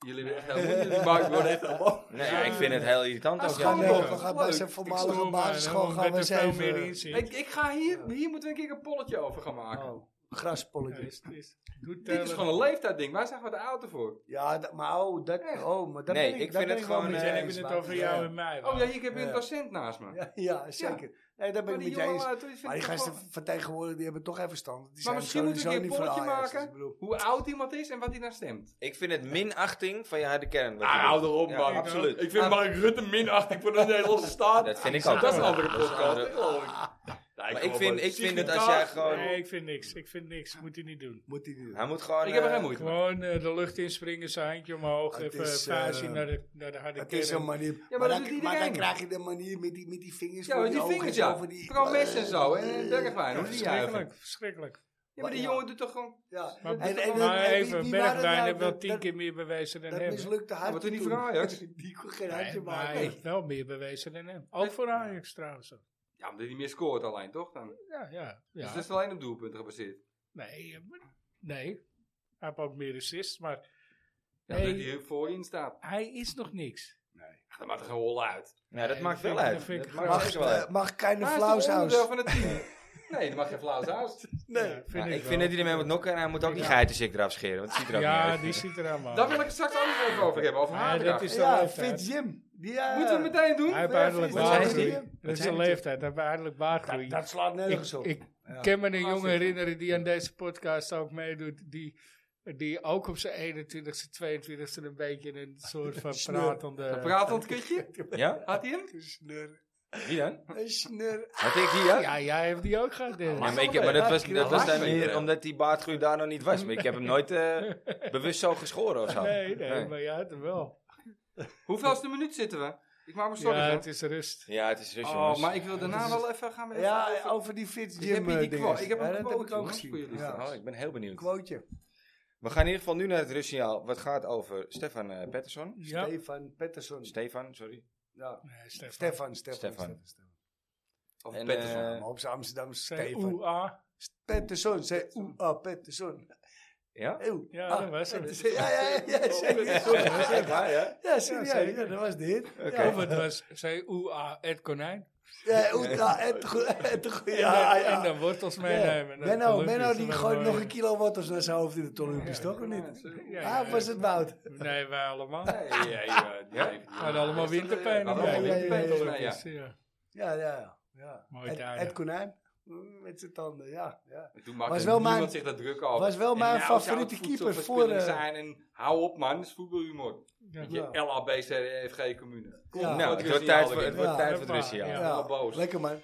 [SPEAKER 6] Jullie hebben echt helemaal niet. Die Mark wordt echt allemaal.
[SPEAKER 3] Nee, ik vind het heel irritant
[SPEAKER 4] Nou,
[SPEAKER 6] Hij
[SPEAKER 3] ook. ja.
[SPEAKER 6] is
[SPEAKER 5] Ja,
[SPEAKER 6] gewoon
[SPEAKER 5] nee,
[SPEAKER 6] leuk.
[SPEAKER 5] we gaan
[SPEAKER 6] Leuk.
[SPEAKER 5] bij zijn
[SPEAKER 4] Ik stoor
[SPEAKER 5] voormalige
[SPEAKER 4] me
[SPEAKER 5] basisschool
[SPEAKER 4] aan,
[SPEAKER 5] gaan we
[SPEAKER 4] omdat
[SPEAKER 5] eens
[SPEAKER 4] er veel meer
[SPEAKER 5] even...
[SPEAKER 4] in zit.
[SPEAKER 6] Ik, ik ga hier, hier moeten we een keer een polletje over gaan maken.
[SPEAKER 5] Oh, graspolletjes.
[SPEAKER 4] Is- is- doet
[SPEAKER 6] Dit is
[SPEAKER 4] Taylor-
[SPEAKER 6] gewoon een leeftijdding. Wij zijn gewoon de auto voor.
[SPEAKER 5] Ja, dat- maar oh, dat, oh, maar dat
[SPEAKER 3] Nee,
[SPEAKER 5] ben
[SPEAKER 3] ik
[SPEAKER 5] ik, dat
[SPEAKER 3] vind
[SPEAKER 5] ben
[SPEAKER 3] het
[SPEAKER 5] wel
[SPEAKER 3] gewoon,
[SPEAKER 5] met je
[SPEAKER 4] Zij
[SPEAKER 3] eh,
[SPEAKER 5] eens,
[SPEAKER 4] hebben het
[SPEAKER 5] maar-
[SPEAKER 4] over jou
[SPEAKER 5] Ja.
[SPEAKER 4] en mij.
[SPEAKER 6] Oh
[SPEAKER 4] wel.
[SPEAKER 6] ja, hier heb je een docent naast me.
[SPEAKER 5] Ja, ja, zeker. Nee, daar ben
[SPEAKER 6] Maar
[SPEAKER 5] ik
[SPEAKER 6] die
[SPEAKER 5] met je eens.
[SPEAKER 6] jongen eh, uit, die vindt
[SPEAKER 5] Maar die
[SPEAKER 6] het
[SPEAKER 5] gasten
[SPEAKER 6] gewoon-
[SPEAKER 5] vertegenwoordigen, die hebben toch even stand. Die
[SPEAKER 6] Maar
[SPEAKER 5] zijn
[SPEAKER 6] misschien moeten we een keer
[SPEAKER 5] sowieso
[SPEAKER 6] een
[SPEAKER 5] niet
[SPEAKER 6] polletje
[SPEAKER 5] voor Ajax, dus ik
[SPEAKER 6] maken.
[SPEAKER 5] bedoel-
[SPEAKER 6] Hoe oud iemand is en wat hij naar stemt.
[SPEAKER 3] Ik vind het minachting van je harde kern. wat je
[SPEAKER 6] Ah,
[SPEAKER 3] doet.
[SPEAKER 6] hou erop,
[SPEAKER 3] Ja,
[SPEAKER 6] man.
[SPEAKER 3] absoluut.
[SPEAKER 6] Ik
[SPEAKER 5] Ah.
[SPEAKER 6] vind Mark Rutte minachting voor de Nederlandse staat.
[SPEAKER 3] Dat vind ik ook.
[SPEAKER 6] Dat is een
[SPEAKER 3] wel.
[SPEAKER 6] andere
[SPEAKER 3] Dat is een
[SPEAKER 6] podcast.
[SPEAKER 3] andere-
[SPEAKER 6] geloof ik.
[SPEAKER 5] Ah.
[SPEAKER 6] Ja,
[SPEAKER 3] Maar
[SPEAKER 6] kom
[SPEAKER 3] ik
[SPEAKER 6] op,
[SPEAKER 3] vind,
[SPEAKER 6] man.
[SPEAKER 3] ik vind dat
[SPEAKER 6] Sigrid
[SPEAKER 3] als jij
[SPEAKER 6] Kaag.
[SPEAKER 3] gewoon...
[SPEAKER 4] Nee, ik vind niks. Ik vind niks. Moet hij niet doen.
[SPEAKER 5] Moet hij niet doen.
[SPEAKER 3] Hij moet gewoon...
[SPEAKER 6] Ik heb er geen
[SPEAKER 3] eh,
[SPEAKER 6] moeite mee.
[SPEAKER 4] Gewoon eh, de lucht inspringen, zijn handje omhoog,
[SPEAKER 5] Het
[SPEAKER 4] even
[SPEAKER 5] is,
[SPEAKER 4] vuistje
[SPEAKER 5] eh,
[SPEAKER 4] naar, de, naar de harde
[SPEAKER 5] Het is
[SPEAKER 4] kern.
[SPEAKER 5] een manier.
[SPEAKER 6] maar
[SPEAKER 5] maar
[SPEAKER 6] dat
[SPEAKER 5] dan, maar
[SPEAKER 6] doet
[SPEAKER 5] dan
[SPEAKER 6] iedereen.
[SPEAKER 5] krijg je de manier met die, met die vingers
[SPEAKER 6] Ja,
[SPEAKER 5] voor
[SPEAKER 6] want die
[SPEAKER 5] ogen
[SPEAKER 6] vingers,
[SPEAKER 5] en zo,
[SPEAKER 6] ja.
[SPEAKER 5] voor die-
[SPEAKER 6] Vooral messen en zo. En Bergwijn, hoe die juichen.
[SPEAKER 4] Verschrikkelijk, verschrikkelijk.
[SPEAKER 6] Ja, maar die
[SPEAKER 5] Ja.
[SPEAKER 6] jongen doet toch gewoon...
[SPEAKER 5] Ja.
[SPEAKER 4] Maar,
[SPEAKER 5] En- en-
[SPEAKER 4] maar
[SPEAKER 5] en wie-
[SPEAKER 4] even,
[SPEAKER 5] wie waren
[SPEAKER 4] Bergwijn
[SPEAKER 5] nou
[SPEAKER 4] heeft wel
[SPEAKER 5] dat-
[SPEAKER 4] tien
[SPEAKER 5] dat-
[SPEAKER 4] keer meer bewezen dan
[SPEAKER 5] Dat
[SPEAKER 4] hem.
[SPEAKER 5] mislukte
[SPEAKER 6] Ja,
[SPEAKER 5] hard.
[SPEAKER 6] maar toen niet
[SPEAKER 5] toen.
[SPEAKER 6] voor Ajax.
[SPEAKER 5] Die kon geen handje
[SPEAKER 4] Nee, maar
[SPEAKER 5] maken.
[SPEAKER 4] hij heeft wel meer bewezen dan hem. Ook voor Ajax trouwens. ook.
[SPEAKER 6] Ja, omdat hij meer scoort alleen, toch? Dan.
[SPEAKER 4] Ja, ja.
[SPEAKER 6] Dus
[SPEAKER 4] ja.
[SPEAKER 6] dat is alleen op doelpunten gebaseerd.
[SPEAKER 4] Nee, eh, maar- nee. Hij heeft ook meer assists, maar
[SPEAKER 6] Ja,
[SPEAKER 4] Nee.
[SPEAKER 6] Dat hij voorin staat.
[SPEAKER 4] hij is nog niks.
[SPEAKER 6] Ja, Dat maakt er geen hol uit.
[SPEAKER 3] Ja, dat
[SPEAKER 4] Nee,
[SPEAKER 3] maakt
[SPEAKER 4] dat
[SPEAKER 3] wel
[SPEAKER 4] vind ik-
[SPEAKER 3] uit.
[SPEAKER 4] dat vind
[SPEAKER 3] Dat
[SPEAKER 4] ik
[SPEAKER 3] maakt
[SPEAKER 4] grappig.
[SPEAKER 5] Mag,
[SPEAKER 3] zeker wel uit.
[SPEAKER 5] eh, mag keine
[SPEAKER 6] Maar hij is toch
[SPEAKER 5] flauwshuis.
[SPEAKER 6] onderdeel van het team? Nee, dat mag geen flauwshuis.
[SPEAKER 4] Nee,
[SPEAKER 3] Ja, ik
[SPEAKER 4] wel.
[SPEAKER 3] vind dat hij ermee moet nokken en hij moet ook die
[SPEAKER 4] Ja.
[SPEAKER 3] geitenzik eraf scheren, want het ziet er ook niet
[SPEAKER 4] Ja,
[SPEAKER 3] uit.
[SPEAKER 4] die zit er allemaal.
[SPEAKER 6] Daar wil ik het straks anders even over hebben, over
[SPEAKER 4] Ja,
[SPEAKER 6] haar.
[SPEAKER 4] dat is de
[SPEAKER 5] Ja,
[SPEAKER 4] leeftijd.
[SPEAKER 5] Fit Jim. Die, eh,
[SPEAKER 6] Moeten we het meteen doen?
[SPEAKER 4] Hij heeft
[SPEAKER 5] Ja,
[SPEAKER 4] eigenlijk
[SPEAKER 5] Frits,
[SPEAKER 3] wat
[SPEAKER 4] baargroei.
[SPEAKER 5] zei die?
[SPEAKER 4] Dat is zijn leeftijd, hij heeft eigenlijk baargroei.
[SPEAKER 5] Dat slaat nergens op.
[SPEAKER 4] Ik, ik kan me een jongen herinneren die aan deze podcast ook meedoet, die, die ook op zijn 21ste, 22ste een beetje een soort van
[SPEAKER 5] Sneu.
[SPEAKER 4] pratende...
[SPEAKER 6] Pratend kutje?
[SPEAKER 3] Ja?
[SPEAKER 6] Had hij hem?
[SPEAKER 5] Snur.
[SPEAKER 3] Wie dan?
[SPEAKER 5] Een snur.
[SPEAKER 3] Had ik die ook?
[SPEAKER 4] Ja, jij hebt die ook gehad, Dennis.
[SPEAKER 3] Ja, maar, ik heb- maar dat was, dat was dan
[SPEAKER 6] Ja,
[SPEAKER 3] meer
[SPEAKER 6] ja.
[SPEAKER 3] omdat die baardgroei daar nog niet was. Maar ik heb hem nooit eh, bewust zo geschoren of zo.
[SPEAKER 4] Nee, nee,
[SPEAKER 3] Nee.
[SPEAKER 4] maar jij had hem wel.
[SPEAKER 6] Hoeveelste minuut zitten we? Ik maak me
[SPEAKER 4] ja,
[SPEAKER 6] zorgen.
[SPEAKER 4] het is rust.
[SPEAKER 3] Ja, het is rust,
[SPEAKER 6] oh,
[SPEAKER 3] jongens.
[SPEAKER 6] maar ik wil daarna wel even gaan met
[SPEAKER 5] Ja, over die Fit
[SPEAKER 6] Ik heb
[SPEAKER 5] Jim.
[SPEAKER 6] hier die
[SPEAKER 5] eh, dinges.
[SPEAKER 6] quote. Ik heb
[SPEAKER 5] Ja,
[SPEAKER 6] een
[SPEAKER 5] dat
[SPEAKER 6] quote,
[SPEAKER 5] heb ik ook
[SPEAKER 6] hoor, voor
[SPEAKER 5] gezien.
[SPEAKER 6] jullie.
[SPEAKER 5] Ja.
[SPEAKER 3] Oh, ik ben heel benieuwd.
[SPEAKER 5] Quoteje.
[SPEAKER 3] We gaan in ieder geval nu naar het rustsignaal. Wat gaat over Stefan eh Pettersson?
[SPEAKER 4] Ja.
[SPEAKER 5] Stefan Pettersson.
[SPEAKER 3] Stefan, sorry.
[SPEAKER 5] Ja.
[SPEAKER 4] Nee, Stefan.
[SPEAKER 5] Stefan, Stefan.
[SPEAKER 3] Stefan.
[SPEAKER 5] Stefan, Stefan.
[SPEAKER 6] Of
[SPEAKER 3] En,
[SPEAKER 6] Pettersson.
[SPEAKER 3] eh,
[SPEAKER 5] Maar op zijn Amsterdamse
[SPEAKER 4] Zijn
[SPEAKER 5] Stefan.
[SPEAKER 4] OEA.
[SPEAKER 5] Pettersson, zei oeh,
[SPEAKER 9] oh,
[SPEAKER 5] ah, Pettersson.
[SPEAKER 3] ja?
[SPEAKER 5] Eeuw.
[SPEAKER 4] Ja,
[SPEAKER 5] Ah,
[SPEAKER 4] dat was Oh, hem.
[SPEAKER 5] Pettersson. Ja, ja, ja, ja, serieus.
[SPEAKER 3] Ja, ja.
[SPEAKER 5] Ja, serieus.
[SPEAKER 4] zeker.
[SPEAKER 5] Ja, dat was dit.
[SPEAKER 4] Of ah, het was zijn OEA, het konijn.
[SPEAKER 9] Ja, Oeta, en te goe- en te goe-
[SPEAKER 4] Ja,
[SPEAKER 9] ja, ja.
[SPEAKER 4] En dan wortels
[SPEAKER 9] Ja.
[SPEAKER 4] meenemen. Dat
[SPEAKER 9] Menno,
[SPEAKER 4] gelukt
[SPEAKER 9] Menno
[SPEAKER 4] is
[SPEAKER 9] die
[SPEAKER 4] dan
[SPEAKER 9] gooit
[SPEAKER 4] wel
[SPEAKER 9] nog
[SPEAKER 4] weer.
[SPEAKER 9] een kilo wortels naar zijn hoofd in de Olympisch, toch? Of niet?
[SPEAKER 4] Ja, ja,
[SPEAKER 9] Ah, of was het Wout?
[SPEAKER 4] Nee, wij allemaal.
[SPEAKER 6] Ja, ja, ja.
[SPEAKER 3] Ja?
[SPEAKER 4] We hadden allemaal winterpijn.
[SPEAKER 6] Ja,
[SPEAKER 9] ja,
[SPEAKER 4] erbij.
[SPEAKER 9] ja, ja, ja, ja.
[SPEAKER 4] Gelukkig, ja.
[SPEAKER 9] Ja, ja, ja.
[SPEAKER 4] Mooi
[SPEAKER 9] het,
[SPEAKER 4] tuinen.
[SPEAKER 9] het konijn mm, met zijn tanden, ja. ja.
[SPEAKER 6] Toen maakte
[SPEAKER 9] oh, Was wel
[SPEAKER 6] niemand
[SPEAKER 9] mijn-
[SPEAKER 6] zich daar druk over.
[SPEAKER 9] was wel
[SPEAKER 6] En
[SPEAKER 9] mijn
[SPEAKER 6] nou zou het
[SPEAKER 9] favoriete keeper voor,
[SPEAKER 6] voedselverspilling
[SPEAKER 9] eh,
[SPEAKER 6] zijn en hou op man, dat is voetbalhumor. Weet je,
[SPEAKER 9] Ja.
[SPEAKER 6] LABCDFG commune. Kom,
[SPEAKER 9] Ja.
[SPEAKER 3] Nou,
[SPEAKER 6] wat
[SPEAKER 3] het
[SPEAKER 6] wil
[SPEAKER 3] wordt
[SPEAKER 6] je
[SPEAKER 3] tijd
[SPEAKER 6] nou
[SPEAKER 3] voor het
[SPEAKER 6] erin?
[SPEAKER 3] wordt
[SPEAKER 9] Ja,
[SPEAKER 3] tijd
[SPEAKER 4] dat
[SPEAKER 3] voor het
[SPEAKER 4] waar,
[SPEAKER 3] rustsignaal.
[SPEAKER 6] Ja.
[SPEAKER 3] Ja.
[SPEAKER 6] wel boos.
[SPEAKER 9] Lekker man.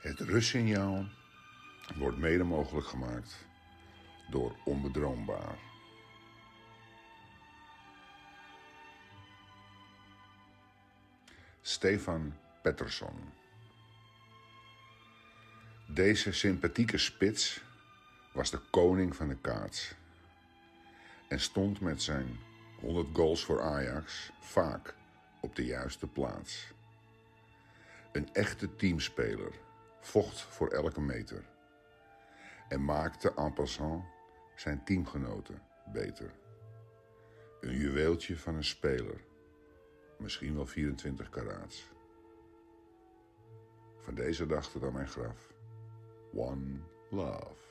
[SPEAKER 1] Het rustsignaal wordt mede mogelijk gemaakt door onbedroombaar. Stefan Pettersson. Deze sympathieke spits was de koning van de kaats en stond met zijn 100 goals voor Ajax vaak op de juiste plaats. Een echte teamspeler, vocht voor elke meter. En maakte en passant zijn teamgenoten beter. Een juweeltje van een speler, misschien wel 24 karaats. Van deze dag tot aan mijn graf. One love.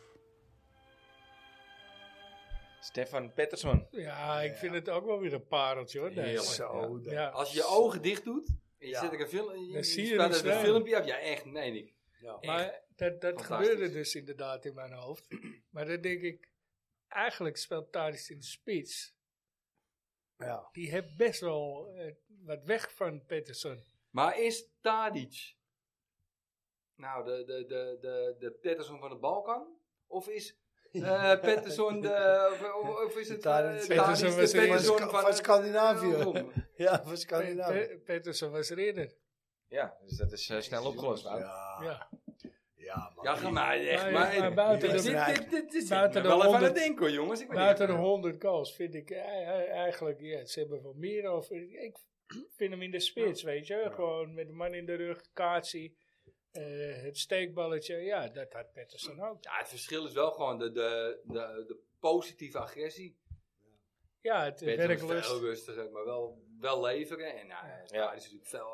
[SPEAKER 3] Stefan Pettersson.
[SPEAKER 4] Ja, ik vind het ook wel weer een pareltje hoor.
[SPEAKER 6] Heerlijk.
[SPEAKER 4] deze.
[SPEAKER 9] Zo, dat-
[SPEAKER 4] Ja.
[SPEAKER 6] Als je je ogen dicht doet, en je
[SPEAKER 9] Ja.
[SPEAKER 6] zet ik een, film, je,
[SPEAKER 4] Dan
[SPEAKER 6] je
[SPEAKER 4] zie je
[SPEAKER 6] staat
[SPEAKER 4] hem
[SPEAKER 6] er een
[SPEAKER 4] staan.
[SPEAKER 6] filmpje op. Ja, echt, nee, Nick.
[SPEAKER 4] Maar dat, dat
[SPEAKER 6] Fantastisch.
[SPEAKER 4] gebeurde dus inderdaad in mijn hoofd. Maar dan denk ik, eigenlijk speelt Thadis in de spits.
[SPEAKER 9] Ja.
[SPEAKER 4] Die heeft best wel eh, wat weg van Peterson.
[SPEAKER 6] Maar is Tadic nou de, de, de, de, de Pettersson van de Balkan? Of is eh Pettersson de... Of, of- of is het eh,
[SPEAKER 9] Tadic.
[SPEAKER 6] Tadic
[SPEAKER 4] Pettersson
[SPEAKER 6] de
[SPEAKER 4] was oh. er-
[SPEAKER 6] Pettersson
[SPEAKER 9] van
[SPEAKER 6] van,
[SPEAKER 9] Sca- Scandinavië.
[SPEAKER 6] Waarom?
[SPEAKER 9] Ja, nou. van
[SPEAKER 4] Pe-
[SPEAKER 9] Scandinavië.
[SPEAKER 4] Pe- Peterson was er eerder.
[SPEAKER 3] Ja, dus dat is eh, snel opgelost. Wout.
[SPEAKER 9] Ja,
[SPEAKER 4] Ja.
[SPEAKER 9] ja man.
[SPEAKER 6] Ja, ga maar echt.
[SPEAKER 4] Maar-
[SPEAKER 6] Maar,
[SPEAKER 4] maar buiten
[SPEAKER 6] dit,
[SPEAKER 9] de-
[SPEAKER 6] dit, dit, dit is
[SPEAKER 4] buiten de
[SPEAKER 6] wel even aan het
[SPEAKER 4] honderd-
[SPEAKER 6] denken hoor, jongens. Ik ben
[SPEAKER 4] Buiten de
[SPEAKER 6] echt-
[SPEAKER 4] 100 goals vind ik eh, eh, eigenlijk, ja, ze hebben wel meer over. Ik vind hem in de spits, weet je. Gewoon met de man in de rug, kaatsie, eh, het steekballetje. Ja, dat had Peterson ook.
[SPEAKER 6] Ja, het verschil is wel gewoon de, de, de, de positieve agressie.
[SPEAKER 4] Ja, het
[SPEAKER 6] Peterson is
[SPEAKER 4] werklust.
[SPEAKER 6] Veel rustiger, maar wel, wel leveren. En nou, ja.
[SPEAKER 3] Ja.
[SPEAKER 6] is natuurlijk veel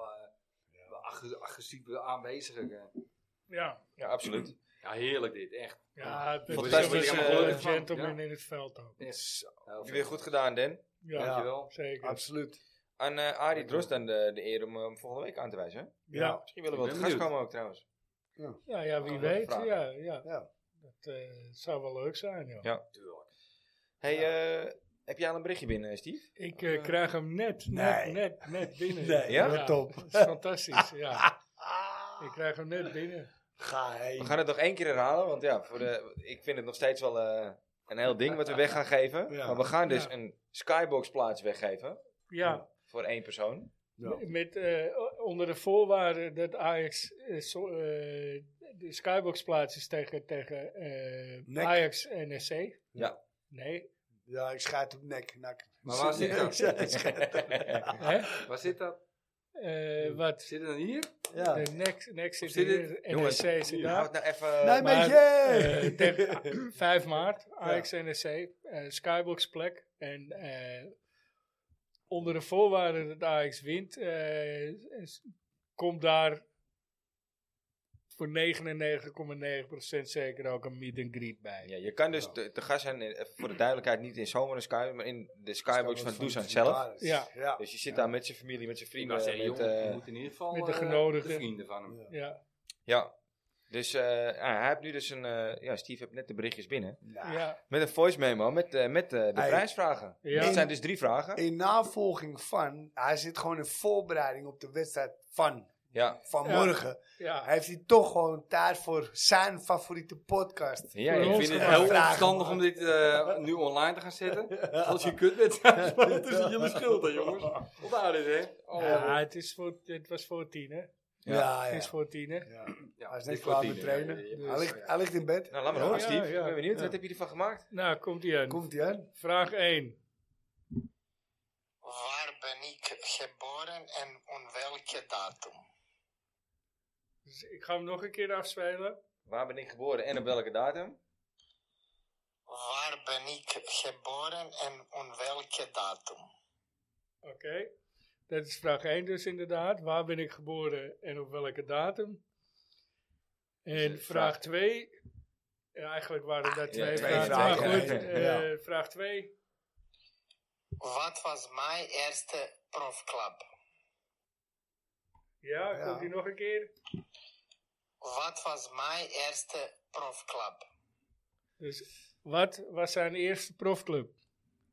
[SPEAKER 6] eh, wel ag- agressief aanweziger. eh.
[SPEAKER 4] Ja,
[SPEAKER 3] Ja, absoluut.
[SPEAKER 6] Ja, heerlijk dit, echt.
[SPEAKER 4] ja
[SPEAKER 3] Fantastisch,
[SPEAKER 4] Peterson was
[SPEAKER 3] ik heb er
[SPEAKER 4] eh, een
[SPEAKER 6] gehoord van.
[SPEAKER 4] gentleman
[SPEAKER 6] Ja.
[SPEAKER 4] in het veld ook.
[SPEAKER 6] Yes.
[SPEAKER 3] Heb je weer goed gedaan, Dan.
[SPEAKER 4] Ja,
[SPEAKER 6] Dankjewel.
[SPEAKER 4] zeker.
[SPEAKER 9] Absoluut.
[SPEAKER 3] Aan eh Arie Drost dan de, de eer om hem volgende week aan te wijzen. hè?
[SPEAKER 4] Ja.
[SPEAKER 3] Misschien willen we
[SPEAKER 6] Ik
[SPEAKER 3] wel te gast
[SPEAKER 6] ben benieuwd.
[SPEAKER 3] komen ook trouwens.
[SPEAKER 4] Ja, ja, wie
[SPEAKER 3] Oh,
[SPEAKER 4] weet.
[SPEAKER 3] vragen.
[SPEAKER 4] Ja, ja.
[SPEAKER 9] Ja.
[SPEAKER 4] Dat eh, zou wel leuk zijn, joh.
[SPEAKER 3] Ja. Hey, eh, heb jij al een berichtje binnen, Steve?
[SPEAKER 4] Ik eh, krijg hem net, net,
[SPEAKER 9] Nee.
[SPEAKER 4] net, net binnen.
[SPEAKER 9] Nee,
[SPEAKER 3] Ja?
[SPEAKER 9] wat top.
[SPEAKER 4] Dat is fantastisch, ja. Ik krijg hem net binnen.
[SPEAKER 9] Ga heen.
[SPEAKER 3] We gaan het nog één keer herhalen, want ja, voor de, ik vind het nog steeds wel eh, een heel ding wat we weg gaan geven.
[SPEAKER 9] Ja.
[SPEAKER 3] Maar we gaan dus
[SPEAKER 4] Ja.
[SPEAKER 3] een skybox plaats weggeven
[SPEAKER 4] Ja,
[SPEAKER 3] voor één persoon.
[SPEAKER 9] Ja.
[SPEAKER 4] met, eh, onder de voorwaarde dat Ajax eh, zo- eh, de skybox plaats is tegen, tegen eh,
[SPEAKER 9] Nek.
[SPEAKER 4] Ajax NSC.
[SPEAKER 3] Ja.
[SPEAKER 4] Nee.
[SPEAKER 9] Ja, ik schaat op nek. nak.
[SPEAKER 6] Maar waar zit dat?
[SPEAKER 9] Ik schaat op nek.
[SPEAKER 4] Hè?
[SPEAKER 6] Waar zit dat?
[SPEAKER 4] Eh, wat?
[SPEAKER 6] Zit het dan hier?
[SPEAKER 9] Ja.
[SPEAKER 4] De nek, nek zit
[SPEAKER 6] Zit
[SPEAKER 4] hier,
[SPEAKER 3] Jongens,
[SPEAKER 4] NSC zit daar.
[SPEAKER 3] Houd nou even...
[SPEAKER 9] Nee,
[SPEAKER 4] maar,
[SPEAKER 9] maar
[SPEAKER 4] eh,
[SPEAKER 9] jee!
[SPEAKER 4] tegen- 5 maart, Ajax NSC, eh, Skybox plek. En eh, onder de voorwaarden dat Ajax wint, eh, is- komt daar voor 99,9% zeker ook een meet and greet bij.
[SPEAKER 3] Ja, je kan dus te, te gast zijn, eh, voor de duidelijkheid, niet in zomaar een skybox, maar in de skybox van Dusan zelf.
[SPEAKER 4] Ja.
[SPEAKER 9] Ja.
[SPEAKER 3] Dus je zit daar met zijn familie, met zijn
[SPEAKER 6] Ik
[SPEAKER 3] vrienden.
[SPEAKER 6] wou zeggen,
[SPEAKER 3] met,
[SPEAKER 6] jongen,
[SPEAKER 3] eh,
[SPEAKER 6] je moet in ieder geval
[SPEAKER 4] met de
[SPEAKER 6] eh,
[SPEAKER 4] genodigden.
[SPEAKER 6] vrienden van hem.
[SPEAKER 4] Ja,
[SPEAKER 3] ja. Dus eh, ah, hij heeft nu dus een... eh, ja, Steve heeft net de berichtjes binnen.
[SPEAKER 9] Nou,
[SPEAKER 4] ja,
[SPEAKER 3] Met een voice memo, met, eh, met eh, de
[SPEAKER 9] Hey.
[SPEAKER 3] prijsvragen.
[SPEAKER 4] Ja.
[SPEAKER 3] Dat zijn dus drie vragen.
[SPEAKER 9] In navolging van, hij zit gewoon in voorbereiding op de wedstrijd van
[SPEAKER 3] Ja.
[SPEAKER 9] vanmorgen.
[SPEAKER 4] ja.
[SPEAKER 9] Hij heeft hij toch gewoon tijd voor zijn favoriete podcast.
[SPEAKER 3] Ja,
[SPEAKER 4] Voor
[SPEAKER 3] ik
[SPEAKER 4] ons
[SPEAKER 3] vind het
[SPEAKER 4] gemaakt.
[SPEAKER 6] Heel
[SPEAKER 3] heel...
[SPEAKER 9] Vragen,
[SPEAKER 6] verstandig
[SPEAKER 9] man.
[SPEAKER 6] om dit eh, nu online te gaan zetten. Als je kut bent, het is het jullie schuld,
[SPEAKER 3] Nou,
[SPEAKER 6] hè, jongens. Onthoud dit, hè. Oh.
[SPEAKER 4] Ja, het, is voor, het was voor tien, hè?
[SPEAKER 9] Ja,
[SPEAKER 4] Het
[SPEAKER 9] ja.
[SPEAKER 4] is voor tien, hè?
[SPEAKER 9] ja.
[SPEAKER 6] Ja,
[SPEAKER 9] Hij is
[SPEAKER 6] dit wordt
[SPEAKER 9] net klaar
[SPEAKER 6] tien,
[SPEAKER 9] met
[SPEAKER 6] hè.
[SPEAKER 9] trainen.
[SPEAKER 6] Ja, ja, ja.
[SPEAKER 9] Hij ligt, hij ligt in bed.
[SPEAKER 3] Nou, laat maar horen,
[SPEAKER 4] Ja,
[SPEAKER 3] Steve.
[SPEAKER 4] ja.
[SPEAKER 3] Ik ben benieuwd, wat heb je ervan gemaakt?
[SPEAKER 4] Nou, komt ie aan.
[SPEAKER 9] Komt hij aan?
[SPEAKER 4] Vraag 1.
[SPEAKER 10] Waar ben ik geboren en om welke datum?
[SPEAKER 4] Dus ik ga hem nog een keer afspelen.
[SPEAKER 3] Waar ben ik geboren en op welke datum?
[SPEAKER 10] Waar ben ik geboren en om welke datum?
[SPEAKER 4] Oké. Dat is vraag 1 dus inderdaad. Waar ben ik geboren en op welke datum? En
[SPEAKER 3] Dus,
[SPEAKER 4] vraag
[SPEAKER 3] vraag-
[SPEAKER 4] 2. Eigenlijk waren dat twee
[SPEAKER 3] twee
[SPEAKER 4] vragen. Maar
[SPEAKER 3] vragen,
[SPEAKER 4] goed,
[SPEAKER 3] ja.
[SPEAKER 4] eh, vraag 2.
[SPEAKER 10] Wat was mijn eerste profclub?
[SPEAKER 4] Ja,
[SPEAKER 5] Ja.
[SPEAKER 4] komt die nog een keer?
[SPEAKER 10] Wat was mijn eerste profclub?
[SPEAKER 4] Dus wat was zijn eerste profclub?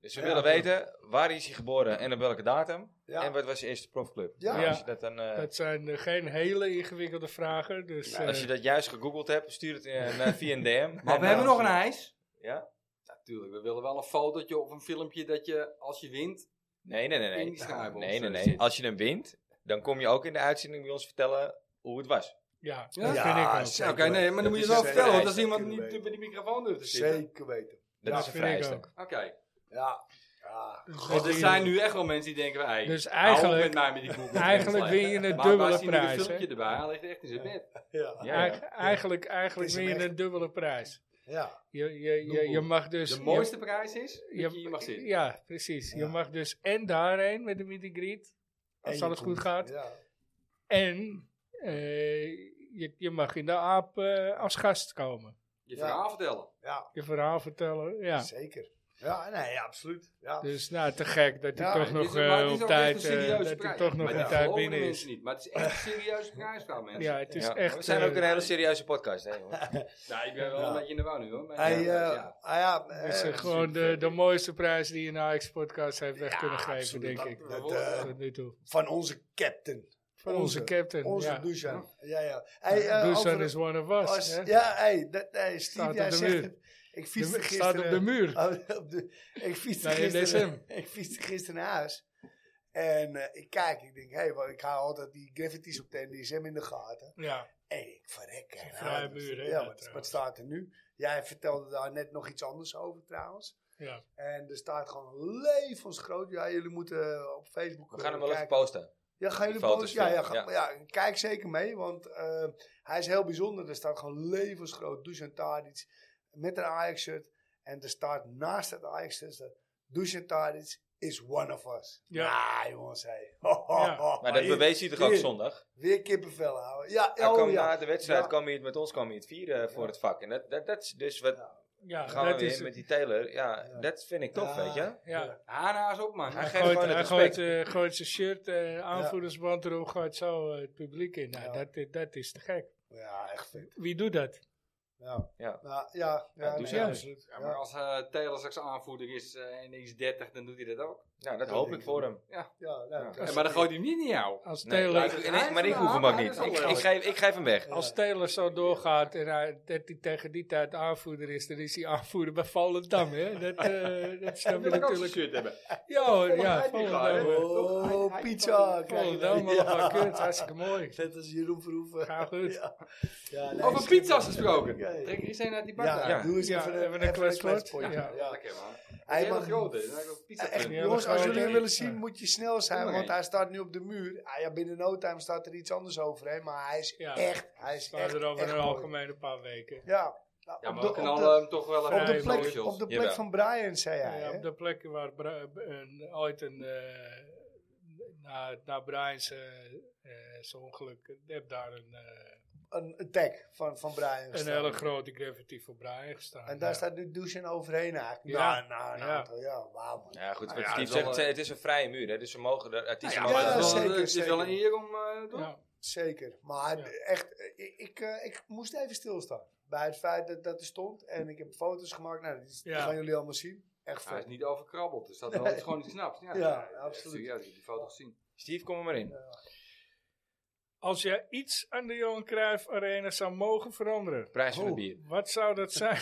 [SPEAKER 3] Dus we willen weten, waar is hij geboren en op welke datum?
[SPEAKER 5] Ja.
[SPEAKER 3] En wat was zijn eerste profclub?
[SPEAKER 5] Ja.
[SPEAKER 3] Nou, als
[SPEAKER 4] Ja.
[SPEAKER 3] je dat dan... eh,
[SPEAKER 4] Dat zijn eh, geen hele ingewikkelde vragen. Dus, eh,
[SPEAKER 3] Als je dat juist gegoogeld hebt, stuur het eh, naar via een DM.
[SPEAKER 6] Maar we hebben
[SPEAKER 5] eh,
[SPEAKER 6] nog een ijs.
[SPEAKER 3] Ja?
[SPEAKER 6] Natuurlijk, we willen wel een fotootje of een filmpje dat je, als je wint...
[SPEAKER 3] Nee, nee, nee.
[SPEAKER 6] In
[SPEAKER 3] Nee,
[SPEAKER 6] die schuiven
[SPEAKER 3] nee, nee,
[SPEAKER 6] ons, eh,
[SPEAKER 3] nee.
[SPEAKER 6] zit.
[SPEAKER 3] Als je hem wint, dan kom je ook in de uitzending bij ons vertellen hoe het was.
[SPEAKER 4] ja,
[SPEAKER 6] Ja?
[SPEAKER 4] dat vind ik ook.
[SPEAKER 6] Ja, Oké, nee, maar dan moet je
[SPEAKER 3] is
[SPEAKER 6] wel
[SPEAKER 3] een
[SPEAKER 6] vertellen, want
[SPEAKER 3] ijs,
[SPEAKER 6] als
[SPEAKER 3] dat
[SPEAKER 6] iemand
[SPEAKER 5] kunnen
[SPEAKER 6] niet
[SPEAKER 5] we
[SPEAKER 6] bij die microfoon durft te zitten.
[SPEAKER 5] Zeker weten.
[SPEAKER 3] Dat
[SPEAKER 4] Ja,
[SPEAKER 3] is een
[SPEAKER 4] vind ik
[SPEAKER 3] vrijstuk.
[SPEAKER 4] ook.
[SPEAKER 6] Oké,
[SPEAKER 5] Ja. ja.
[SPEAKER 4] Dus
[SPEAKER 6] want
[SPEAKER 4] dat
[SPEAKER 6] er
[SPEAKER 4] je-
[SPEAKER 6] zijn nu echt wel mensen die denken, hey,
[SPEAKER 4] Dus
[SPEAKER 6] hou op
[SPEAKER 4] eigenlijk-
[SPEAKER 6] met mij met die Google
[SPEAKER 4] eigenlijk
[SPEAKER 6] Translate.
[SPEAKER 4] win je een
[SPEAKER 6] Maar
[SPEAKER 4] dubbele
[SPEAKER 6] waar zien jullie
[SPEAKER 4] prijs,
[SPEAKER 6] een filmpje erbij, hij ligt echt in zijn bed.
[SPEAKER 5] Ja.
[SPEAKER 3] Ja, ja.
[SPEAKER 4] Eigen- Eigenlijk, eigenlijk
[SPEAKER 5] Het
[SPEAKER 4] win
[SPEAKER 5] is
[SPEAKER 4] je
[SPEAKER 5] hem echt.
[SPEAKER 4] een dubbele prijs.
[SPEAKER 5] ja.
[SPEAKER 4] Je, je, je, je mag dus...
[SPEAKER 6] De
[SPEAKER 4] je-
[SPEAKER 6] mooiste prijs is dat
[SPEAKER 4] je-
[SPEAKER 6] je hier mag zitten.
[SPEAKER 4] Ja, precies. Je
[SPEAKER 5] Ja.
[SPEAKER 4] mag dus en daarheen met de meet and greet, als
[SPEAKER 5] En
[SPEAKER 4] alles
[SPEAKER 5] je
[SPEAKER 4] goed
[SPEAKER 5] komt-
[SPEAKER 4] gaat.
[SPEAKER 5] Ja.
[SPEAKER 4] En eh, je, je mag in de aap eh, als gast komen.
[SPEAKER 6] Je
[SPEAKER 5] Ja.
[SPEAKER 6] verhaal vertellen.
[SPEAKER 5] Ja,
[SPEAKER 4] Je verhaal vertellen, ja.
[SPEAKER 5] zeker. Ja, nee, ja, absoluut. Ja.
[SPEAKER 4] Dus nou, te gek dat hij
[SPEAKER 5] Ja,
[SPEAKER 4] toch
[SPEAKER 5] dit
[SPEAKER 6] Dit
[SPEAKER 4] nog
[SPEAKER 6] is- maar
[SPEAKER 4] eh,
[SPEAKER 6] het is
[SPEAKER 4] op
[SPEAKER 6] ook echt een
[SPEAKER 4] tijd, eh,
[SPEAKER 6] serieuze
[SPEAKER 4] dat hij
[SPEAKER 6] prijs.
[SPEAKER 4] toch nog
[SPEAKER 6] Maar
[SPEAKER 4] een
[SPEAKER 6] dat
[SPEAKER 4] tijd
[SPEAKER 6] geloven de
[SPEAKER 4] binnen is.
[SPEAKER 6] mensen niet. Maar het is echt een serieuze prijsvraag, mensen.
[SPEAKER 4] Ja, het is
[SPEAKER 3] Ja.
[SPEAKER 4] echt...
[SPEAKER 3] We zijn ook
[SPEAKER 4] eh,
[SPEAKER 3] een hele serieuze podcast, hè, jongen.
[SPEAKER 6] Nou, ik ben wel
[SPEAKER 5] Ja.
[SPEAKER 6] een beetje in de war nu, hoor. Maar
[SPEAKER 5] Hij,
[SPEAKER 6] ja,
[SPEAKER 5] eh,
[SPEAKER 6] ja.
[SPEAKER 5] ah ja, eh,
[SPEAKER 4] dus, eh, gewoon de, de mooiste prijs die je naar X-podcast heeft weg
[SPEAKER 5] Ja,
[SPEAKER 4] kunnen geven,
[SPEAKER 5] absoluut.
[SPEAKER 4] denk
[SPEAKER 5] Dat-
[SPEAKER 4] ik.
[SPEAKER 5] dat, eh,
[SPEAKER 4] Tot nu toe.
[SPEAKER 5] van onze captain.
[SPEAKER 4] Van onze, captain.
[SPEAKER 5] Onze
[SPEAKER 4] ja.
[SPEAKER 5] Dusan. Ja, ja. Hey, eh,
[SPEAKER 4] Dusan
[SPEAKER 5] over-
[SPEAKER 4] is one of us.
[SPEAKER 5] als-
[SPEAKER 4] hè?
[SPEAKER 5] ja, hey, dat, hey,
[SPEAKER 4] Staat
[SPEAKER 5] Steve,
[SPEAKER 4] op
[SPEAKER 5] jij
[SPEAKER 4] de
[SPEAKER 5] zegt
[SPEAKER 4] muur.
[SPEAKER 5] het. Ik
[SPEAKER 4] De mu-
[SPEAKER 5] fietste gisteren...
[SPEAKER 4] staat op de muur.
[SPEAKER 5] Oh, op de- ik fietste
[SPEAKER 4] Nou, in
[SPEAKER 5] gisteren,
[SPEAKER 4] december.
[SPEAKER 5] ik fietste gisteren naar huis. En eh, ik kijk, ik denk, hé, hey, want ik hou altijd die graffiti's op de NDSM in de gaten.
[SPEAKER 4] Ja.
[SPEAKER 5] En ik verrek. hè,
[SPEAKER 4] vrije
[SPEAKER 5] nou,
[SPEAKER 4] muur, hè,
[SPEAKER 5] Ja,
[SPEAKER 4] dat
[SPEAKER 5] wat, wat
[SPEAKER 4] trouwens.
[SPEAKER 5] staat er nu? Jij vertelde daar net nog iets anders over trouwens.
[SPEAKER 4] ja.
[SPEAKER 5] En er staat gewoon levensgroot. Ja, jullie moeten op Facebook
[SPEAKER 3] We gaan hem
[SPEAKER 5] eh,
[SPEAKER 3] wel even
[SPEAKER 5] kijken.
[SPEAKER 3] posten.
[SPEAKER 5] Ja, gaan
[SPEAKER 3] Die
[SPEAKER 5] jullie
[SPEAKER 3] foto's
[SPEAKER 5] posten? Ja, ja, ga-
[SPEAKER 3] filmen,
[SPEAKER 5] ja, kijk zeker mee, want eh, hij is heel bijzonder. Er staat gewoon levensgroot Dusan Tadic met een Ajax-shirt. En er staat naast het Ajax-shirt, staat, Dusan Tadic is one of us.
[SPEAKER 4] Ja.
[SPEAKER 5] Ja, jongens, hé. Ho, ho,
[SPEAKER 4] Ja.
[SPEAKER 5] ho.
[SPEAKER 3] Maar dat
[SPEAKER 5] Ah, hier-
[SPEAKER 3] bewees hij toch ook
[SPEAKER 5] hier,
[SPEAKER 3] zondag?
[SPEAKER 5] Weer kippenvel houden. Ja,
[SPEAKER 3] Hij
[SPEAKER 5] oh
[SPEAKER 3] kwam
[SPEAKER 5] ja.
[SPEAKER 3] na de wedstrijd,
[SPEAKER 5] Ja.
[SPEAKER 3] kwam hij het met ons, kwam hij het vieren voor
[SPEAKER 5] Ja.
[SPEAKER 3] het vak. En dat, dat, dat is dus wat
[SPEAKER 4] Ja,
[SPEAKER 3] gaan we
[SPEAKER 4] dat
[SPEAKER 3] weer
[SPEAKER 4] is
[SPEAKER 3] met
[SPEAKER 4] het.
[SPEAKER 3] die Taylor. Ja,
[SPEAKER 5] Ja.
[SPEAKER 3] dat vind ik tof,
[SPEAKER 5] Ja.
[SPEAKER 3] weet je.
[SPEAKER 4] Ja.
[SPEAKER 6] Haar naast op, man.
[SPEAKER 3] Hij
[SPEAKER 4] Hij
[SPEAKER 3] geeft
[SPEAKER 4] gooit,
[SPEAKER 3] gewoon het
[SPEAKER 4] hij
[SPEAKER 3] respect.
[SPEAKER 4] gooit, eh, gooit zijn shirt, eh aanvoerdersband erop, gooit zo eh, het publiek in. Nou,
[SPEAKER 5] Ja.
[SPEAKER 4] dat, i- dat is te gek.
[SPEAKER 5] Ja, echt vet.
[SPEAKER 4] Wie doet dat?
[SPEAKER 5] Ja,
[SPEAKER 3] Ja.
[SPEAKER 5] ja, ja. ja,
[SPEAKER 3] Ja,
[SPEAKER 5] nee,
[SPEAKER 3] Dusan.
[SPEAKER 5] absoluut.
[SPEAKER 6] Ja, maar als eh Taylor straks aanvoerder is eh, en x 30, dan doet hij dat ook.
[SPEAKER 3] Nou, dat
[SPEAKER 5] Ja,
[SPEAKER 3] hoop
[SPEAKER 5] denk
[SPEAKER 3] ik
[SPEAKER 5] ik
[SPEAKER 3] voor
[SPEAKER 5] wel.
[SPEAKER 3] hem.
[SPEAKER 5] Ja, nou, nee,
[SPEAKER 6] Ja.
[SPEAKER 5] dat
[SPEAKER 6] Eh,
[SPEAKER 5] is-
[SPEAKER 6] Maar dan gooit hij hem niet in jou.
[SPEAKER 4] Als
[SPEAKER 3] Nee,
[SPEAKER 4] Taylor,
[SPEAKER 3] maar ik- en ik- maar ik hoef hem ook niet. Ik, ik, geef, ik geef hem weg.
[SPEAKER 4] als Taylor zo doorgaat en hij, dat hij tegen die tijd aanvoerder is, dan is hij aanvoerder bij Volendam. Hè? Dat, eh dat snap je
[SPEAKER 6] wil ik ook zo'n
[SPEAKER 4] natuurlijk.
[SPEAKER 6] shirt hebben.
[SPEAKER 4] Ja, hoor, ja,
[SPEAKER 6] Volendam gaat, hè?
[SPEAKER 4] Volendam. hoor.
[SPEAKER 5] Oh, pizza.
[SPEAKER 4] Volendam,
[SPEAKER 5] krijg je.
[SPEAKER 4] maar wat kut, hartstikke mooi.
[SPEAKER 5] Net als Jeroen Verhoeven.
[SPEAKER 4] Ga goed.
[SPEAKER 5] Ja. Ja, nee,
[SPEAKER 6] Over
[SPEAKER 5] is-
[SPEAKER 6] pizza's gesproken.
[SPEAKER 5] Ja, ja.
[SPEAKER 6] Trek er eens een uit die bak.
[SPEAKER 5] Ja,
[SPEAKER 6] daar.
[SPEAKER 5] doe eens
[SPEAKER 4] Ja,
[SPEAKER 5] even
[SPEAKER 4] even een
[SPEAKER 5] even
[SPEAKER 4] kletspot.
[SPEAKER 5] kletspot,
[SPEAKER 4] Ja.
[SPEAKER 5] ja.
[SPEAKER 6] Lekker, man.
[SPEAKER 5] Hij
[SPEAKER 6] Hele
[SPEAKER 5] mag-
[SPEAKER 6] grote. dat is eigenlijk een pizza
[SPEAKER 5] Echt,
[SPEAKER 6] punt.
[SPEAKER 4] Ja,
[SPEAKER 5] jongens,
[SPEAKER 4] dat
[SPEAKER 5] als
[SPEAKER 4] gaan we
[SPEAKER 5] jullie hem
[SPEAKER 4] doen.
[SPEAKER 5] willen
[SPEAKER 4] Ja.
[SPEAKER 5] zien, moet je snel zijn,
[SPEAKER 6] maar
[SPEAKER 5] want
[SPEAKER 6] heen.
[SPEAKER 5] hij staat nu op de muur. Ah, ja, binnen no time staat er iets anders overheen, maar hij is
[SPEAKER 4] Ja.
[SPEAKER 5] echt, hij is
[SPEAKER 4] Staat
[SPEAKER 5] echt,
[SPEAKER 4] er over
[SPEAKER 5] echt
[SPEAKER 4] een
[SPEAKER 5] mooi.
[SPEAKER 4] algemeen een paar weken.
[SPEAKER 5] Ja, Nou,
[SPEAKER 6] Ja,
[SPEAKER 5] op
[SPEAKER 6] maar
[SPEAKER 5] de-
[SPEAKER 6] we
[SPEAKER 5] op de-
[SPEAKER 6] knallen hem toch wel
[SPEAKER 4] op
[SPEAKER 6] een
[SPEAKER 5] op de
[SPEAKER 4] Nee,
[SPEAKER 5] plek,
[SPEAKER 4] Mauritius.
[SPEAKER 5] op de plek
[SPEAKER 3] Jawel.
[SPEAKER 5] van Brian, zei hij.
[SPEAKER 4] Ja,
[SPEAKER 5] hè?
[SPEAKER 4] op de plek waar Bra- een, ooit een, eh na, na Brian's eh, eh, zijn ongeluk, heb daar een, eh,
[SPEAKER 5] Een, een tag van, van Brian.
[SPEAKER 4] een
[SPEAKER 5] gestaan.
[SPEAKER 4] hele grote graffiti voor Brian gestaan.
[SPEAKER 5] En daar
[SPEAKER 4] Ja.
[SPEAKER 5] staat nu douchen overheen eigenlijk.
[SPEAKER 4] Ja.
[SPEAKER 5] Nou, nou, een
[SPEAKER 4] Ja.
[SPEAKER 5] aantal, ja, wauw man.
[SPEAKER 3] Ja, goed. Wat
[SPEAKER 6] ja, dat
[SPEAKER 3] Steve
[SPEAKER 6] is wel
[SPEAKER 3] zegt,
[SPEAKER 6] een-
[SPEAKER 3] het is een vrije muur, hè, dus ze mogen de artiesten
[SPEAKER 5] Ja,
[SPEAKER 6] Nou, maar het is wel-
[SPEAKER 5] zeker,
[SPEAKER 6] Het is wel een
[SPEAKER 5] zeker.
[SPEAKER 6] eer om eh, te doen.
[SPEAKER 4] Ja.
[SPEAKER 5] Zeker. Maar
[SPEAKER 4] Ja.
[SPEAKER 5] echt, eh, ik, ik, eh, ik moest even stilstaan. Bij het feit dat, dat er stond. En ik heb foto's gemaakt. Nou, die
[SPEAKER 4] Ja.
[SPEAKER 5] gaan jullie allemaal zien. Echt
[SPEAKER 6] Hij
[SPEAKER 5] vet.
[SPEAKER 6] is niet overkrabbeld, dus dat wel iets gewoon niet snapt. Ja,
[SPEAKER 5] Ja,
[SPEAKER 6] eh,
[SPEAKER 5] absoluut.
[SPEAKER 6] Serieus, ik heb die foto gezien.
[SPEAKER 3] Steve, kom er maar in.
[SPEAKER 4] Als jij iets aan de Johan Cruijff Arena zou mogen veranderen,
[SPEAKER 3] Prijs van het
[SPEAKER 5] Oh.
[SPEAKER 3] bier.
[SPEAKER 4] wat zou dat zijn?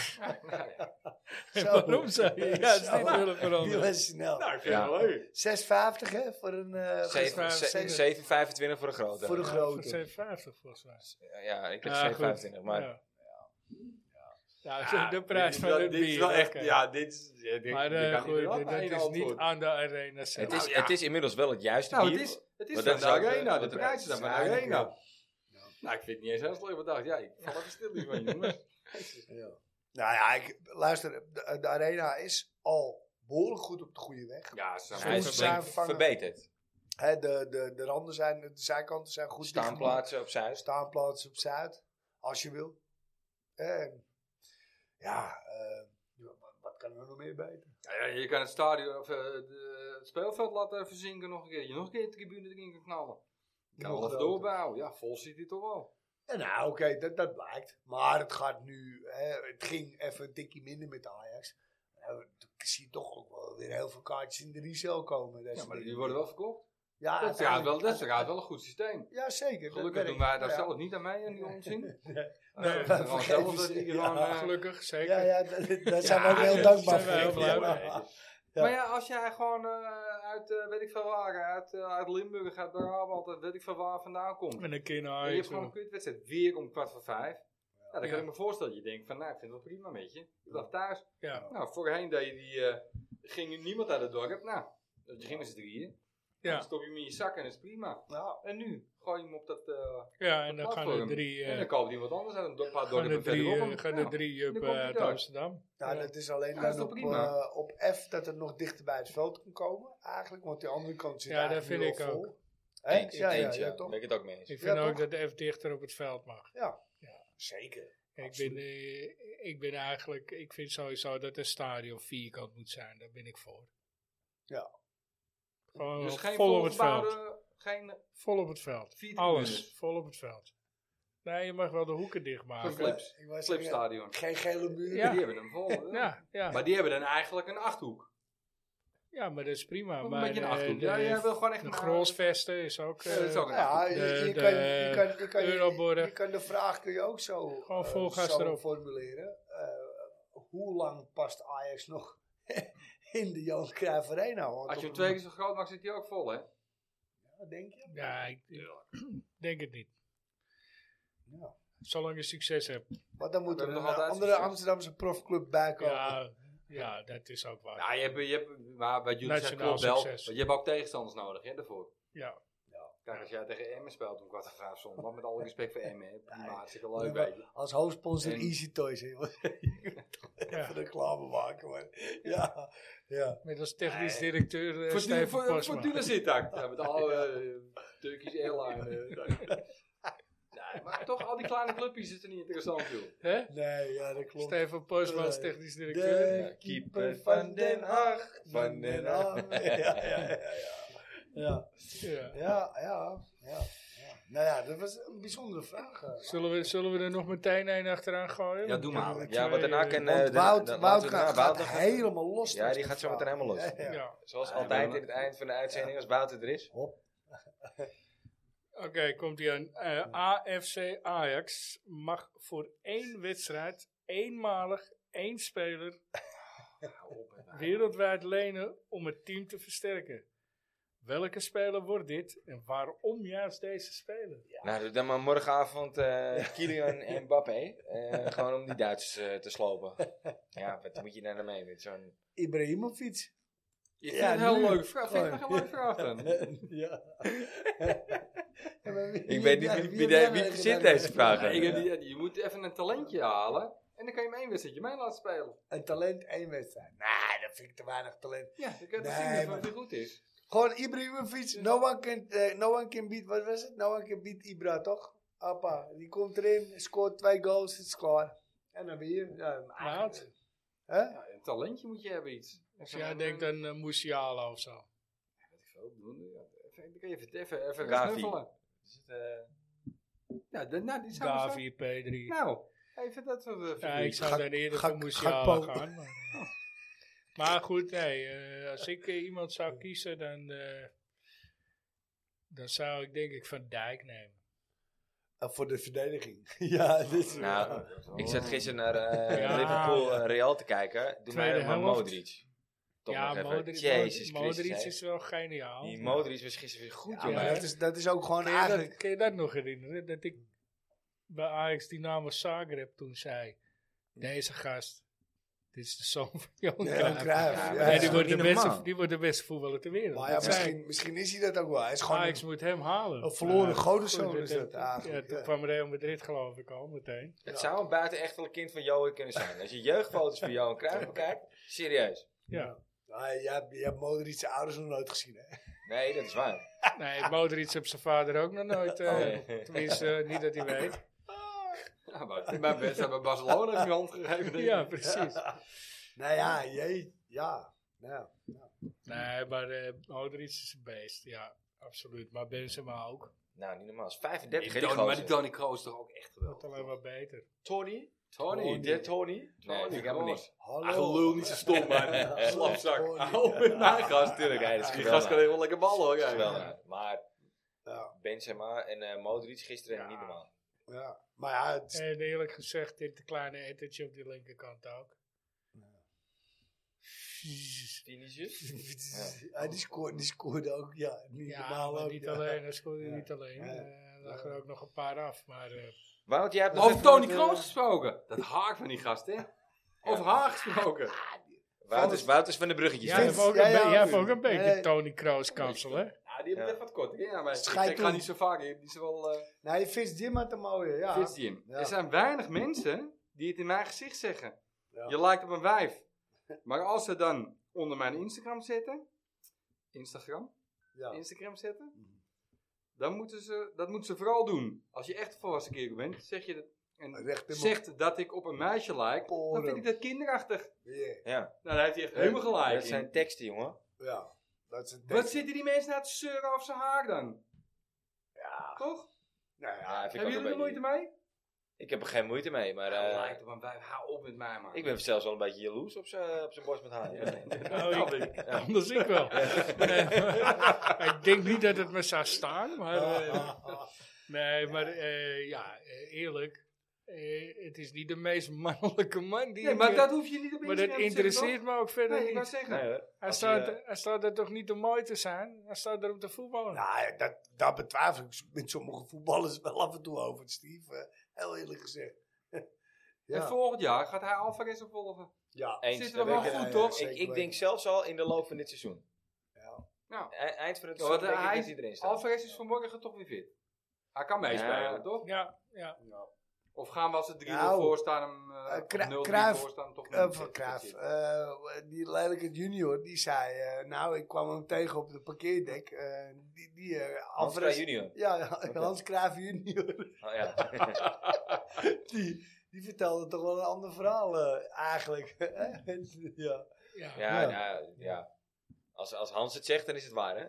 [SPEAKER 4] En
[SPEAKER 5] Zo.
[SPEAKER 4] waarom zou je juist
[SPEAKER 5] Zo.
[SPEAKER 4] niet willen
[SPEAKER 5] Die
[SPEAKER 4] veranderen?
[SPEAKER 5] was snel.
[SPEAKER 4] Nou.
[SPEAKER 6] ik vind het wel leuk.
[SPEAKER 5] 6,50 hè? Voor een, eh,
[SPEAKER 4] Zeven-
[SPEAKER 3] 7,25
[SPEAKER 4] vijf- zeven-
[SPEAKER 3] voor de grote.
[SPEAKER 5] voor een
[SPEAKER 4] Ja, voor
[SPEAKER 5] grote.
[SPEAKER 4] 750 volgens mij.
[SPEAKER 3] Ja, ik
[SPEAKER 4] Ja,
[SPEAKER 3] heb
[SPEAKER 4] goed.
[SPEAKER 3] 7,25, maar...
[SPEAKER 4] Ja. Ja, de prijs
[SPEAKER 6] dit
[SPEAKER 4] van
[SPEAKER 6] is wel-
[SPEAKER 4] het bier.
[SPEAKER 6] dit is wel echt,
[SPEAKER 4] oké.
[SPEAKER 6] ja, dit is... ja, dit-
[SPEAKER 4] Maar
[SPEAKER 6] dit
[SPEAKER 4] eh,
[SPEAKER 6] kan
[SPEAKER 4] goed,
[SPEAKER 6] niet meer af,
[SPEAKER 4] dat
[SPEAKER 6] maar één
[SPEAKER 4] is niet
[SPEAKER 6] antwoord.
[SPEAKER 4] aan de arena zelf.
[SPEAKER 3] Het is,
[SPEAKER 6] Nou, ja.
[SPEAKER 3] het is inmiddels wel het juiste
[SPEAKER 6] Nou,
[SPEAKER 3] bier.
[SPEAKER 6] het is, het is
[SPEAKER 3] Maar
[SPEAKER 6] van
[SPEAKER 3] dat
[SPEAKER 6] de
[SPEAKER 3] zou de-
[SPEAKER 4] nou
[SPEAKER 6] arena. De,
[SPEAKER 3] de
[SPEAKER 6] prijs is dan van de
[SPEAKER 5] prijs-
[SPEAKER 6] arena.
[SPEAKER 5] Ja.
[SPEAKER 6] Nou, ik vind het niet eens heel slecht bedacht. Ja, ik val even stil hier van jongens.
[SPEAKER 5] Ja. Nou ja, ik, luister. De, de arena is al behoorlijk goed op de goede weg.
[SPEAKER 6] Ja, ze
[SPEAKER 5] Ja,
[SPEAKER 6] zijn
[SPEAKER 3] Hij
[SPEAKER 6] wel
[SPEAKER 3] is
[SPEAKER 5] Soms
[SPEAKER 6] zo-
[SPEAKER 3] flink
[SPEAKER 5] zijn we vangen.
[SPEAKER 3] verbeterd.
[SPEAKER 5] Hè, de, de, de randen zijn, de zijkanten zijn goed dichtgemaakt.
[SPEAKER 3] Staanplaatsen op Zuid.
[SPEAKER 5] Staanplaats op Zuid, als je wil. En ja, eh, ja, wat- wat kan er nog meer beter?
[SPEAKER 6] Ja, ja, je kan het stadion of eh, de- het speelveld laten verzinken nog een keer. Je nog een keer de tribune erin kan knallen. Je kan
[SPEAKER 5] Nog
[SPEAKER 6] alles
[SPEAKER 5] groter.
[SPEAKER 6] doorbouwen. Ja, vol zit hij toch wel.
[SPEAKER 5] Ja, nou, oké, dat, dat blijkt. Maar het gaat nu, hè, het ging even een tikje minder met Ajax. Nou, Ik zie toch ook wel weer heel veel kaartjes in de resale komen. Dat
[SPEAKER 6] Ja,
[SPEAKER 5] soort
[SPEAKER 6] maar die
[SPEAKER 5] dingen.
[SPEAKER 6] worden wel verkocht.
[SPEAKER 5] Ja,
[SPEAKER 6] Dat is trouwens wel, dat is
[SPEAKER 5] uiteindelijk-
[SPEAKER 6] trouwens wel een goed systeem.
[SPEAKER 5] Ja, zeker. dat
[SPEAKER 6] Gelukkig doen
[SPEAKER 5] werkt.
[SPEAKER 6] wij daar
[SPEAKER 5] Ja.
[SPEAKER 6] zelf niet aan mee aan die onzin. Eh,
[SPEAKER 5] Nee,
[SPEAKER 6] Nee,
[SPEAKER 5] dat
[SPEAKER 6] gewoon
[SPEAKER 5] vergeven
[SPEAKER 6] zelf dat
[SPEAKER 5] ze.
[SPEAKER 6] die
[SPEAKER 5] Ja,
[SPEAKER 6] gewoon, eh,
[SPEAKER 4] Gelukkig, zeker.
[SPEAKER 5] Ja, ja, dat- dat- daar zijn we
[SPEAKER 4] Ja,
[SPEAKER 5] ook heel
[SPEAKER 4] daar
[SPEAKER 5] dankbaar
[SPEAKER 4] zijn we heel
[SPEAKER 5] voor.
[SPEAKER 4] blij
[SPEAKER 5] Ja.
[SPEAKER 4] mee.
[SPEAKER 5] Ja.
[SPEAKER 6] Maar ja, als jij gewoon eh, uit, eh, weet ik veel waar, uit, eh, uit Limburg, uit Brabant, uit weet ik veel waar vandaan komt.
[SPEAKER 4] Met een kind
[SPEAKER 6] En je hebt
[SPEAKER 4] Ajax.
[SPEAKER 6] gewoon een
[SPEAKER 4] hoor.
[SPEAKER 6] kutwedstrijd weer om kwart voor vijf. Ja, dan kan
[SPEAKER 4] Ja.
[SPEAKER 6] ik me voorstellen dat je denkt van, nou, ik vind het wel prima met je. Ik dacht thuis.
[SPEAKER 4] Ja.
[SPEAKER 6] Nou, voorheen deed je die, eh, ging er niemand uit het dorp. Nou, dat je ging met z'n drieën.
[SPEAKER 4] Ja.
[SPEAKER 6] Dan stop je hem in je zak en dat is prima.
[SPEAKER 5] Ja.
[SPEAKER 6] Nou, En nu gooi je hem op dat... eh,
[SPEAKER 4] ja, en dan gaan
[SPEAKER 6] platform.
[SPEAKER 4] er drie,
[SPEAKER 6] en dan
[SPEAKER 4] eh
[SPEAKER 6] koopt iemand anders uit een do- paar
[SPEAKER 4] gaan er
[SPEAKER 6] dorpen
[SPEAKER 4] drie,
[SPEAKER 6] verderop.
[SPEAKER 4] eh, gaan
[SPEAKER 6] Ja.
[SPEAKER 4] er drie
[SPEAKER 6] dan
[SPEAKER 4] up
[SPEAKER 6] komt hij
[SPEAKER 4] uit
[SPEAKER 6] daar.
[SPEAKER 4] Amsterdam.
[SPEAKER 5] Nou,
[SPEAKER 4] Ja.
[SPEAKER 5] dat is alleen
[SPEAKER 6] Ja, dat
[SPEAKER 5] dan
[SPEAKER 6] is toch
[SPEAKER 5] op,
[SPEAKER 6] prima?
[SPEAKER 5] eh, op F dat het nog dichter bij het veld kan komen. Eigenlijk, want die andere kant zit
[SPEAKER 4] Ja, dat
[SPEAKER 5] eigenlijk
[SPEAKER 4] vind
[SPEAKER 5] nu
[SPEAKER 4] ik
[SPEAKER 5] al
[SPEAKER 4] ook.
[SPEAKER 5] vol. Hè?
[SPEAKER 3] Eens,
[SPEAKER 5] Ja, ja,
[SPEAKER 3] eens,
[SPEAKER 5] ja,
[SPEAKER 3] Daar
[SPEAKER 5] toch?
[SPEAKER 3] ben ik het ook mee eens.
[SPEAKER 4] Ik vind
[SPEAKER 5] Ja,
[SPEAKER 4] ook
[SPEAKER 5] toch?
[SPEAKER 4] dat F dichter op het veld mag.
[SPEAKER 5] Zeker.
[SPEAKER 4] Ik
[SPEAKER 5] Absoluut.
[SPEAKER 4] ben, eh, ik ben eigenlijk, ik vind sowieso dat een stadion vierkant moet zijn. Daar ben ik voor.
[SPEAKER 5] Ja.
[SPEAKER 4] Gewoon
[SPEAKER 6] Dus geen
[SPEAKER 4] eh, vol op het
[SPEAKER 6] volgebouwde-
[SPEAKER 4] veld.
[SPEAKER 6] Geen
[SPEAKER 4] Vol op het veld.
[SPEAKER 6] Vier
[SPEAKER 4] Alles,
[SPEAKER 6] tribunes.
[SPEAKER 4] vol op het veld. Nee, je mag wel de hoeken dichtmaken.
[SPEAKER 6] Flips.
[SPEAKER 5] Ik wou zeggen,
[SPEAKER 6] slipstadion.
[SPEAKER 5] Geen gele muur.
[SPEAKER 4] Ja.
[SPEAKER 6] Die hebben hem vol. hè?
[SPEAKER 4] Ja, ja.
[SPEAKER 6] Maar die hebben dan eigenlijk een achthoek.
[SPEAKER 4] ja, maar dat is prima.
[SPEAKER 6] Een
[SPEAKER 4] maar
[SPEAKER 6] beetje een
[SPEAKER 4] eh,
[SPEAKER 6] achthoek.
[SPEAKER 4] de-
[SPEAKER 6] Ja, jij wil gewoon echt
[SPEAKER 4] De
[SPEAKER 6] een eh,
[SPEAKER 4] Grolsvesten is ook...
[SPEAKER 6] Ja, dat is
[SPEAKER 4] eh,
[SPEAKER 6] ook een
[SPEAKER 5] Nou Ja,
[SPEAKER 6] achthoek.
[SPEAKER 5] je,
[SPEAKER 4] De-
[SPEAKER 5] je
[SPEAKER 4] de
[SPEAKER 5] kan, je, kan, je, kan, je,
[SPEAKER 4] Euroborg.
[SPEAKER 5] je kan de vraag kun je ook zo,
[SPEAKER 4] Gewoon
[SPEAKER 5] eh,
[SPEAKER 4] vol gas
[SPEAKER 5] zo
[SPEAKER 4] erop.
[SPEAKER 5] formuleren. Eh, hoe lang past Ajax nog in de Johan Cruijff Arena? Want
[SPEAKER 6] Als je
[SPEAKER 5] op-
[SPEAKER 6] hem twee keer zo groot maakt, zit hij ook vol, hè?
[SPEAKER 5] Denk je?
[SPEAKER 4] Ja, ik denk het niet.
[SPEAKER 5] Ja.
[SPEAKER 4] Zolang je succes hebt.
[SPEAKER 5] Maar dan moet
[SPEAKER 6] We
[SPEAKER 5] er een
[SPEAKER 6] hebben nog altijd
[SPEAKER 5] andere
[SPEAKER 6] succes.
[SPEAKER 5] Amsterdamse profclub bij komen.
[SPEAKER 4] Ja, ja, dat is ook waar.
[SPEAKER 6] Ja, je hebt, je hebt, maar wat jullie zeggen
[SPEAKER 4] Nationaal
[SPEAKER 6] klopt wel.
[SPEAKER 4] succes.
[SPEAKER 6] Want je hebt ook tegenstanders nodig, hè, daarvoor.
[SPEAKER 4] Ja.
[SPEAKER 6] Kijk, als jij tegen Emmen speelt om kwart voor vijf zondag, met alle respect voor Emmen, hè, prima,
[SPEAKER 5] Ja,
[SPEAKER 6] hartstikke leuk,
[SPEAKER 5] maar-
[SPEAKER 6] weet je.
[SPEAKER 5] Als hoofdsponsor
[SPEAKER 6] En-
[SPEAKER 5] Easy Toys. Hè, jongens. Even reclame maken. Maar. Ja, ja.
[SPEAKER 4] Met als technisch directeur eh
[SPEAKER 6] Fortuna-
[SPEAKER 4] Steven
[SPEAKER 6] Voor
[SPEAKER 4] Pasma.
[SPEAKER 6] Fortuna zit daar. Ja, met alle eh, Turkish Airline. eh, nee, maar toch, al die kleine clubjes is er niet interessant, joh.
[SPEAKER 4] Hè?
[SPEAKER 5] Nee, ja, dat klopt.
[SPEAKER 4] Steven Pasma als
[SPEAKER 5] Eh,
[SPEAKER 4] technisch directeur.
[SPEAKER 5] De keeper van Den Haag. Van
[SPEAKER 3] eh,
[SPEAKER 5] Den Haag. nou, Ja, ja, ja. ja. Ja,
[SPEAKER 4] Ja.
[SPEAKER 5] ja, ja, ja, ja. Nou ja, dat was een bijzondere vraag. eh.
[SPEAKER 4] Zullen, we, zullen we er nog meteen een achteraan gooien?
[SPEAKER 6] Ja, doe
[SPEAKER 4] Want-
[SPEAKER 6] maar.
[SPEAKER 3] Ja, want daarna kan... eh,
[SPEAKER 5] Want
[SPEAKER 3] de-
[SPEAKER 5] Wout,
[SPEAKER 3] dan-
[SPEAKER 5] Wout
[SPEAKER 3] laten we-
[SPEAKER 5] gaat,
[SPEAKER 3] ja, Wout
[SPEAKER 5] gaat
[SPEAKER 3] nog-
[SPEAKER 5] helemaal los.
[SPEAKER 3] Ja, die gaat zo meteen helemaal los.
[SPEAKER 5] Ja, ja.
[SPEAKER 4] eh, Ja.
[SPEAKER 3] Zoals
[SPEAKER 6] Ja,
[SPEAKER 3] altijd
[SPEAKER 6] maar-
[SPEAKER 3] in het eind van de uitzending, als Wouter er is.
[SPEAKER 5] Hop.
[SPEAKER 4] Oké, komt hij aan. Eh, AFC Ajax mag voor één wedstrijd eenmalig één speler wereldwijd lenen om het team te versterken. Welke speler wordt dit en waarom juist deze speler?
[SPEAKER 3] Nou, doe dan maar morgenavond eh, Kylian en Mbappé. Eh, gewoon om die Duitsers eh, te slopen. Ja, wat moet je daar nou mee met zo'n...
[SPEAKER 5] Ibrahimovic. Ja,
[SPEAKER 6] Ik vind het een heel
[SPEAKER 5] nu.
[SPEAKER 6] leuke vraag. Vind ik nog een leuke vraag dan.
[SPEAKER 5] ja.
[SPEAKER 3] Ik weet niet wie, wie, de- wie verzint deze vragen.
[SPEAKER 6] Ik heb die- je moet even een talentje halen. En dan kan je hem één wedstrijdje mee laten spelen.
[SPEAKER 5] Een talent, één wedstrijd. Nou, dat vind ik te weinig talent.
[SPEAKER 6] Ja, dan kan je
[SPEAKER 5] Nee,
[SPEAKER 6] toch zien
[SPEAKER 5] maar-
[SPEAKER 6] of hij goed is.
[SPEAKER 5] Gewoon Ibrahimovic. No one can, eh, no one can beat, wat was het? No one can beat Ibra, toch? Appa, die komt erin, scoort twee goals, het is klaar. En dan weer. Ja,
[SPEAKER 4] Maat?
[SPEAKER 5] Hè?
[SPEAKER 6] Ja, een talentje moet je hebben iets.
[SPEAKER 4] Als jij denkt aan uh, Musiala of zo.
[SPEAKER 6] Weet ik veel, doen, ja. Even, dan kan je even, even, even
[SPEAKER 3] Gavi.
[SPEAKER 6] snuffelen. eh, Ja, de, nou, die zou we
[SPEAKER 4] Gavi, P3.
[SPEAKER 6] Zo, nou, even dat soort eh,
[SPEAKER 4] ja,
[SPEAKER 6] figuurtjes.
[SPEAKER 4] ik zou
[SPEAKER 5] Gak-
[SPEAKER 4] dan eerder
[SPEAKER 5] Gak-
[SPEAKER 4] voor Musiala
[SPEAKER 5] Gakpo.
[SPEAKER 4] gaan. Maar, maar goed, nee, eh, als ik eh, iemand zou kiezen, dan, eh, dan zou ik denk ik Van Dijk nemen.
[SPEAKER 5] Eh, voor de verdediging. ja, dit is
[SPEAKER 3] Nou, ik zat gisteren naar eh,
[SPEAKER 4] Ja.
[SPEAKER 3] Liverpool eh, Real te kijken. Doe
[SPEAKER 4] Tweede
[SPEAKER 3] mij maar
[SPEAKER 4] helft.
[SPEAKER 3] Modric. Toch
[SPEAKER 4] ja,
[SPEAKER 3] nog even.
[SPEAKER 4] Modric,
[SPEAKER 3] Jezus
[SPEAKER 4] Modric
[SPEAKER 3] Christus, hè.
[SPEAKER 4] is wel geniaal.
[SPEAKER 3] Die Modric was gisteren weer goed,
[SPEAKER 5] Ja,
[SPEAKER 3] jongen.
[SPEAKER 5] maar
[SPEAKER 4] Ja.
[SPEAKER 5] dat is, dat is ook gewoon
[SPEAKER 4] Kun je, dat,
[SPEAKER 5] eigenlijk...
[SPEAKER 4] kun je dat nog herinneren? Dat ik bij Ajax Dynamo Zagreb toen zei, deze gast, dit is de zoon van Johan
[SPEAKER 5] Ja,
[SPEAKER 4] Cruijff.
[SPEAKER 5] Cruijff,
[SPEAKER 3] Ja,
[SPEAKER 5] ja,
[SPEAKER 3] maar
[SPEAKER 4] En
[SPEAKER 5] ja.
[SPEAKER 4] die,
[SPEAKER 3] is
[SPEAKER 4] wordt de
[SPEAKER 3] niet
[SPEAKER 4] beste,
[SPEAKER 3] normaal.
[SPEAKER 4] die wordt de beste voetballer ter wereld.
[SPEAKER 5] Maar ja,
[SPEAKER 4] Dat zei ik.
[SPEAKER 5] misschien, misschien is hij dat ook wel. Hij is gewoon
[SPEAKER 4] Ajax
[SPEAKER 5] een-
[SPEAKER 4] moet hem halen.
[SPEAKER 5] een verloren
[SPEAKER 4] Ja,
[SPEAKER 5] godenzoon
[SPEAKER 4] goed,
[SPEAKER 5] is dat
[SPEAKER 4] Ja,
[SPEAKER 5] eigenlijk,
[SPEAKER 4] toen
[SPEAKER 5] ja.
[SPEAKER 4] kwam Real Madrid geloof ik al meteen.
[SPEAKER 3] Het zou een buitenechtelijk kind van Johan kunnen zijn. Als je jeugdfoto's van Johan Cruijff bekijkt, serieus.
[SPEAKER 4] Ja.
[SPEAKER 5] Nou, jij, hebt- jij hebt Modric zijn ouders nog nooit gezien, hè?
[SPEAKER 3] Nee, dat is waar.
[SPEAKER 4] Nee, Modric heeft zijn vader ook nog nooit. eh,
[SPEAKER 5] Oh,
[SPEAKER 3] Nee.
[SPEAKER 4] Tenminste, eh, niet dat hij weet.
[SPEAKER 6] Ja, maar ik ben best hebben Barcelona heeft je hand gegeven. denk ik.
[SPEAKER 4] Ja, precies.
[SPEAKER 5] Nou ja, jee, ja. Nou,
[SPEAKER 4] Nee, maar eh Modric is een beest. Ja, absoluut. Maar Benzema ook.
[SPEAKER 3] Nou, niet normaal. Is 35
[SPEAKER 6] Die
[SPEAKER 3] hè, die
[SPEAKER 6] Tony, maar die
[SPEAKER 3] gozer.
[SPEAKER 6] Tony Kroos toch ook echt
[SPEAKER 4] Wordt
[SPEAKER 6] geweldig.
[SPEAKER 4] alleen maar beter.
[SPEAKER 3] Tony?
[SPEAKER 6] Tony.
[SPEAKER 3] Oh, die Tony? Nee, vind ik helemaal niks.
[SPEAKER 5] hallo.
[SPEAKER 6] Ach, gelul, niet zo stom, maar slapzak. Oh, met mijn gast.
[SPEAKER 3] Tuurlijk, hij is
[SPEAKER 6] Die
[SPEAKER 3] geweldig.
[SPEAKER 6] gast kan helemaal lekker ballen hoor.
[SPEAKER 3] Dat
[SPEAKER 6] jij.
[SPEAKER 3] is geweldig. Maar
[SPEAKER 5] Ja,
[SPEAKER 3] Benzema en eh Modric gisteren niet normaal.
[SPEAKER 5] ja. Maar ja, het is-
[SPEAKER 4] En eerlijk gezegd, dit kleine ettertje op die linkerkant ook.
[SPEAKER 3] Vinicius?
[SPEAKER 5] ja, Ah, die, scoorde, die scoorde ook, ja. Niet
[SPEAKER 4] Ja,
[SPEAKER 5] normaal
[SPEAKER 4] maar
[SPEAKER 5] ook,
[SPEAKER 4] niet
[SPEAKER 5] ja.
[SPEAKER 4] alleen. Hij scoorde
[SPEAKER 5] Ja.
[SPEAKER 4] niet alleen.
[SPEAKER 5] Ja.
[SPEAKER 4] Eh, Er lagen er ook nog een paar af. Maar eh,
[SPEAKER 3] Wout, jij hebt nog
[SPEAKER 6] Over
[SPEAKER 3] even
[SPEAKER 6] Tony
[SPEAKER 3] wat, eh,
[SPEAKER 6] Kroos gesproken. Dat haak van die gast, hè? Over haar gesproken.
[SPEAKER 3] Wout is, Wout is van de bruggetjes.
[SPEAKER 4] jij hebt
[SPEAKER 5] Vince,
[SPEAKER 4] ook
[SPEAKER 5] jij
[SPEAKER 4] een be-
[SPEAKER 5] ook.
[SPEAKER 4] jij hebt ook een beetje
[SPEAKER 5] Nee.
[SPEAKER 4] Tony Kroos kapsel, hè?
[SPEAKER 6] Ja, die hebben het
[SPEAKER 3] Ja.
[SPEAKER 6] even wat kort. Ja, maar
[SPEAKER 5] Schijt
[SPEAKER 6] ik ga
[SPEAKER 5] toe.
[SPEAKER 6] niet zo vaak. Die is wel... eh,
[SPEAKER 5] Nee, Fitz Jim had een mooie, ja.
[SPEAKER 6] Fitz Jim.
[SPEAKER 5] Ja.
[SPEAKER 6] Er zijn weinig mensen die het in mijn gezicht zeggen.
[SPEAKER 5] Ja.
[SPEAKER 6] Je lijkt op een wijf. Maar als ze dan onder mijn Instagram zetten, Instagram,
[SPEAKER 5] Ja.
[SPEAKER 6] Instagram zetten, dan moeten ze, dat moeten ze vooral doen. Als je echt een volwassen kerel bent, zeg je dat, en
[SPEAKER 5] Recht in mijn
[SPEAKER 6] zegt dat ik op een meisje lijk, dan
[SPEAKER 5] Poren.
[SPEAKER 6] vind ik dat kinderachtig.
[SPEAKER 5] Ja,
[SPEAKER 3] Ja.
[SPEAKER 6] Nou, daar heeft hij echt helemaal
[SPEAKER 4] Oh,
[SPEAKER 6] gelijk
[SPEAKER 3] Dat
[SPEAKER 6] in.
[SPEAKER 3] zijn teksten, jongen.
[SPEAKER 5] ja. Dat is een
[SPEAKER 6] Wat
[SPEAKER 5] teken.
[SPEAKER 6] zitten die mensen nou te zeuren over zijn haar dan? Ja. Toch?
[SPEAKER 5] Nou ja,
[SPEAKER 3] Ja, vind ik
[SPEAKER 6] Hebben
[SPEAKER 3] ook
[SPEAKER 6] jullie er
[SPEAKER 3] een beetje-
[SPEAKER 6] moeite mee?
[SPEAKER 3] Ik heb er geen moeite mee, maar... eh,
[SPEAKER 6] Ja, lijkt op een wijf, hou op met mij man.
[SPEAKER 3] ik ben zelfs wel een beetje jaloers op zijn op zijn borst met haar. Ja.
[SPEAKER 4] Nou, ik- Anders ik wel. Nee, maar- ik denk niet dat het me zou staan, maar...
[SPEAKER 5] Ah.
[SPEAKER 4] eh, nee, maar eh, ja, eh, eerlijk. eh, het is niet de meest mannelijke man die...
[SPEAKER 6] Nee,
[SPEAKER 4] ik,
[SPEAKER 6] maar
[SPEAKER 4] eh,
[SPEAKER 6] dat hoef je niet op Instagram
[SPEAKER 4] maar dat
[SPEAKER 6] te zetten,
[SPEAKER 4] interesseert me ook
[SPEAKER 6] toch?
[SPEAKER 4] verder
[SPEAKER 6] Nee, ik wou
[SPEAKER 4] niet.
[SPEAKER 6] zeggen.
[SPEAKER 3] Nee, hoor.
[SPEAKER 4] Hij
[SPEAKER 3] Als
[SPEAKER 4] staat,
[SPEAKER 3] je-
[SPEAKER 4] hij staat er toch niet om mooi te zijn? Hij staat er om te voetballen.
[SPEAKER 5] Nou, dat, daar betwijfel ik met sommige voetballers wel af en toe over, Steve. eh, Heel eerlijk gezegd.
[SPEAKER 6] En
[SPEAKER 5] ja,
[SPEAKER 6] volgend jaar gaat hij Alvarez opvolgen.
[SPEAKER 5] ja.
[SPEAKER 3] Eens,
[SPEAKER 6] Zit er
[SPEAKER 3] dat
[SPEAKER 6] wel
[SPEAKER 3] weet ik.
[SPEAKER 6] goed,
[SPEAKER 5] ja,
[SPEAKER 6] toch?
[SPEAKER 5] zeker
[SPEAKER 3] Ik, ik denk
[SPEAKER 5] weten.
[SPEAKER 3] zelfs al in de loop van dit seizoen.
[SPEAKER 6] Ja.
[SPEAKER 3] E- Eind van het
[SPEAKER 6] Ja,
[SPEAKER 3] seizoen
[SPEAKER 6] want,
[SPEAKER 3] denk
[SPEAKER 6] eh,
[SPEAKER 3] ik
[SPEAKER 6] hij-
[SPEAKER 3] dat hij erin staat.
[SPEAKER 6] Nou, Alvarez is vanmorgen toch weer fit. Hij kan meespelen,
[SPEAKER 3] Ja.
[SPEAKER 6] toch?
[SPEAKER 4] Ja, ja.
[SPEAKER 6] Of gaan we als ze 3-0
[SPEAKER 5] Nou,
[SPEAKER 6] voor staan, hem
[SPEAKER 5] eh,
[SPEAKER 6] eh,
[SPEAKER 5] Kra-
[SPEAKER 6] of 0-3
[SPEAKER 5] Cruijff,
[SPEAKER 6] voor staan, toch?
[SPEAKER 5] Eh, van Cruijff, eh, die lelijke junior, die zei... eh, nou, ik kwam hem tegen op het parkeerdek. eh, die die eh,
[SPEAKER 3] Hans Kraaij
[SPEAKER 5] Alvarez-
[SPEAKER 3] junior.
[SPEAKER 5] Ja, ja, Hans Cruijff junior.
[SPEAKER 3] Oh, ja.
[SPEAKER 5] die, die vertelde toch wel een ander verhaal eh, eigenlijk. ja.
[SPEAKER 4] ja.
[SPEAKER 3] ja,
[SPEAKER 5] Ja.
[SPEAKER 3] nou, ja. Als, als Hans het zegt, dan is het waar, hè?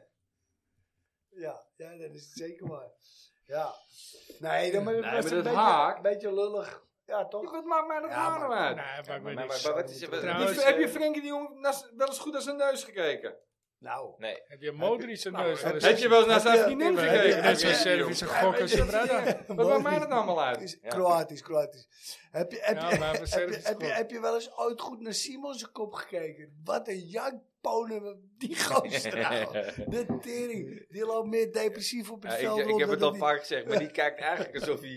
[SPEAKER 5] Ja, ja, dat is het zeker waar. Ja. Nee, dan maar het
[SPEAKER 6] Nee,
[SPEAKER 5] was
[SPEAKER 6] maar
[SPEAKER 5] een
[SPEAKER 6] dat
[SPEAKER 5] beetje,
[SPEAKER 6] haak-
[SPEAKER 5] beetje lullig. Ja, toch?
[SPEAKER 6] Wat maakt mij dat
[SPEAKER 5] Ja,
[SPEAKER 6] haar nou
[SPEAKER 4] Nee,
[SPEAKER 6] uit?
[SPEAKER 4] maar, ik
[SPEAKER 3] Maar,
[SPEAKER 4] ben
[SPEAKER 3] maar,
[SPEAKER 4] niks.
[SPEAKER 3] maar wat is er...
[SPEAKER 4] Trouwens,
[SPEAKER 6] Heb je-
[SPEAKER 4] eh,
[SPEAKER 6] heb je Frenkie de Jong nas- wel eens goed naar zijn neus gekeken?
[SPEAKER 5] Nou.
[SPEAKER 3] Nee.
[SPEAKER 4] heb je Modric een neus?
[SPEAKER 5] heb
[SPEAKER 4] aan de
[SPEAKER 6] Heb je wel eens naar zijn
[SPEAKER 5] je-
[SPEAKER 6] vriendin
[SPEAKER 4] Maar heb je
[SPEAKER 6] gekeken?
[SPEAKER 4] net zo'n
[SPEAKER 6] Frenkie de Jong?
[SPEAKER 4] Servische gok als
[SPEAKER 6] Ja,
[SPEAKER 4] je
[SPEAKER 6] maar dit-
[SPEAKER 4] Brada?
[SPEAKER 6] Wat maakt mij dat nou allemaal uit?
[SPEAKER 5] Is
[SPEAKER 3] Ja.
[SPEAKER 5] Kroatisch, Kroatisch. Heb je, heb,
[SPEAKER 4] Ja,
[SPEAKER 5] je,
[SPEAKER 4] maar we
[SPEAKER 5] heb,
[SPEAKER 4] zeggen
[SPEAKER 5] je,
[SPEAKER 4] het
[SPEAKER 5] heb, je,
[SPEAKER 4] goed.
[SPEAKER 5] heb je wel eens ooit goed naar Simons kop gekeken? Wat een jankponen die gozer nou. De tering. Die loopt meer depressief op het
[SPEAKER 3] Ja, ik,
[SPEAKER 5] veld
[SPEAKER 3] ik
[SPEAKER 5] rond
[SPEAKER 3] heb het
[SPEAKER 5] dan
[SPEAKER 3] al
[SPEAKER 5] die-
[SPEAKER 3] vaak gezegd, maar die kijkt eigenlijk alsof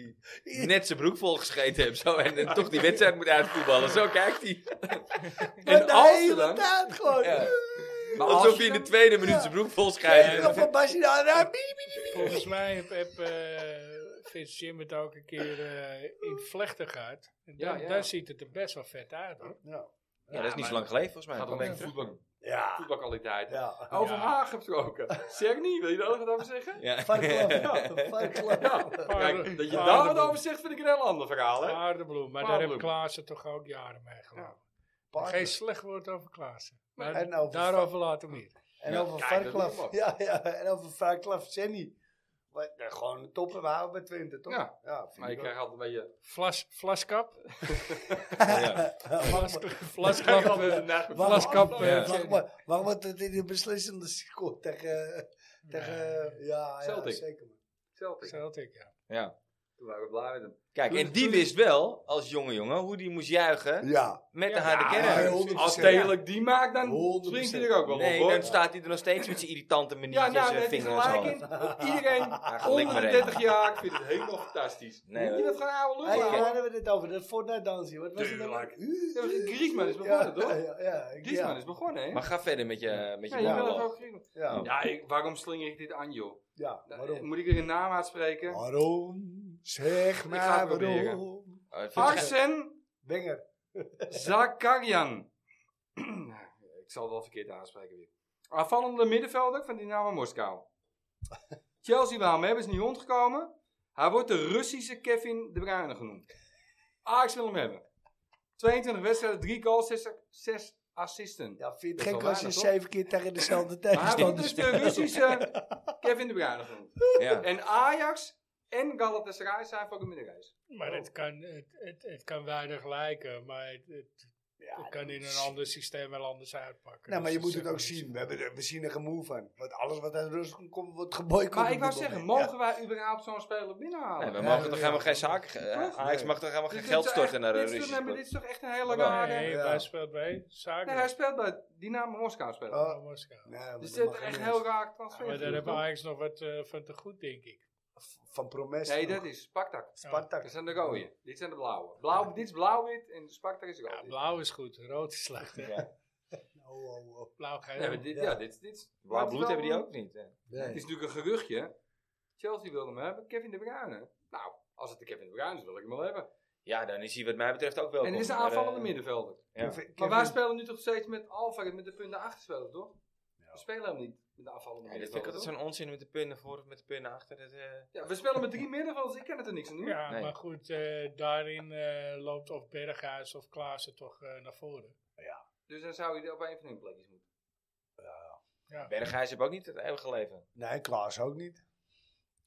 [SPEAKER 3] hij net zijn broek volgescheten heeft. Zo, en, en toch die wedstrijd moet uitvoetballen. Zo kijkt hij.
[SPEAKER 5] Maar
[SPEAKER 6] En
[SPEAKER 5] de
[SPEAKER 6] als je
[SPEAKER 5] hele
[SPEAKER 6] dan...
[SPEAKER 5] tijd gewoon.
[SPEAKER 3] Ja.
[SPEAKER 6] Maar
[SPEAKER 3] Alsof
[SPEAKER 6] als
[SPEAKER 3] hij
[SPEAKER 6] je
[SPEAKER 3] in de
[SPEAKER 6] dan...
[SPEAKER 3] tweede minuut zijn broek volscheidt.
[SPEAKER 5] Ja, Van Basje nou, nou, biep, biep, biep.
[SPEAKER 4] Volgens mij heb, heb eh, Fitz Jim het ook een keer eh, in vlechten gehad. En
[SPEAKER 6] Ja,
[SPEAKER 4] dan,
[SPEAKER 6] ja.
[SPEAKER 4] dan ziet het er best wel vet uit hoor.
[SPEAKER 3] Ja, dat is niet zo lang geleden volgens mij.
[SPEAKER 6] Gaat
[SPEAKER 3] Een
[SPEAKER 6] om
[SPEAKER 3] paar
[SPEAKER 6] echt
[SPEAKER 3] weken
[SPEAKER 6] voetbal,
[SPEAKER 5] Ja.
[SPEAKER 6] voetbalkwaliteit.
[SPEAKER 5] Ja.
[SPEAKER 6] Over haar gesproken. Zeg niet, wil je daar nog wat over
[SPEAKER 3] terug.
[SPEAKER 6] zeggen?
[SPEAKER 3] Ja.
[SPEAKER 5] Varklap. Varklap.
[SPEAKER 6] Kijk, dat je
[SPEAKER 4] Paardenbloem.
[SPEAKER 6] daar wat over zegt, vind ik een heel ander verhaal, hè?
[SPEAKER 4] Paardenbloem. Maar daar
[SPEAKER 6] Paardenbloem.
[SPEAKER 4] heb Klaassen toch ook jaren mee gelopen. Geen slecht woord over Klaassen. Maar
[SPEAKER 5] En over-
[SPEAKER 4] daarover later meer.
[SPEAKER 5] En
[SPEAKER 6] Ja,
[SPEAKER 5] over
[SPEAKER 6] kijk, dat
[SPEAKER 5] Varklaf.
[SPEAKER 6] doet hem
[SPEAKER 5] Ja, ja, en over Varklaf Senny. Wat- nou, Gewoon een topper, we houden bij Twente, toch?
[SPEAKER 6] Ja.
[SPEAKER 5] vind
[SPEAKER 6] Maar je
[SPEAKER 5] ik ook.
[SPEAKER 6] krijgt altijd een beetje...
[SPEAKER 4] Vlas, vlaskap.
[SPEAKER 5] Nou,
[SPEAKER 6] eh,
[SPEAKER 3] Ja.
[SPEAKER 4] Vlas,
[SPEAKER 6] Je krijgt
[SPEAKER 4] vlaskap.
[SPEAKER 6] altijd
[SPEAKER 4] eh,
[SPEAKER 6] een nacht-
[SPEAKER 5] Wacht
[SPEAKER 4] vlaskap.
[SPEAKER 5] maar,
[SPEAKER 4] eh,
[SPEAKER 5] wacht maar, wacht maar tot in de beslissende score tegen... tegen eh, ja, ja,
[SPEAKER 6] Celtic.
[SPEAKER 5] zeker. man.
[SPEAKER 6] Celtic.
[SPEAKER 4] Celtic, ja.
[SPEAKER 3] Ja.
[SPEAKER 6] Toen waren we blij met hem.
[SPEAKER 3] Kijk, en die wist wel, als jonge jongen, hoe die moest juichen
[SPEAKER 5] Ja,
[SPEAKER 3] met de harde
[SPEAKER 5] ja,
[SPEAKER 3] kern.
[SPEAKER 5] 100%.
[SPEAKER 6] Als Tedelijk die maakt, dan
[SPEAKER 5] 100%.
[SPEAKER 6] springt hij er ook wel
[SPEAKER 3] Nee,
[SPEAKER 6] op,
[SPEAKER 3] dan
[SPEAKER 6] hoor.
[SPEAKER 3] staat hij er nog steeds met zijn irritante
[SPEAKER 6] Ja,
[SPEAKER 3] maniertjes
[SPEAKER 6] nou,
[SPEAKER 3] en
[SPEAKER 6] net is
[SPEAKER 3] vinger en zo.
[SPEAKER 6] gelijk in. Iedereen
[SPEAKER 3] gelijk
[SPEAKER 6] onder de
[SPEAKER 3] maar
[SPEAKER 6] 30 jaar vindt het helemaal fantastisch.
[SPEAKER 3] Nee,
[SPEAKER 6] Moet je
[SPEAKER 3] hoor.
[SPEAKER 6] dat gaan oude
[SPEAKER 5] hey,
[SPEAKER 6] lullen
[SPEAKER 5] waar hadden
[SPEAKER 6] houden?
[SPEAKER 5] we dit over? Dat Fortnite-dansje, wat was
[SPEAKER 6] Tuurlijk.
[SPEAKER 5] het dan?
[SPEAKER 6] Ja, Griezmann is
[SPEAKER 5] Ja,
[SPEAKER 6] begonnen, toch?
[SPEAKER 5] Ja, ja, ja.
[SPEAKER 6] Griezmann is begonnen, hè?
[SPEAKER 3] Maar ga verder met je, met
[SPEAKER 6] Ja,
[SPEAKER 3] je
[SPEAKER 6] je wil
[SPEAKER 3] monoloog.
[SPEAKER 6] het ook Griezmann.
[SPEAKER 5] Ja,
[SPEAKER 6] Ja, ik- waarom slinger ik dit aan, joh?
[SPEAKER 5] ja, waarom?
[SPEAKER 6] Moet ik er een naam
[SPEAKER 3] Oh,
[SPEAKER 6] uitspreken?
[SPEAKER 5] Waarom? Zeg
[SPEAKER 6] Ik ga
[SPEAKER 5] maar
[SPEAKER 6] het proberen.
[SPEAKER 5] waarom?
[SPEAKER 3] Oh, ik vind het echt-
[SPEAKER 6] Arsen
[SPEAKER 5] Wenger.
[SPEAKER 6] Zakarian. ik zal het wel verkeerd aanspreken weer. Aanvallende middenvelder van Dynamo Moskou. Chelsea wou hem hebben, is niet rondgekomen. Hij wordt de Russische Kevin De Bruyne genoemd. Ajax wil hem hebben. 22 wedstrijden, 3 goals, 6, assisten.
[SPEAKER 5] Ja, vind
[SPEAKER 6] Dat
[SPEAKER 5] je
[SPEAKER 6] is
[SPEAKER 5] gek
[SPEAKER 6] wel
[SPEAKER 5] als je
[SPEAKER 6] weinig,
[SPEAKER 5] zeven keer tegen dezelfde
[SPEAKER 6] Maar hij wordt
[SPEAKER 5] tegenstander
[SPEAKER 6] dus
[SPEAKER 5] speelt.
[SPEAKER 6] de Russische Kevin De Bruyne genoemd.
[SPEAKER 3] Ja.
[SPEAKER 6] En Ajax en Galatasaray zijn voor de middenreis.
[SPEAKER 5] Oh.
[SPEAKER 4] Maar het kan, het, het, het kan weinig lijken, maar het, het, het kan in een ander systeem wel anders uitpakken.
[SPEAKER 5] Nou, maar
[SPEAKER 4] Dus dat
[SPEAKER 5] je moet het
[SPEAKER 4] zegt
[SPEAKER 5] ook
[SPEAKER 4] niks.
[SPEAKER 5] zien. We, hebben er, we zien er geen moe van. Want alles wat uit Rusland komt, wordt geboycott.
[SPEAKER 6] Maar
[SPEAKER 5] op
[SPEAKER 6] ik wou
[SPEAKER 5] dit
[SPEAKER 6] zeggen,
[SPEAKER 5] moment.
[SPEAKER 6] mogen wij überhaupt zo'n speler binnenhalen?
[SPEAKER 3] Nee, we
[SPEAKER 5] Ja,
[SPEAKER 3] mogen
[SPEAKER 5] ja,
[SPEAKER 3] toch
[SPEAKER 5] ja.
[SPEAKER 3] helemaal geen zaak. eh, Ajax mag toch helemaal geen
[SPEAKER 6] Dit
[SPEAKER 3] geld
[SPEAKER 6] is toch echt-
[SPEAKER 3] storten naar de
[SPEAKER 6] dit is toch-
[SPEAKER 3] Russische
[SPEAKER 6] nee, maar
[SPEAKER 3] club? Oh,
[SPEAKER 6] Dit is toch echt een hele
[SPEAKER 3] Nee,
[SPEAKER 6] rare...
[SPEAKER 4] Nee,
[SPEAKER 5] Ja.
[SPEAKER 4] wij speelt bij
[SPEAKER 6] Nee, hij
[SPEAKER 4] Zagreb.
[SPEAKER 6] speelt bij Dynamo Moskou spelen.
[SPEAKER 5] Oh,
[SPEAKER 4] Oh, Moskou.
[SPEAKER 5] Ja. Nee, maar
[SPEAKER 6] dus
[SPEAKER 5] dat
[SPEAKER 6] dit is
[SPEAKER 5] mag
[SPEAKER 6] echt
[SPEAKER 5] niet.
[SPEAKER 6] heel raar
[SPEAKER 4] Maar
[SPEAKER 6] transfer.
[SPEAKER 4] Oh, daar hebben Ajax nog wat eh, van te goed, denk ik.
[SPEAKER 5] Van Promes.
[SPEAKER 6] Nee,
[SPEAKER 5] nog.
[SPEAKER 6] dat is Spartak.
[SPEAKER 5] Spartak.
[SPEAKER 6] Dat zijn de rode. Dit zijn de blauwe. Blauw, dit is blauw-wit en Spartak is rood.
[SPEAKER 4] Ja, blauw is goed, rood is slecht. hè.
[SPEAKER 5] Oh, oh, oh.
[SPEAKER 4] Blauw-geel.
[SPEAKER 6] Nee, maar dit, ja. dit, dit, is-
[SPEAKER 3] Blauw
[SPEAKER 6] maar het is
[SPEAKER 3] bloed hebben die
[SPEAKER 6] wel-
[SPEAKER 3] ook niet. hè.
[SPEAKER 6] Het is
[SPEAKER 5] Nee.
[SPEAKER 6] natuurlijk een geruchtje. Chelsea wilde hem hebben, Kevin De Bruyne. Nou, als het de Kevin De Bruyne is, wil ik hem wel hebben.
[SPEAKER 3] Ja, dan is hij wat mij betreft ook wel.
[SPEAKER 6] en het is een aanvallende middenvelder.
[SPEAKER 3] eh, Ja.
[SPEAKER 5] Kevin-
[SPEAKER 6] Maar wij
[SPEAKER 5] Kevin-
[SPEAKER 6] spelen nu toch steeds met Alvarez, met de punten achterspelen, toch? We spelen hem niet met de aanvallende
[SPEAKER 3] Ja, dat vind ik
[SPEAKER 6] middenvelder.
[SPEAKER 3] altijd zo'n onzin met de punten voor of met de punten achter. Dat, eh,
[SPEAKER 6] toch? Ja, we spelen met drie middenvelders, ik ken het er niks aan doen.
[SPEAKER 4] Ja,
[SPEAKER 3] Nee.
[SPEAKER 4] maar goed, eh, daarin eh, loopt of Berghuis of Klaassen toch eh, naar voren.
[SPEAKER 6] Dus dan zou je op een van hun plekjes moeten.
[SPEAKER 3] Berghuis heeft ook niet het eeuwige leven.
[SPEAKER 5] Nee, Klaas ook niet.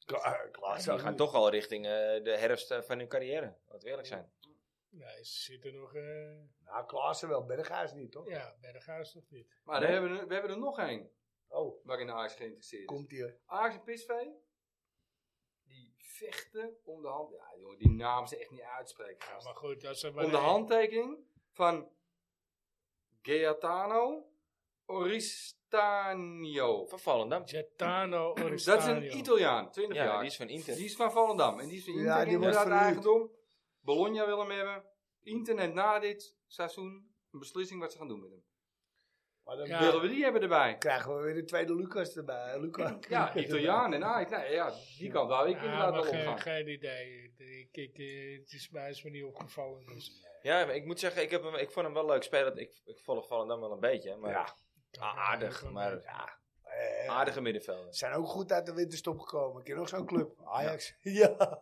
[SPEAKER 5] Kla- eh, Klaas
[SPEAKER 3] Die
[SPEAKER 5] ook
[SPEAKER 3] gaan
[SPEAKER 5] niet.
[SPEAKER 3] toch al richting eh, de herfst eh, van hun carrière. Laten we eerlijk zijn.
[SPEAKER 4] Nee, ze zitten nog... eh,
[SPEAKER 5] Nou, Klaas wel. Berghuis niet, toch?
[SPEAKER 4] ja, Berghuis nog niet.
[SPEAKER 6] Maar daar hebben we, we hebben er nog één
[SPEAKER 5] Oh,
[SPEAKER 6] waarin Ajax geïnteresseerd is.
[SPEAKER 5] komt hier.
[SPEAKER 6] Ajax en PSV, die vechten om de hand... Ja, jongen, die naam ze echt niet uitspreken.
[SPEAKER 4] Ja,
[SPEAKER 6] gast.
[SPEAKER 4] maar goed, dat is er maar
[SPEAKER 6] om de
[SPEAKER 4] één.
[SPEAKER 6] handtekening van Gaetano Oristanio.
[SPEAKER 3] Van Volendam.
[SPEAKER 4] Gaetano Oristano.
[SPEAKER 6] Dat is een Italiaan, 20
[SPEAKER 3] Ja,
[SPEAKER 6] jaar.
[SPEAKER 3] die is van Inter.
[SPEAKER 6] Die is van Volendam. En die is van
[SPEAKER 5] Ja,
[SPEAKER 6] Inter
[SPEAKER 5] die wordt
[SPEAKER 6] inderdaad
[SPEAKER 5] verhuurd.
[SPEAKER 6] eigendom. Bologna wil hem hebben. Inter net na dit seizoen een beslissing wat ze gaan doen met hem.
[SPEAKER 5] Maar dan
[SPEAKER 4] Ja.
[SPEAKER 6] Willen we die hebben erbij?
[SPEAKER 5] krijgen we weer de tweede Lucas erbij. Lucas.
[SPEAKER 6] Ja, Italiaan en Ajax. Nou, ja, die kant wou ik
[SPEAKER 4] Ja, eh,
[SPEAKER 6] inderdaad
[SPEAKER 4] maar
[SPEAKER 6] wel
[SPEAKER 4] geen,
[SPEAKER 6] opgaan.
[SPEAKER 4] geen idee. Ik, ik, eh, het is mij is me niet opgevallen. Dus.
[SPEAKER 3] Ja, maar ik moet zeggen, ik, heb hem, ik vond hem wel leuk spelen. Ik, ik volg Volendam wel een beetje. Maar
[SPEAKER 5] Ja.
[SPEAKER 3] Ah, aardig. Maar
[SPEAKER 5] Eh,
[SPEAKER 3] aardige middenvelder.
[SPEAKER 5] Ze zijn ook goed uit de winterstop gekomen. Ik ken nog zo'n club. Ajax. Ja.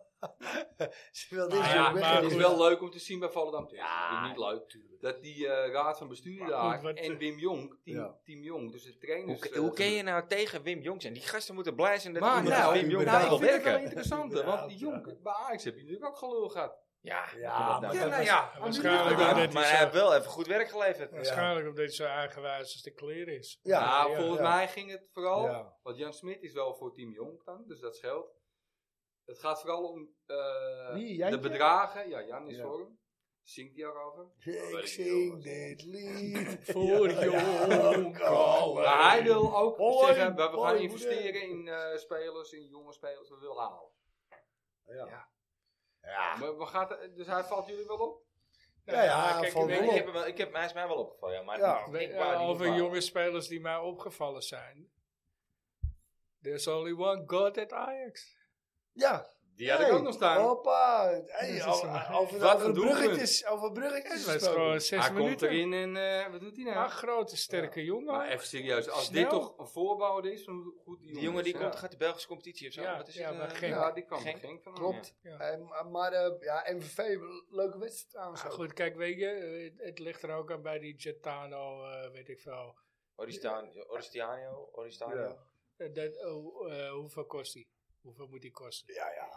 [SPEAKER 5] Ze wil
[SPEAKER 6] Nou
[SPEAKER 5] dit
[SPEAKER 4] Ah,
[SPEAKER 5] weer
[SPEAKER 4] ja,
[SPEAKER 5] weg.
[SPEAKER 4] maar
[SPEAKER 6] Het is
[SPEAKER 4] goed.
[SPEAKER 6] wel leuk om te zien bij Volendam. Ja,
[SPEAKER 5] Ja,
[SPEAKER 6] niet leuk. Dat die eh, raad van bestuur
[SPEAKER 4] Maar
[SPEAKER 6] daar
[SPEAKER 4] goed, wat-
[SPEAKER 6] en Wim Jong, team,
[SPEAKER 5] Ja.
[SPEAKER 6] team Jong, dus de trainers.
[SPEAKER 3] Hoe,
[SPEAKER 6] eh,
[SPEAKER 3] hoe kun je
[SPEAKER 6] gebeurt.
[SPEAKER 3] nou tegen Wim Jong zijn? Die gasten moeten blij zijn dat
[SPEAKER 6] Maar
[SPEAKER 3] iemand als
[SPEAKER 6] nou,
[SPEAKER 3] Wim Jong
[SPEAKER 6] nou,
[SPEAKER 3] daar
[SPEAKER 6] ik
[SPEAKER 3] wil
[SPEAKER 6] vind het wel
[SPEAKER 3] werken.
[SPEAKER 6] interessant,
[SPEAKER 5] Ja,
[SPEAKER 6] want die
[SPEAKER 5] ja.
[SPEAKER 6] Jong, bij Ajax heb je natuurlijk ook gelul gehad.
[SPEAKER 3] Ja, dat
[SPEAKER 5] Ja, maar
[SPEAKER 3] nou.
[SPEAKER 5] dat
[SPEAKER 6] nou
[SPEAKER 5] is-
[SPEAKER 6] ja,
[SPEAKER 4] waarschijnlijk
[SPEAKER 6] ja,
[SPEAKER 4] ook
[SPEAKER 6] maar-
[SPEAKER 4] net
[SPEAKER 3] Maar
[SPEAKER 4] iets
[SPEAKER 3] hij
[SPEAKER 4] zo-
[SPEAKER 3] heeft wel even goed werk geleverd.
[SPEAKER 4] Waarschijnlijk omdat hij zo eigenwijs als de kleer is.
[SPEAKER 5] Ja.
[SPEAKER 6] Nou, volgens
[SPEAKER 5] ja.
[SPEAKER 6] mij ging het vooral,
[SPEAKER 5] Ja.
[SPEAKER 6] want Jan Smit is wel voor team Jong dan, dus dat scheelt. Het gaat vooral om eh,
[SPEAKER 5] Wie,
[SPEAKER 6] de
[SPEAKER 5] Jantje?
[SPEAKER 6] bedragen. Ja, Jan is
[SPEAKER 5] Ja.
[SPEAKER 6] voor hem. Zingt hij ook over?
[SPEAKER 5] Ik zing dit lied
[SPEAKER 4] Voor
[SPEAKER 5] jou.
[SPEAKER 6] Maar hij wil ook
[SPEAKER 5] Hoi,
[SPEAKER 6] zeggen, we, we gaan
[SPEAKER 5] hoi,
[SPEAKER 6] investeren in eh, spelers, in jonge spelers, we willen halen.
[SPEAKER 5] Ja.
[SPEAKER 6] Maar we gaan, het- dus hij valt jullie wel op?
[SPEAKER 5] Ja, ja,
[SPEAKER 4] kijk,
[SPEAKER 5] van
[SPEAKER 4] ik
[SPEAKER 3] Nee,
[SPEAKER 4] weet-
[SPEAKER 3] ik heb hem wel, ik heb, hij is mij wel opgevallen, ja. Maar
[SPEAKER 5] Ja.
[SPEAKER 3] ik,
[SPEAKER 4] We-
[SPEAKER 3] ik
[SPEAKER 4] eh,
[SPEAKER 3] wou die niet
[SPEAKER 4] over
[SPEAKER 3] halen.
[SPEAKER 4] jonge spelers die mij opgevallen zijn. There's only one God at Ajax.
[SPEAKER 5] Ja.
[SPEAKER 6] Die had ik ook nog staan.
[SPEAKER 5] Hoppa.
[SPEAKER 4] Dat is
[SPEAKER 5] Hey,
[SPEAKER 4] een-
[SPEAKER 5] over, over,
[SPEAKER 6] Wat een
[SPEAKER 5] over
[SPEAKER 6] doelpunt.
[SPEAKER 5] bruggetjes. Over bruggetjes.
[SPEAKER 4] Het was
[SPEAKER 5] gesproken.
[SPEAKER 4] gewoon zes
[SPEAKER 6] hij komt
[SPEAKER 4] minuten.
[SPEAKER 6] erin en eh, wat doet hij nou?
[SPEAKER 4] Een grote, sterke jongen.
[SPEAKER 6] maar even serieus, als
[SPEAKER 4] Snel.
[SPEAKER 6] dit toch een voorbouw is, dan hoe goed die
[SPEAKER 3] Die
[SPEAKER 6] jongen
[SPEAKER 3] jongen
[SPEAKER 6] is,
[SPEAKER 3] die
[SPEAKER 6] ja.
[SPEAKER 3] komt, gaat de Belgische competitie of zo.
[SPEAKER 4] Ja,
[SPEAKER 3] Wat is
[SPEAKER 4] ja,
[SPEAKER 3] het,
[SPEAKER 4] maar
[SPEAKER 3] eh?
[SPEAKER 4] geen-
[SPEAKER 6] Ja, die kwam
[SPEAKER 3] Genk.
[SPEAKER 6] Genk van.
[SPEAKER 5] Klopt. Eh, maar- maar eh, ja, MVV, leuke wedstrijd trouwens.
[SPEAKER 4] Maar
[SPEAKER 5] ook.
[SPEAKER 4] goed, kijk, weet je, eh, het, het ligt er ook aan bij die Gitano, eh, weet ik veel.
[SPEAKER 3] Oristan- Oristiano, Oristiano.
[SPEAKER 5] Ja.
[SPEAKER 4] Eh, dat, oh, eh, hoeveel kost die? Hoeveel moet die kosten?
[SPEAKER 5] Ja, ja.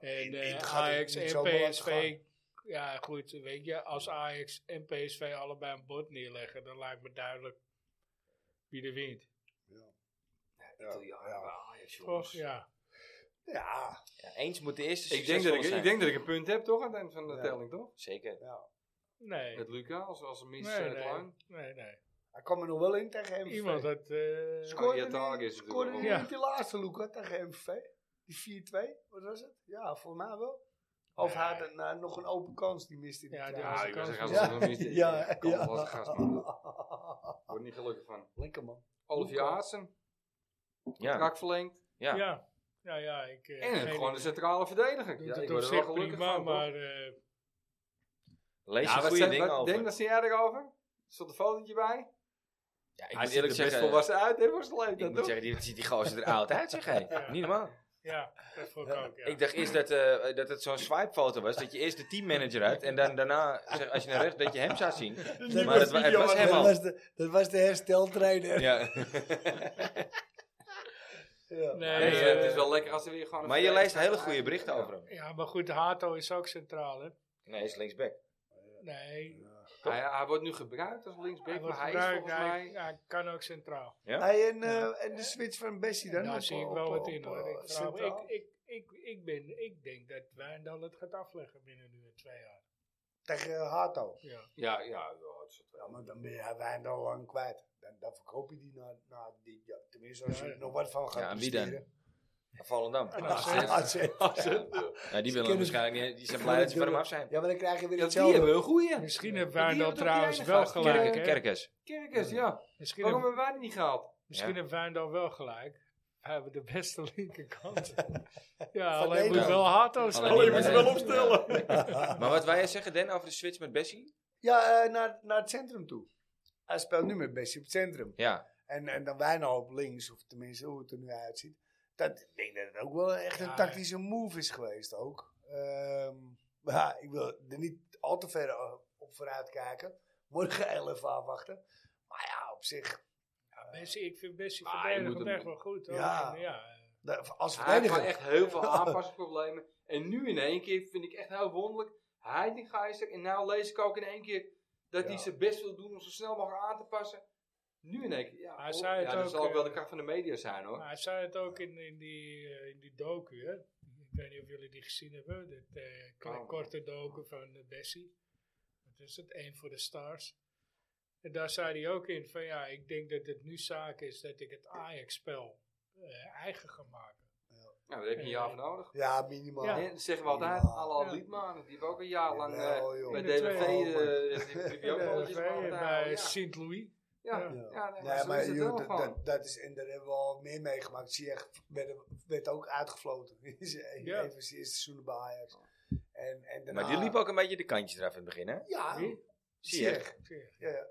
[SPEAKER 4] En
[SPEAKER 5] Inter
[SPEAKER 4] eh,
[SPEAKER 5] gaat het
[SPEAKER 4] Ajax
[SPEAKER 5] niet
[SPEAKER 4] en
[SPEAKER 5] zomaar laten
[SPEAKER 4] PSV.
[SPEAKER 5] gaan.
[SPEAKER 4] Ja, goed, weet je, als Ajax en PSV allebei een bod neerleggen, dan lijkt me duidelijk wie er wint.
[SPEAKER 5] Ja, ja.
[SPEAKER 4] Toch? Ja.
[SPEAKER 5] ja.
[SPEAKER 3] Ja, eens moet de eerste
[SPEAKER 6] Ik denk, dat ik,
[SPEAKER 3] succesvolle
[SPEAKER 6] ik
[SPEAKER 3] zijn.
[SPEAKER 6] denk dat ik een punt heb toch aan het eind van de
[SPEAKER 5] Ja.
[SPEAKER 6] telling, toch?
[SPEAKER 3] Zeker.
[SPEAKER 4] Nee.
[SPEAKER 6] Met Luca, als, als een mis
[SPEAKER 4] Nee,
[SPEAKER 6] eh,
[SPEAKER 4] nee.
[SPEAKER 6] klein.
[SPEAKER 4] Nee, nee.
[SPEAKER 5] Hij kwam er nog wel in tegen MVV.
[SPEAKER 4] Iemand had. eh,
[SPEAKER 5] Scoorde
[SPEAKER 6] Ja, Tarek
[SPEAKER 5] die-
[SPEAKER 6] is natuurlijk
[SPEAKER 5] scoorde
[SPEAKER 6] wel-
[SPEAKER 5] die
[SPEAKER 4] Ja.
[SPEAKER 5] niet die laatste, Luca, tegen MVV? Die 4-2, wat was het? Ja, voor mij wel. Of hij had een, nou, nog een open kans, die miste die
[SPEAKER 4] Ja, die
[SPEAKER 5] trouwens.
[SPEAKER 4] was een
[SPEAKER 6] Ja, ik was een
[SPEAKER 4] kans.
[SPEAKER 6] gast als een mis.
[SPEAKER 5] Ja,
[SPEAKER 6] Ik kan
[SPEAKER 5] ja.
[SPEAKER 6] wel als een gast, man. Word niet gelukkig van.
[SPEAKER 5] Lekker man.
[SPEAKER 6] Olivier Aartsen,
[SPEAKER 3] Ja.
[SPEAKER 6] contract verlengd.
[SPEAKER 3] Ja.
[SPEAKER 4] Ja. Nou ja, ik. eh,
[SPEAKER 6] En
[SPEAKER 4] geen
[SPEAKER 6] gewoon een
[SPEAKER 4] idee.
[SPEAKER 6] centrale verdediger.
[SPEAKER 4] Doet
[SPEAKER 6] Ja,
[SPEAKER 4] het
[SPEAKER 6] ik
[SPEAKER 4] op
[SPEAKER 6] word er wel
[SPEAKER 4] zich
[SPEAKER 6] gelukkig
[SPEAKER 4] prima,
[SPEAKER 6] van. toch?
[SPEAKER 4] maar. eh,
[SPEAKER 3] Lees je
[SPEAKER 6] Ja, wat
[SPEAKER 3] goede
[SPEAKER 6] zijn-
[SPEAKER 3] dingen
[SPEAKER 6] wat-
[SPEAKER 3] over.
[SPEAKER 6] Denk, dat zie jij erover? Stond een fotootje bij?
[SPEAKER 3] Ja, ik
[SPEAKER 11] Hij ziet
[SPEAKER 3] moet
[SPEAKER 11] er
[SPEAKER 3] eerlijk
[SPEAKER 11] best
[SPEAKER 3] zeggen,
[SPEAKER 11] volwassen uit, hè, voor zijn leeftijd,
[SPEAKER 3] ik moet
[SPEAKER 11] toch?
[SPEAKER 3] zeggen, die, ziet die gozer er oud uit, zeg hé.
[SPEAKER 4] Ja.
[SPEAKER 3] Niet normaal.
[SPEAKER 4] Ja, dat vond ik ook. Ja.
[SPEAKER 3] Ik dacht eerst dat, eh, dat het zo'n swipefoto was. Dat je eerst de teammanager had. En dan, daarna, zeg, als je naar rechts, dat je hem zou zien. Maar het, wa- het was hem
[SPEAKER 5] dat,
[SPEAKER 3] al.
[SPEAKER 5] was de, dat was de hersteltrainer.
[SPEAKER 3] Ja.
[SPEAKER 4] nee,
[SPEAKER 6] Nee,
[SPEAKER 4] eh,
[SPEAKER 6] het is wel lekker als er weer gewoon... een
[SPEAKER 3] Maar je
[SPEAKER 6] vrij-
[SPEAKER 3] leest hele goede berichten over hem.
[SPEAKER 4] ja, maar goed, Hato is ook centraal, hè?
[SPEAKER 3] Nee, hij is linksback.
[SPEAKER 4] Nee,
[SPEAKER 6] Hij, hij wordt nu gebruikt als linksback,
[SPEAKER 4] hij wordt
[SPEAKER 6] maar hij is
[SPEAKER 4] gebruikt,
[SPEAKER 6] volgens
[SPEAKER 4] hij,
[SPEAKER 6] mij...
[SPEAKER 4] hij kan ook centraal.
[SPEAKER 5] Hey, en, eh, en de switch van Bessie dan?
[SPEAKER 4] Daar
[SPEAKER 5] op-
[SPEAKER 4] Nou, zie ik
[SPEAKER 5] op-
[SPEAKER 4] wel wat
[SPEAKER 5] op-
[SPEAKER 4] in, hoor.
[SPEAKER 5] op-
[SPEAKER 4] Ik, trouw-
[SPEAKER 5] centraal?
[SPEAKER 4] ik, ik, ik, ik, ben, ik denk dat Wijndal het gaat afleggen binnen nu weer twee jaar.
[SPEAKER 5] Tegen eh, Hato.
[SPEAKER 4] Ja.
[SPEAKER 6] Ja, ja, ja. het is-
[SPEAKER 5] Ja, maar dan ben je Wijndal lang kwijt. Dan, dan verkoop je die na, na die, ja, tenminste als je
[SPEAKER 4] Ja,
[SPEAKER 5] er
[SPEAKER 4] ja.
[SPEAKER 5] nog wat van gaat
[SPEAKER 3] Ja, en wie dan?
[SPEAKER 5] presteren.
[SPEAKER 3] Volendam.
[SPEAKER 5] AZ. AZ.
[SPEAKER 3] Ja, Nou, die willen hem waarschijnlijk niet. Die zijn blij dat ze van hem af zijn.
[SPEAKER 5] Ja, maar dan krijg je weer
[SPEAKER 6] Ja, die
[SPEAKER 5] hetzelfde.
[SPEAKER 6] hebben een goeie.
[SPEAKER 4] Misschien heeft
[SPEAKER 6] die
[SPEAKER 4] Wijndal
[SPEAKER 6] hebben toch
[SPEAKER 4] trouwens
[SPEAKER 6] die
[SPEAKER 4] wel
[SPEAKER 6] ene gast,
[SPEAKER 4] gelijk, hè?
[SPEAKER 3] Kerkers.
[SPEAKER 6] Kerkers, ja.
[SPEAKER 4] Misschien
[SPEAKER 6] Waarom
[SPEAKER 4] heeft,
[SPEAKER 6] hebben wij die niet gehaald?
[SPEAKER 4] misschien
[SPEAKER 3] Ja.
[SPEAKER 4] heeft Wijndal wel gelijk. We hebben de beste linkerkant. ja,
[SPEAKER 5] Van
[SPEAKER 4] alleen moet
[SPEAKER 5] Nederland.
[SPEAKER 4] wel Hato
[SPEAKER 3] Alleen
[SPEAKER 4] staan.
[SPEAKER 3] moet
[SPEAKER 11] moet
[SPEAKER 3] je
[SPEAKER 11] je
[SPEAKER 3] wel
[SPEAKER 11] wel
[SPEAKER 3] opstellen.
[SPEAKER 11] opstellen.
[SPEAKER 3] Maar wat wij zeggen, Den, over de switch met Bessie?
[SPEAKER 5] Ja, eh, naar, naar het centrum toe. Hij speelt nu met Bessie op het centrum.
[SPEAKER 3] Ja.
[SPEAKER 5] En, en dan wij nou op links, of tenminste hoe het er nu uitziet. Dat, ik denk dat het ook wel echt een
[SPEAKER 4] Ja.
[SPEAKER 5] tactische move is geweest ook. Ehm, maar ja, ik wil er niet al te ver eh, op vooruit kijken. Morgen heel even afwachten. Maar ja, op zich,
[SPEAKER 4] Ja, Bessie, ik vind Bessie
[SPEAKER 6] Maar je moet
[SPEAKER 4] verdedigend
[SPEAKER 6] hem-
[SPEAKER 4] echt wel goed. Hoor.
[SPEAKER 5] Ja.
[SPEAKER 4] En, ja.
[SPEAKER 5] da- als
[SPEAKER 6] Hij heeft
[SPEAKER 5] verdediger...
[SPEAKER 6] gewoon echt heel veel aanpassingsproblemen. En nu in één keer vind ik echt heel wonderlijk. Heitingeister. En nou lees ik ook in één keer dat hij
[SPEAKER 5] Ja.
[SPEAKER 6] zijn best wil doen om zo snel mogelijk aan te passen. Nu in één keer. Ja,
[SPEAKER 4] Hij
[SPEAKER 6] oh,
[SPEAKER 4] zei het
[SPEAKER 6] ja dat
[SPEAKER 4] ook,
[SPEAKER 6] zal ook
[SPEAKER 4] eh,
[SPEAKER 6] wel de kracht van de media zijn hoor.
[SPEAKER 4] Maar hij zei het ook in, in, die, eh, in die docu, hè. Ik weet niet of jullie die gezien hebben. Dat eh, kleine
[SPEAKER 6] Oh.
[SPEAKER 4] korte docu van eh, Bessie. Wat is het? Eén voor de stars. En daar zei hij ook in van ja, ik denk dat het nu zaak is dat ik het Ajax-spel eh, eigen ga maken.
[SPEAKER 6] Nou, daar heb je een jaar voor nodig.
[SPEAKER 5] Ja, minimaal.
[SPEAKER 4] Ja.
[SPEAKER 6] Hè, dat zeggen we altijd.
[SPEAKER 5] Ja.
[SPEAKER 6] Alle
[SPEAKER 4] Ja.
[SPEAKER 6] Liedmanen. Die hebben ook een jaar lang eh,
[SPEAKER 5] Jawel, joh.
[SPEAKER 6] bij
[SPEAKER 4] In de
[SPEAKER 6] DWV.
[SPEAKER 5] tweede
[SPEAKER 6] eh, die- die- die ook
[SPEAKER 5] Ja,
[SPEAKER 4] Ja,
[SPEAKER 6] wel
[SPEAKER 4] bij
[SPEAKER 6] eens wat aan- ja.
[SPEAKER 4] Sint-Louis.
[SPEAKER 6] Ja,
[SPEAKER 4] Ja.
[SPEAKER 5] Ja.
[SPEAKER 6] ja, nee, maar
[SPEAKER 5] Nee,
[SPEAKER 6] zo
[SPEAKER 5] maar
[SPEAKER 6] is het
[SPEAKER 5] joh,
[SPEAKER 6] wel
[SPEAKER 5] dat,
[SPEAKER 6] gewoon.
[SPEAKER 5] dat, dat is, en daar hebben we al meer meegemaakt. Ziyech werd, werd ook uitgefloten. eh, in zijn
[SPEAKER 4] Ja.
[SPEAKER 5] Een van zijn eerste seizoenen bij Ajax. En, en daarna,
[SPEAKER 3] Maar die liep ook een beetje de kantjes eraf in het begin, hè?
[SPEAKER 5] Ja,
[SPEAKER 4] Wie?
[SPEAKER 5] Ziyech.
[SPEAKER 4] Ziyech.
[SPEAKER 5] Ja, ja.
[SPEAKER 6] Ah,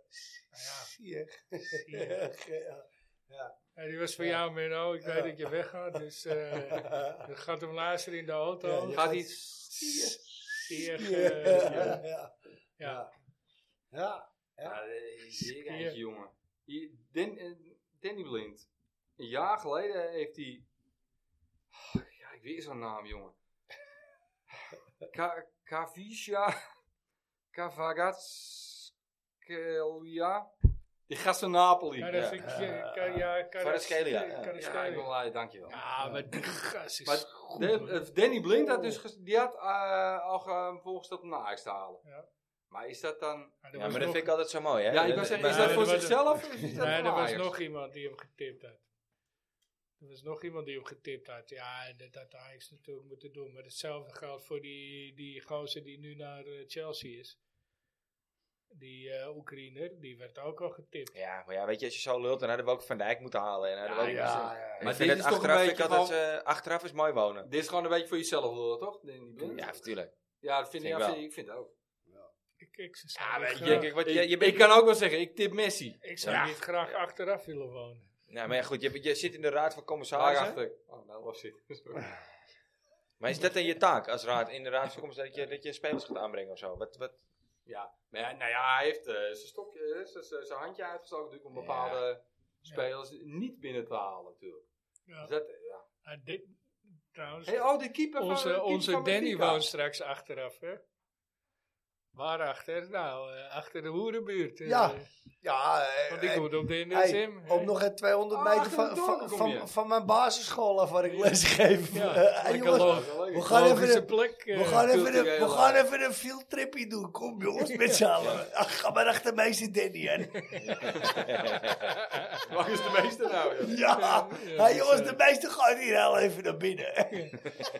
[SPEAKER 4] ja.
[SPEAKER 5] Ziyech.
[SPEAKER 4] Ziyech.
[SPEAKER 5] Ja.
[SPEAKER 4] Ja, die was voor
[SPEAKER 5] Ja.
[SPEAKER 4] jou, Menno. Ik
[SPEAKER 5] Ja.
[SPEAKER 4] weet dat je weggaat, dus eh je gaat hem luisteren in de auto.
[SPEAKER 5] Ja, ja.
[SPEAKER 6] Gaat iets.
[SPEAKER 4] Ziyech,
[SPEAKER 5] Ziyech.
[SPEAKER 4] eh,
[SPEAKER 5] Ja. Ja.
[SPEAKER 4] Ja.
[SPEAKER 5] Ja.
[SPEAKER 6] Ja, eh, zeer
[SPEAKER 4] Ja.
[SPEAKER 6] eindje, jongen. Die- Den- eh, Danny Blind. Een jaar geleden heeft hij... Ja, ik weet zo'n naam, jongen. Ka- Kavisha Kavagatskelia. Die gast van Napoli.
[SPEAKER 4] Ja,
[SPEAKER 6] Ja,
[SPEAKER 4] dat vind ik... Ja, kan, ja, kan
[SPEAKER 3] Kvaratskhelia,
[SPEAKER 4] dat-
[SPEAKER 3] ja.
[SPEAKER 4] kan dat
[SPEAKER 6] ja, ik
[SPEAKER 4] schelen.
[SPEAKER 6] ben blij, dankjewel.
[SPEAKER 4] Ja, maar die gast is
[SPEAKER 6] Maar
[SPEAKER 4] goed.
[SPEAKER 6] De-
[SPEAKER 4] man.
[SPEAKER 6] eh, Danny Blind had, dus ges- die had eh, al ge- voorgesteld om naar Ajax te halen.
[SPEAKER 4] Ja.
[SPEAKER 6] Maar is dat dan...
[SPEAKER 3] Ja,
[SPEAKER 4] er was
[SPEAKER 3] maar dat
[SPEAKER 4] nog-
[SPEAKER 3] vind ik altijd zo mooi, hè?
[SPEAKER 6] Ja, ik wou zeggen, is
[SPEAKER 4] maar-
[SPEAKER 6] dat voor
[SPEAKER 4] er was-
[SPEAKER 6] zichzelf? of is dat
[SPEAKER 4] Nee,
[SPEAKER 6] voor
[SPEAKER 4] er was
[SPEAKER 6] Ajax?
[SPEAKER 4] nog iemand die hem getipt had. Er was nog iemand die hem getipt had. Ja, en dat had Ajax natuurlijk moeten doen. Maar hetzelfde geldt voor die, die gozer die nu naar eh, Chelsea is. Die eh, Oekraïner, die werd ook al getipt.
[SPEAKER 3] Ja, maar ja, weet je, als je zo lult, dan hadden we ook Van Dijk moeten halen. En hadden we
[SPEAKER 6] Ja,
[SPEAKER 3] ook-
[SPEAKER 5] Ja, ja.
[SPEAKER 3] Ik
[SPEAKER 6] Maar
[SPEAKER 3] vind het
[SPEAKER 6] dit is toch
[SPEAKER 3] achteraf,
[SPEAKER 6] een
[SPEAKER 3] vind ik
[SPEAKER 6] beetje
[SPEAKER 3] altijd, eh, achteraf is mooi wonen.
[SPEAKER 6] Dit is gewoon een beetje voor jezelf lullen, toch? Danny Blind?
[SPEAKER 3] Ja, natuurlijk.
[SPEAKER 6] Ja, dat vind,
[SPEAKER 3] Vind
[SPEAKER 6] ik,
[SPEAKER 3] ik
[SPEAKER 6] ja,
[SPEAKER 3] wel.
[SPEAKER 6] vind, ik vind het ook.
[SPEAKER 4] Ik, ik zou
[SPEAKER 3] Ja,
[SPEAKER 4] niet
[SPEAKER 3] weet je,
[SPEAKER 4] graag-
[SPEAKER 3] kijk, wat,
[SPEAKER 6] ik,
[SPEAKER 3] je, je bent,
[SPEAKER 6] ik kan ook wel zeggen, ik tip Messi.
[SPEAKER 4] ik zou
[SPEAKER 3] Ja.
[SPEAKER 4] niet graag achteraf willen wonen.
[SPEAKER 3] nou, maar ja, goed, je, je zit in de raad van commissarissen.
[SPEAKER 6] Daarachter. Oh, nou, was ik. Sorry.
[SPEAKER 3] Maar is dat dan je taak als raad, in de raad van commissarissen, dat je, dat je spelers gaat aanbrengen of zo? Wat, wat?
[SPEAKER 6] Ja, maar ja, nou ja, hij heeft eh, zijn stokje, eh, zijn- zijn zijn handje uitgestoken natuurlijk om bepaalde spelers niet binnen te halen natuurlijk.
[SPEAKER 4] Ja.
[SPEAKER 6] Dus dat, eh, ja.
[SPEAKER 4] Ah, dit- trouwens,
[SPEAKER 6] hey, oh, de keeper van- de
[SPEAKER 4] onze,
[SPEAKER 6] keeper
[SPEAKER 4] onze
[SPEAKER 6] van
[SPEAKER 4] Danny
[SPEAKER 6] Benfica.
[SPEAKER 4] woont straks achteraf, hè? Waarachter? Nou, eh, achter de hoerenbuurt. eh.
[SPEAKER 5] Ja. Ja, eh,
[SPEAKER 4] Want ik
[SPEAKER 5] eh,
[SPEAKER 4] moet op de
[SPEAKER 5] hey,
[SPEAKER 4] NSM.
[SPEAKER 5] op nog een 200
[SPEAKER 6] Ah,
[SPEAKER 5] meter
[SPEAKER 6] achter de
[SPEAKER 5] van,
[SPEAKER 6] dorpen
[SPEAKER 5] van,
[SPEAKER 6] kom je.
[SPEAKER 5] van, van mijn basisschool af waar ik les geef.
[SPEAKER 4] Ja,
[SPEAKER 5] Eh, hey,
[SPEAKER 4] lekker
[SPEAKER 5] jongens,
[SPEAKER 4] lopen.
[SPEAKER 5] we gaan even
[SPEAKER 4] Logische
[SPEAKER 5] de
[SPEAKER 4] plek. eh,
[SPEAKER 5] We gaan, even een, we
[SPEAKER 6] culturele-
[SPEAKER 5] gaan even een fieldtripje doen. Kom jongens, met z'n allen. Ach, ga maar achter mij zitten, Danny. hè.
[SPEAKER 6] Waar is de meeste nou? joh?
[SPEAKER 5] Ja,
[SPEAKER 4] Ja,
[SPEAKER 5] hey,
[SPEAKER 4] dus,
[SPEAKER 5] jongens,
[SPEAKER 4] eh,
[SPEAKER 5] de meester gaat hier al even naar binnen.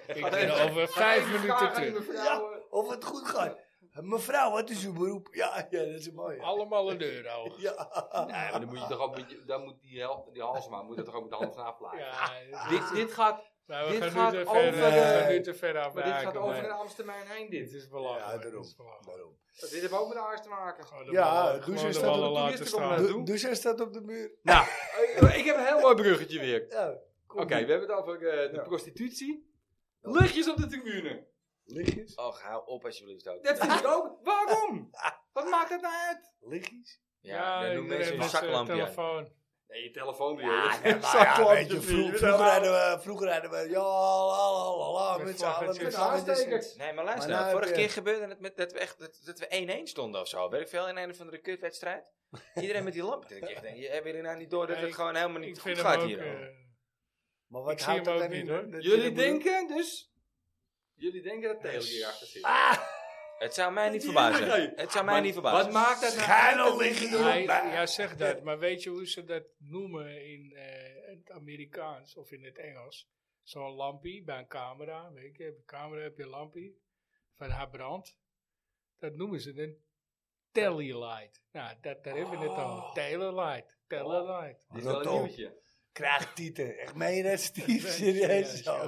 [SPEAKER 4] Ik ben over vijf
[SPEAKER 6] Even
[SPEAKER 4] minuten
[SPEAKER 6] vragen aan
[SPEAKER 4] terug.
[SPEAKER 6] die mevrouw, eh,
[SPEAKER 5] Of het goed gaat. Mevrouw, wat is uw beroep? Ja, ja dat is mooi. ja.
[SPEAKER 4] Allemaal een deur ogen.
[SPEAKER 5] Ja.
[SPEAKER 6] Nee, maar dan moet je toch ook, met je- dan moet die, hel- die Halsema moet er toch ook met de hand vanaf blijven.
[SPEAKER 4] Ja,
[SPEAKER 6] Dit, dit gaat
[SPEAKER 4] Nou, we
[SPEAKER 6] Dit
[SPEAKER 4] gaan
[SPEAKER 6] gaat
[SPEAKER 4] nu te
[SPEAKER 6] over
[SPEAKER 4] ver, eh,
[SPEAKER 6] de-
[SPEAKER 4] nu te ver af.
[SPEAKER 6] Maar dit gaat over de Amstermijn heen,
[SPEAKER 4] Dit
[SPEAKER 6] dit.
[SPEAKER 4] is belangrijk.
[SPEAKER 9] Ja,
[SPEAKER 4] dit
[SPEAKER 9] daarom.
[SPEAKER 4] is belangrijk.
[SPEAKER 9] Daarom.
[SPEAKER 6] Dit hebben we ook met de Aars te maken.
[SPEAKER 4] Gewoon de
[SPEAKER 9] Ja,
[SPEAKER 4] ballen-
[SPEAKER 9] dus
[SPEAKER 4] gewoon
[SPEAKER 9] is
[SPEAKER 4] de
[SPEAKER 9] dat
[SPEAKER 4] ballen
[SPEAKER 6] een
[SPEAKER 4] laten
[SPEAKER 6] toeristen
[SPEAKER 4] staan.
[SPEAKER 6] komen
[SPEAKER 9] Du- Dus hij staat op de muur.
[SPEAKER 6] Nou, eh, ik heb een heel mooi bruggetje weer.
[SPEAKER 9] Ja,
[SPEAKER 6] Oké, we hebben het over eh, de
[SPEAKER 9] Ja.
[SPEAKER 6] prostitutie. Luchtjes op de tribune.
[SPEAKER 9] lichtjes.
[SPEAKER 3] Och, hou op alsjeblieft ook.
[SPEAKER 6] Dat vind ik ook. Waarom? Wat maakt dat nou uit?
[SPEAKER 9] Lichtjes.
[SPEAKER 3] Ja, dan doen
[SPEAKER 4] iedereen
[SPEAKER 3] mensen een
[SPEAKER 4] met zijn
[SPEAKER 3] zaklampje aan.
[SPEAKER 4] telefoon.
[SPEAKER 6] Nee, je telefoon weer.
[SPEAKER 9] ja, weet je, vroeg- vroeger hadden we, vroeger hadden we, ja, la, la, la, la,
[SPEAKER 4] Met
[SPEAKER 9] met z'n allen,
[SPEAKER 4] vlaggetjes.
[SPEAKER 9] met z'n allen. dit is
[SPEAKER 6] Aanstekers.
[SPEAKER 9] niks.
[SPEAKER 3] Nee, maar luister,
[SPEAKER 9] Maar
[SPEAKER 3] nou,
[SPEAKER 9] nou
[SPEAKER 3] vorige
[SPEAKER 9] heb je-
[SPEAKER 3] keer gebeurde het met dat we, echt, dat, dat we 1-1 stonden of zo. Weet ik veel, in een of andere kutwedstrijd. Iedereen met die lamp. Dat ik echt denk, je- hebben jullie nou niet door dat
[SPEAKER 4] Nee,
[SPEAKER 3] het gewoon helemaal
[SPEAKER 4] Ik
[SPEAKER 3] niet goed
[SPEAKER 4] vind hem
[SPEAKER 3] gaat
[SPEAKER 4] ook...
[SPEAKER 3] hier?
[SPEAKER 4] eh,
[SPEAKER 9] Maar
[SPEAKER 4] Ik
[SPEAKER 9] wat
[SPEAKER 4] zie
[SPEAKER 9] houdt
[SPEAKER 4] hem
[SPEAKER 9] dat
[SPEAKER 4] ook
[SPEAKER 9] dan in,
[SPEAKER 4] niet,
[SPEAKER 9] hoor?
[SPEAKER 4] hoor.
[SPEAKER 9] Dat je
[SPEAKER 6] Jullie
[SPEAKER 9] dat moet doen?
[SPEAKER 6] denken dus... Jullie denken dat Theo hierachter
[SPEAKER 9] Ah,
[SPEAKER 6] zit.
[SPEAKER 3] het zou mij niet verbazen.
[SPEAKER 6] Ja, ja.
[SPEAKER 3] Het zou mij
[SPEAKER 6] Maar
[SPEAKER 3] niet verbazen.
[SPEAKER 6] Wat maakt dat nou uit?
[SPEAKER 9] Schijnel liggen
[SPEAKER 4] Hij-
[SPEAKER 9] hier.
[SPEAKER 4] ja, zeg dat. Maar weet je hoe ze dat noemen in eh, het Amerikaans of in het Engels? Zo'n lampie bij een camera. Weet je, bij een camera heb je een lampie van haar brand. Dat noemen ze een telelight. Nou, dat, daar hebben we het
[SPEAKER 6] Oh.
[SPEAKER 4] al. Telelight. Telelight.
[SPEAKER 6] Dit is wel een
[SPEAKER 9] Rotom.
[SPEAKER 6] nieuwtje.
[SPEAKER 9] Krijg tieten. Echt meen dat, Steve?
[SPEAKER 4] Ja,
[SPEAKER 9] Serieus?
[SPEAKER 4] ja.
[SPEAKER 9] Oh,
[SPEAKER 4] Maar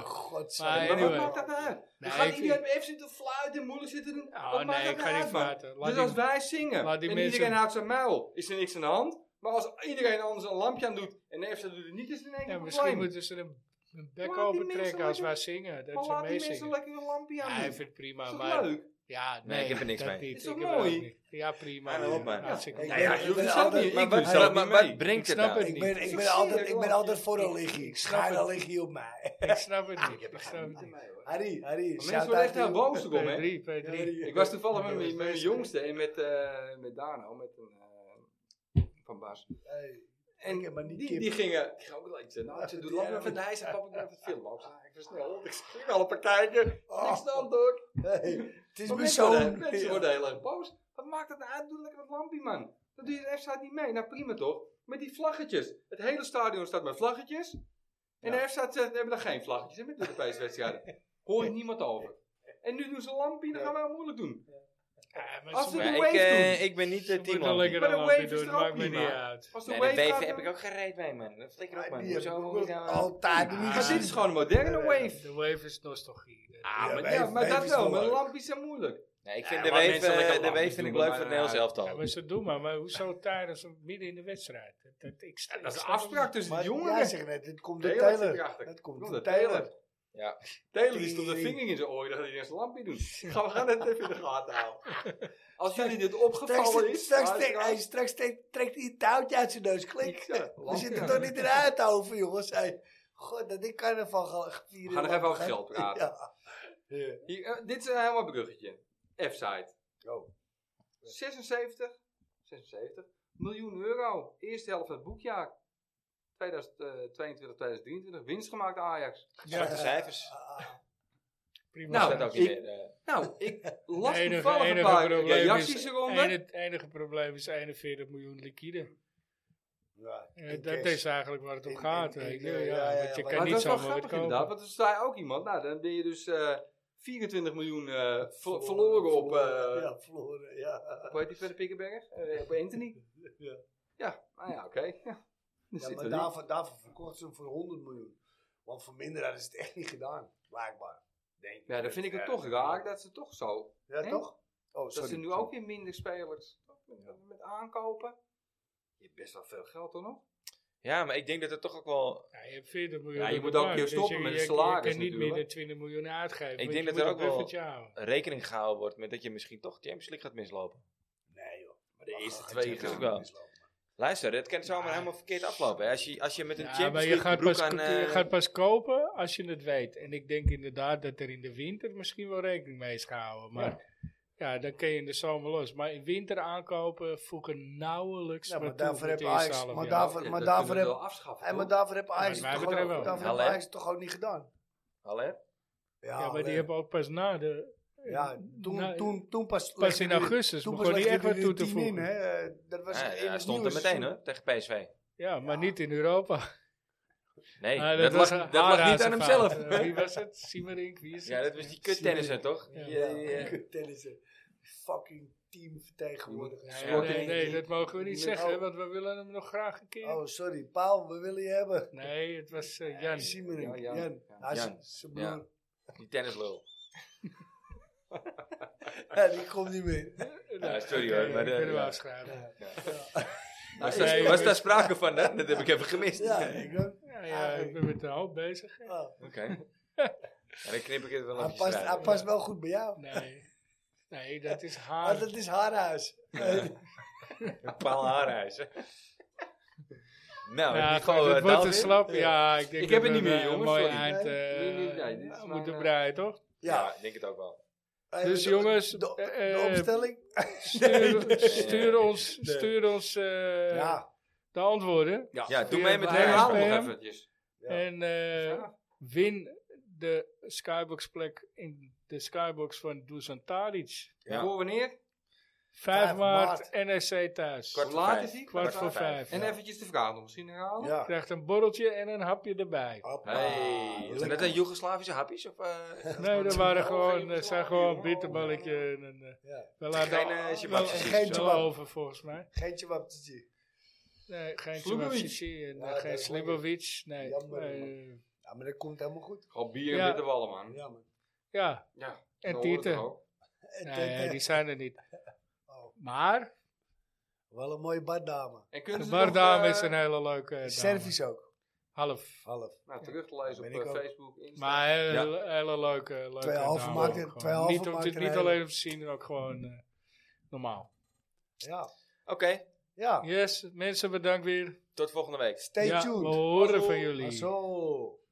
[SPEAKER 6] Maar
[SPEAKER 9] godzijdank.
[SPEAKER 6] wat
[SPEAKER 4] Anyway.
[SPEAKER 6] maakt dat nou uit? Dan
[SPEAKER 4] Nee,
[SPEAKER 6] gaat
[SPEAKER 4] ik
[SPEAKER 6] iedereen even zitten fluiten en moeilijk zitten doen.
[SPEAKER 4] Oh,
[SPEAKER 6] Wat maakt
[SPEAKER 4] nee,
[SPEAKER 6] dat
[SPEAKER 4] ik
[SPEAKER 6] nou
[SPEAKER 4] ga
[SPEAKER 6] uit,
[SPEAKER 4] niet
[SPEAKER 6] man?
[SPEAKER 4] praten. Laat
[SPEAKER 6] Dus
[SPEAKER 4] die-
[SPEAKER 6] als wij zingen
[SPEAKER 4] laat
[SPEAKER 6] en
[SPEAKER 4] die
[SPEAKER 6] iedereen
[SPEAKER 4] mensen-
[SPEAKER 6] houdt zijn muil, is er niks aan de hand. Maar als iedereen anders een lampje aan doet en de EFSA doet het niet, is er in één
[SPEAKER 4] Ja,
[SPEAKER 6] keer
[SPEAKER 4] misschien
[SPEAKER 6] probleem.
[SPEAKER 4] moeten ze een, een bek
[SPEAKER 6] Oh. Laat die
[SPEAKER 4] open
[SPEAKER 6] mensen
[SPEAKER 4] trekken als wij
[SPEAKER 6] lekker-
[SPEAKER 4] zingen.
[SPEAKER 6] Maar
[SPEAKER 4] Dat ze
[SPEAKER 6] laat die mensen
[SPEAKER 4] meezingen.
[SPEAKER 6] lekker een lampje aan
[SPEAKER 4] Ja, hij
[SPEAKER 6] doen.
[SPEAKER 4] vindt het
[SPEAKER 6] Is
[SPEAKER 4] prima,
[SPEAKER 6] toch
[SPEAKER 4] maar...
[SPEAKER 6] leuk?
[SPEAKER 4] Ja, nee,
[SPEAKER 3] Nee, ik heb er niks
[SPEAKER 4] dat
[SPEAKER 3] mee.
[SPEAKER 4] niet.
[SPEAKER 6] Is toch
[SPEAKER 4] Ik heb er ook
[SPEAKER 6] mooi?
[SPEAKER 4] niks- Ja, prima.
[SPEAKER 3] Ja, daarom, man.
[SPEAKER 4] Hartstikke
[SPEAKER 9] Ja,
[SPEAKER 4] leuk.
[SPEAKER 3] Nou ja,
[SPEAKER 9] Ik
[SPEAKER 6] je
[SPEAKER 9] ben
[SPEAKER 6] hoeft het zelf
[SPEAKER 9] altijd-
[SPEAKER 6] niet.
[SPEAKER 3] Maar
[SPEAKER 6] Ik doe
[SPEAKER 3] wat,
[SPEAKER 6] het zelf
[SPEAKER 3] wat,
[SPEAKER 6] niet
[SPEAKER 3] maar
[SPEAKER 6] mee.
[SPEAKER 3] wat brengt het
[SPEAKER 4] Ik snap
[SPEAKER 3] nou?
[SPEAKER 4] het
[SPEAKER 9] Ik
[SPEAKER 4] niet.
[SPEAKER 9] ben, ik ben,
[SPEAKER 6] Succes,
[SPEAKER 9] altijd, ik
[SPEAKER 6] jongen.
[SPEAKER 9] ben altijd voor een liggie.
[SPEAKER 4] Ik snap
[SPEAKER 9] Schijnel
[SPEAKER 4] het.
[SPEAKER 9] liggie op mij.
[SPEAKER 4] Ik
[SPEAKER 3] Ah,
[SPEAKER 4] snap het niet. Ik snap het
[SPEAKER 6] Maar
[SPEAKER 4] niet.
[SPEAKER 9] Harry, Harry.
[SPEAKER 6] Mensen worden echt heel boos erom, hè?
[SPEAKER 4] P3, P3.
[SPEAKER 6] Ik was toevallig met mijn- met mijn jongste en met, eh met Dano, met een, eh, van Bas. En
[SPEAKER 9] Ik heb maar niet
[SPEAKER 6] die,
[SPEAKER 9] kip.
[SPEAKER 6] die gingen, ik ga ook wel iets zeggen. Nou, ze doet
[SPEAKER 9] Ja,
[SPEAKER 6] lang even
[SPEAKER 9] maar-
[SPEAKER 6] de ijs en papa doet even filmen. Ik zei, Ah, ik versnel, Oh. ik ging al op een kijken. Niks dan hoor.
[SPEAKER 9] Het is
[SPEAKER 6] Maar
[SPEAKER 9] mijn
[SPEAKER 6] Mensen worden-
[SPEAKER 9] zoon.
[SPEAKER 6] mensen worden heel erg boos. Wat maakt het nou uit? Doe lekker dat lampje man. Dat doe je de F-staat niet mee. Nou prima toch? Met die vlaggetjes. Het hele stadion staat met vlaggetjes. En de F-staat zegt, we hebben daar geen vlaggetjes in met de Europese wedstrijden. Hoor je niemand over. En nu doen ze een lampje, dan gaan wij moeilijk doen.
[SPEAKER 4] Ja, maar
[SPEAKER 6] Als
[SPEAKER 4] ze
[SPEAKER 6] we
[SPEAKER 4] moeten-
[SPEAKER 6] de
[SPEAKER 3] Ja,
[SPEAKER 6] wave
[SPEAKER 3] ik, eh,
[SPEAKER 6] doen.
[SPEAKER 3] ik ben niet
[SPEAKER 4] ze
[SPEAKER 3] het team.
[SPEAKER 4] moeten
[SPEAKER 3] Andy.
[SPEAKER 4] lekker
[SPEAKER 6] Maar
[SPEAKER 4] een
[SPEAKER 6] de
[SPEAKER 4] lampje
[SPEAKER 6] wave is
[SPEAKER 4] doen,
[SPEAKER 6] er ook
[SPEAKER 4] maakt me
[SPEAKER 6] prima.
[SPEAKER 4] niet uit.
[SPEAKER 6] Als de
[SPEAKER 3] Nee,
[SPEAKER 6] wave
[SPEAKER 3] de
[SPEAKER 6] gaat,
[SPEAKER 3] wave
[SPEAKER 6] dan-
[SPEAKER 3] heb ik ook geen reet mee, man. Dat flikker op, man.
[SPEAKER 9] Die heb ik
[SPEAKER 3] Hoezo?
[SPEAKER 9] ook
[SPEAKER 3] hoezo-
[SPEAKER 9] Altijd niet.
[SPEAKER 6] Maar dit is gewoon een moderne wave.
[SPEAKER 4] De wave is nostalgie.
[SPEAKER 6] Ah, maar,
[SPEAKER 9] wave-
[SPEAKER 6] ja, maar
[SPEAKER 9] wave
[SPEAKER 6] dat
[SPEAKER 9] is
[SPEAKER 6] wel,
[SPEAKER 9] wel
[SPEAKER 6] maar
[SPEAKER 9] leuk.
[SPEAKER 6] lampjes zijn moeilijk.
[SPEAKER 3] Nee, ik vind
[SPEAKER 6] Ja,
[SPEAKER 3] de
[SPEAKER 6] maar
[SPEAKER 3] wave,
[SPEAKER 6] mensen lekker
[SPEAKER 3] eh, de
[SPEAKER 6] lampjes
[SPEAKER 3] wave vind ik
[SPEAKER 6] doen,
[SPEAKER 3] leuk
[SPEAKER 6] maar
[SPEAKER 3] voor het
[SPEAKER 6] nou,
[SPEAKER 3] Nederlands elftal.
[SPEAKER 4] Ja, maar ze doen maar, maar hoezo tijdens midden in de wedstrijd? Dat, dat, ik, sta-
[SPEAKER 6] Dat
[SPEAKER 4] ik
[SPEAKER 6] is een
[SPEAKER 4] snap het
[SPEAKER 6] afspraak
[SPEAKER 4] niet.
[SPEAKER 6] tussen
[SPEAKER 9] Maar
[SPEAKER 6] de
[SPEAKER 9] jij
[SPEAKER 6] jongeren.
[SPEAKER 9] zegt net, dit komt door
[SPEAKER 6] Taylor zit
[SPEAKER 9] Taylor.
[SPEAKER 6] erachter.
[SPEAKER 9] Dat komt
[SPEAKER 6] Komt
[SPEAKER 9] door
[SPEAKER 6] door Taylor.
[SPEAKER 9] Taylor.
[SPEAKER 3] Ja.
[SPEAKER 6] Taylor die stond de vinger in zijn oor dat hij eerst een lampje doet. Gaan we gaan het even in de gaten houden. Als jullie dit
[SPEAKER 9] Straks,
[SPEAKER 6] opgevallen is...
[SPEAKER 9] straks,
[SPEAKER 6] maar-
[SPEAKER 9] trekt- hij- straks trekt- trekt hij het touwtje uit zijn neus. Klik.
[SPEAKER 6] Ja,
[SPEAKER 9] We zitten toch niet in de uit over, jongens. Hey, God, dat ik carnaval ga
[SPEAKER 6] We
[SPEAKER 9] vieren.
[SPEAKER 6] gaan nog even over geld praten.
[SPEAKER 9] Ja. Ja.
[SPEAKER 6] Hier, eh, dit is een helemaal bruggetje. F-site.
[SPEAKER 9] Oh.
[SPEAKER 6] 76, 76 miljoen euro. Eerste helft van het boekjaar. eh, 2022-2023. Winst gemaakt Ajax.
[SPEAKER 3] Zwarte cijfers.
[SPEAKER 6] Oh.
[SPEAKER 4] Prima.
[SPEAKER 6] Nou,
[SPEAKER 3] dat ook niet
[SPEAKER 6] ik-
[SPEAKER 3] meer. eh.
[SPEAKER 6] Nou, ik
[SPEAKER 4] Het
[SPEAKER 6] las
[SPEAKER 4] enige,
[SPEAKER 6] toevallig een
[SPEAKER 4] enige
[SPEAKER 6] paar
[SPEAKER 4] probleem is,
[SPEAKER 6] reacties eronder.
[SPEAKER 4] en het enige probleem is 41 miljoen liquide.
[SPEAKER 9] Ja,
[SPEAKER 4] Eh,
[SPEAKER 9] in
[SPEAKER 4] dat
[SPEAKER 9] cash.
[SPEAKER 4] is eigenlijk waar het om
[SPEAKER 9] In-
[SPEAKER 4] gaat.
[SPEAKER 9] in-
[SPEAKER 4] weet
[SPEAKER 9] in,
[SPEAKER 4] je.
[SPEAKER 9] eh,
[SPEAKER 4] Ja,
[SPEAKER 9] ja, ja,
[SPEAKER 4] want je kan
[SPEAKER 9] maar
[SPEAKER 6] Maar
[SPEAKER 4] niet
[SPEAKER 6] dat is
[SPEAKER 4] zomaar
[SPEAKER 6] wel
[SPEAKER 4] wat
[SPEAKER 6] grappig
[SPEAKER 4] kopen.
[SPEAKER 6] inderdaad, want er zei ook iemand, nou dan ben je dus eh 24 miljoen eh, ver- verloren op, eh
[SPEAKER 9] ja, verloren, ja.
[SPEAKER 6] hoe heet die verder, Pikkenberg? Eh, op Anthony.
[SPEAKER 9] Ja.
[SPEAKER 6] Ja, nou ja, oké. Ja. Dan
[SPEAKER 9] Ja,
[SPEAKER 6] zitten
[SPEAKER 9] maar
[SPEAKER 6] we
[SPEAKER 9] daarvoor, daarvoor verkochten ze hem voor 100 miljoen. Want voor minder hadden ze het echt niet gedaan, blijkbaar. Denk
[SPEAKER 6] hier. ja, dan vind ik het
[SPEAKER 9] Ja.
[SPEAKER 6] toch raar dat ze toch zo,
[SPEAKER 9] Ja,
[SPEAKER 6] Hè?
[SPEAKER 9] toch? Oh,
[SPEAKER 6] dat
[SPEAKER 9] sorry.
[SPEAKER 6] ze nu ook weer minder spelers met, met aankopen. Je hebt best wel veel geld dan nog.
[SPEAKER 3] Ja, maar ik denk dat het toch ook wel...
[SPEAKER 4] Ja, je hebt 40 miljoen.
[SPEAKER 6] Ja, je
[SPEAKER 4] op
[SPEAKER 6] moet
[SPEAKER 4] de
[SPEAKER 6] ook
[SPEAKER 4] bank, dus
[SPEAKER 6] een keer stoppen met het salaris
[SPEAKER 4] Je kan niet meer
[SPEAKER 6] natuurlijk.
[SPEAKER 4] dan 20 miljoen uitgeven.
[SPEAKER 3] Ik
[SPEAKER 4] want
[SPEAKER 3] denk
[SPEAKER 4] je
[SPEAKER 3] dat er
[SPEAKER 4] moet een
[SPEAKER 3] ook wel-
[SPEAKER 4] buffertje houden.
[SPEAKER 3] rekening gehouden wordt met dat je misschien toch Champions League gaat mislopen.
[SPEAKER 9] Nee, joh.
[SPEAKER 6] Maar de eerste
[SPEAKER 9] Ach,
[SPEAKER 6] twee
[SPEAKER 9] het is
[SPEAKER 3] natuurlijk
[SPEAKER 6] gaan.
[SPEAKER 3] wel.
[SPEAKER 9] mislopen.
[SPEAKER 3] Luister, het kan zomaar helemaal verkeerd aflopen. hè. Als je, als je met een
[SPEAKER 4] Ja, maar
[SPEAKER 3] Champions
[SPEAKER 4] je
[SPEAKER 3] League
[SPEAKER 4] gaat,
[SPEAKER 3] broek
[SPEAKER 4] pas,
[SPEAKER 3] aan... eh,
[SPEAKER 4] je gaat pas kopen als je het weet. En ik denk inderdaad dat er in de winter misschien wel rekening mee is gehouden. Maar ja, dan kun je in de zomer los. Maar in winter aankopen voegen nauwelijks
[SPEAKER 9] Ja,
[SPEAKER 4] maar
[SPEAKER 9] maar
[SPEAKER 4] toe
[SPEAKER 9] daarvoor
[SPEAKER 4] met
[SPEAKER 9] heb
[SPEAKER 4] de eerste
[SPEAKER 9] Ajax...
[SPEAKER 4] half
[SPEAKER 9] Maar
[SPEAKER 4] jaar.
[SPEAKER 9] daarvoor,
[SPEAKER 6] Ja,
[SPEAKER 9] maar
[SPEAKER 6] dat
[SPEAKER 9] daarvoor
[SPEAKER 6] kunnen we
[SPEAKER 9] heb...
[SPEAKER 6] wel afschaffen.
[SPEAKER 9] En maar
[SPEAKER 6] toch?
[SPEAKER 9] daarvoor heb Ajax
[SPEAKER 4] Ja, maar
[SPEAKER 9] het
[SPEAKER 4] wij
[SPEAKER 9] toch ook,
[SPEAKER 4] betreft wel.
[SPEAKER 9] daarvoor heeft
[SPEAKER 3] Haller.
[SPEAKER 9] Ajax het toch ook niet gedaan.
[SPEAKER 3] Haller?
[SPEAKER 9] Ja,
[SPEAKER 4] Ja, maar die
[SPEAKER 9] alleen-
[SPEAKER 4] hebben ook pas na de...
[SPEAKER 9] ja toen,
[SPEAKER 4] na-
[SPEAKER 9] toen, toen pas...
[SPEAKER 4] Pas
[SPEAKER 9] legde
[SPEAKER 4] in
[SPEAKER 9] hij-
[SPEAKER 4] augustus
[SPEAKER 9] Toen
[SPEAKER 4] begon hij
[SPEAKER 9] legde
[SPEAKER 4] echt wat
[SPEAKER 9] hij
[SPEAKER 4] toe te
[SPEAKER 9] de 10 in,
[SPEAKER 4] voegen.
[SPEAKER 9] hè. eh, Dat was
[SPEAKER 3] Ja,
[SPEAKER 9] in
[SPEAKER 3] ja,
[SPEAKER 9] het
[SPEAKER 3] stond er
[SPEAKER 9] nieuwe
[SPEAKER 3] meteen
[SPEAKER 9] seizoen.
[SPEAKER 3] hoor, tegen PSV.
[SPEAKER 4] Ja, maar niet in Europa.
[SPEAKER 3] Nee,
[SPEAKER 4] Ah,
[SPEAKER 3] dat,
[SPEAKER 4] was
[SPEAKER 3] lag,
[SPEAKER 4] een
[SPEAKER 3] dat lag niet aan
[SPEAKER 4] haarrazenfout.
[SPEAKER 3] hemzelf.
[SPEAKER 4] Eh, Wie was het? Simmerink? Wie is
[SPEAKER 3] Ja,
[SPEAKER 4] het?
[SPEAKER 3] dat was die kut tennissen toch?
[SPEAKER 4] Ja.
[SPEAKER 3] Die, eh,
[SPEAKER 9] Ja, tennissen.
[SPEAKER 5] fucking team vertegenwoordigen.
[SPEAKER 4] Nee,
[SPEAKER 5] Sorry.
[SPEAKER 4] nee, nee, dat mogen we niet
[SPEAKER 5] Met-
[SPEAKER 4] zeggen,
[SPEAKER 5] oh.
[SPEAKER 4] want we willen hem nog graag een keer.
[SPEAKER 5] Oh, sorry. Paul, we willen je hebben.
[SPEAKER 4] Nee, het was eh, Jan.
[SPEAKER 5] Simon,
[SPEAKER 6] Ja,
[SPEAKER 5] Jan.
[SPEAKER 6] Jan.
[SPEAKER 5] Jan.
[SPEAKER 6] Ja.
[SPEAKER 5] Hij is
[SPEAKER 3] Jan.
[SPEAKER 5] zijn broer.
[SPEAKER 3] Die tennislul.
[SPEAKER 5] Ja, die komt niet meer.
[SPEAKER 3] Ja, sorry hoor,
[SPEAKER 4] Ja,
[SPEAKER 3] maar, eh,
[SPEAKER 4] kunnen we
[SPEAKER 3] ja.
[SPEAKER 4] afschrijven.
[SPEAKER 3] Was,
[SPEAKER 4] Nee,
[SPEAKER 3] daar,
[SPEAKER 4] dat
[SPEAKER 3] was
[SPEAKER 4] is-
[SPEAKER 3] daar sprake van, hè? Dat heb ik even gemist.
[SPEAKER 5] Ja, ik ook.
[SPEAKER 4] Ja, ja, ik ben met de hoop bezig.
[SPEAKER 5] Oh.
[SPEAKER 3] Oké. En dan knip ik het wel
[SPEAKER 5] Hij
[SPEAKER 3] even
[SPEAKER 5] past, hij past wel goed bij jou.
[SPEAKER 4] Nee, nee dat is
[SPEAKER 5] Maar
[SPEAKER 4] haar.
[SPEAKER 5] Oh, dat is haar huis.
[SPEAKER 3] Een paal haarhuis. hè. Nou,
[SPEAKER 4] Ja,
[SPEAKER 3] die
[SPEAKER 4] goed,
[SPEAKER 3] gewoon
[SPEAKER 4] het wordt een
[SPEAKER 3] slap.
[SPEAKER 4] slap. Ja, ik denk
[SPEAKER 6] Ik heb
[SPEAKER 4] dat
[SPEAKER 6] het
[SPEAKER 4] we
[SPEAKER 6] niet meer,
[SPEAKER 4] een
[SPEAKER 6] jongens,
[SPEAKER 4] mooi
[SPEAKER 6] sorry.
[SPEAKER 4] eind eh,
[SPEAKER 6] Nee, nee, nee, dit is
[SPEAKER 4] moeten
[SPEAKER 6] mijn,
[SPEAKER 4] breien, toch?
[SPEAKER 3] Ja,
[SPEAKER 5] Ja.
[SPEAKER 3] ik denk het ook wel.
[SPEAKER 5] Hey,
[SPEAKER 4] Dus
[SPEAKER 5] de-
[SPEAKER 4] jongens,
[SPEAKER 5] De, de
[SPEAKER 4] eh,
[SPEAKER 5] opstelling?
[SPEAKER 4] Stuur, stuur
[SPEAKER 3] nee.
[SPEAKER 4] ons, stuur ons eh,
[SPEAKER 5] Ja.
[SPEAKER 4] de antwoorden.
[SPEAKER 3] Ja, doe mee met de
[SPEAKER 4] wij
[SPEAKER 3] herhaling.
[SPEAKER 4] halen hem.
[SPEAKER 6] nog eventjes.
[SPEAKER 4] En eh, win de skyboxplek in de skybox van Dusan Tadic.
[SPEAKER 3] Ja.
[SPEAKER 6] Voor wanneer?
[SPEAKER 4] 5
[SPEAKER 5] 5
[SPEAKER 4] maart, NSC thuis.
[SPEAKER 3] Kwart
[SPEAKER 6] Hoe
[SPEAKER 3] voor
[SPEAKER 6] laat
[SPEAKER 3] vijf.
[SPEAKER 6] is die?
[SPEAKER 4] Kwart voor vijf.
[SPEAKER 6] En eventjes de vraag nog misschien herhalen.
[SPEAKER 5] Ja.
[SPEAKER 4] Krijgt een borreltje en een hapje erbij.
[SPEAKER 5] Hoppa.
[SPEAKER 3] Hey, zijn dat
[SPEAKER 5] Ah, Lekker.
[SPEAKER 3] dan Joegoslavische hapjes? Of, eh,
[SPEAKER 4] Nee, dat waren
[SPEAKER 6] Oh,
[SPEAKER 4] gewoon,
[SPEAKER 6] geen
[SPEAKER 4] dat zijn
[SPEAKER 6] verslagen,
[SPEAKER 4] gewoon
[SPEAKER 6] joh.
[SPEAKER 4] bitterballetje. En, een, eh,
[SPEAKER 5] Ja.
[SPEAKER 4] we laten
[SPEAKER 3] Geen, eh,
[SPEAKER 4] al-
[SPEAKER 3] jebapjes,
[SPEAKER 4] wel-
[SPEAKER 3] precies.
[SPEAKER 4] wel
[SPEAKER 5] Geen jebap.
[SPEAKER 4] over volgens mij.
[SPEAKER 5] Geentje wat te zien.
[SPEAKER 4] Nee, geen
[SPEAKER 6] Slibovic.
[SPEAKER 4] Slibovic en eh,
[SPEAKER 5] Ja,
[SPEAKER 4] geen
[SPEAKER 5] dat is mooi.
[SPEAKER 4] Slibovic. Nee.
[SPEAKER 5] Jammer,
[SPEAKER 4] Eh,
[SPEAKER 5] Ja, maar dat komt helemaal goed.
[SPEAKER 6] Gewoon bier en
[SPEAKER 4] Ja.
[SPEAKER 6] witte wallen, man.
[SPEAKER 5] Ja, man.
[SPEAKER 4] ja,
[SPEAKER 6] Ja.
[SPEAKER 4] En
[SPEAKER 6] zo hoort het
[SPEAKER 4] Tieten.
[SPEAKER 6] ook.
[SPEAKER 5] En
[SPEAKER 4] nee,
[SPEAKER 5] dat, eh,
[SPEAKER 4] die zijn er niet.
[SPEAKER 5] Oh.
[SPEAKER 4] Maar
[SPEAKER 5] Wel een mooie baddame.
[SPEAKER 6] En kunnen
[SPEAKER 4] de
[SPEAKER 6] ze
[SPEAKER 4] bardame
[SPEAKER 6] nog, eh,
[SPEAKER 4] is een hele leuke eh, dame.
[SPEAKER 5] Service ook.
[SPEAKER 4] Half.
[SPEAKER 5] Half.
[SPEAKER 6] Nou, terug te lezen
[SPEAKER 5] Ben
[SPEAKER 6] op
[SPEAKER 5] ik
[SPEAKER 6] eh,
[SPEAKER 5] ook.
[SPEAKER 6] Facebook, Insta.
[SPEAKER 4] Maar een
[SPEAKER 3] Ja.
[SPEAKER 4] hele, hele leuke, leuke
[SPEAKER 5] Twee halve
[SPEAKER 4] dame
[SPEAKER 5] maakte-
[SPEAKER 4] ook gewoon.
[SPEAKER 5] twee halve
[SPEAKER 4] Niet, om
[SPEAKER 5] maakte
[SPEAKER 4] te,
[SPEAKER 5] een
[SPEAKER 4] niet
[SPEAKER 5] hele.
[SPEAKER 4] alleen om te zien, maar ook gewoon eh, normaal.
[SPEAKER 5] Ja.
[SPEAKER 3] Oké,
[SPEAKER 5] Ja.
[SPEAKER 4] Yes, mensen bedankt weer.
[SPEAKER 3] tot volgende week.
[SPEAKER 5] Stay
[SPEAKER 4] ja,
[SPEAKER 5] tuned.
[SPEAKER 4] we horen
[SPEAKER 5] Alzo.
[SPEAKER 4] van jullie.
[SPEAKER 5] Alzo.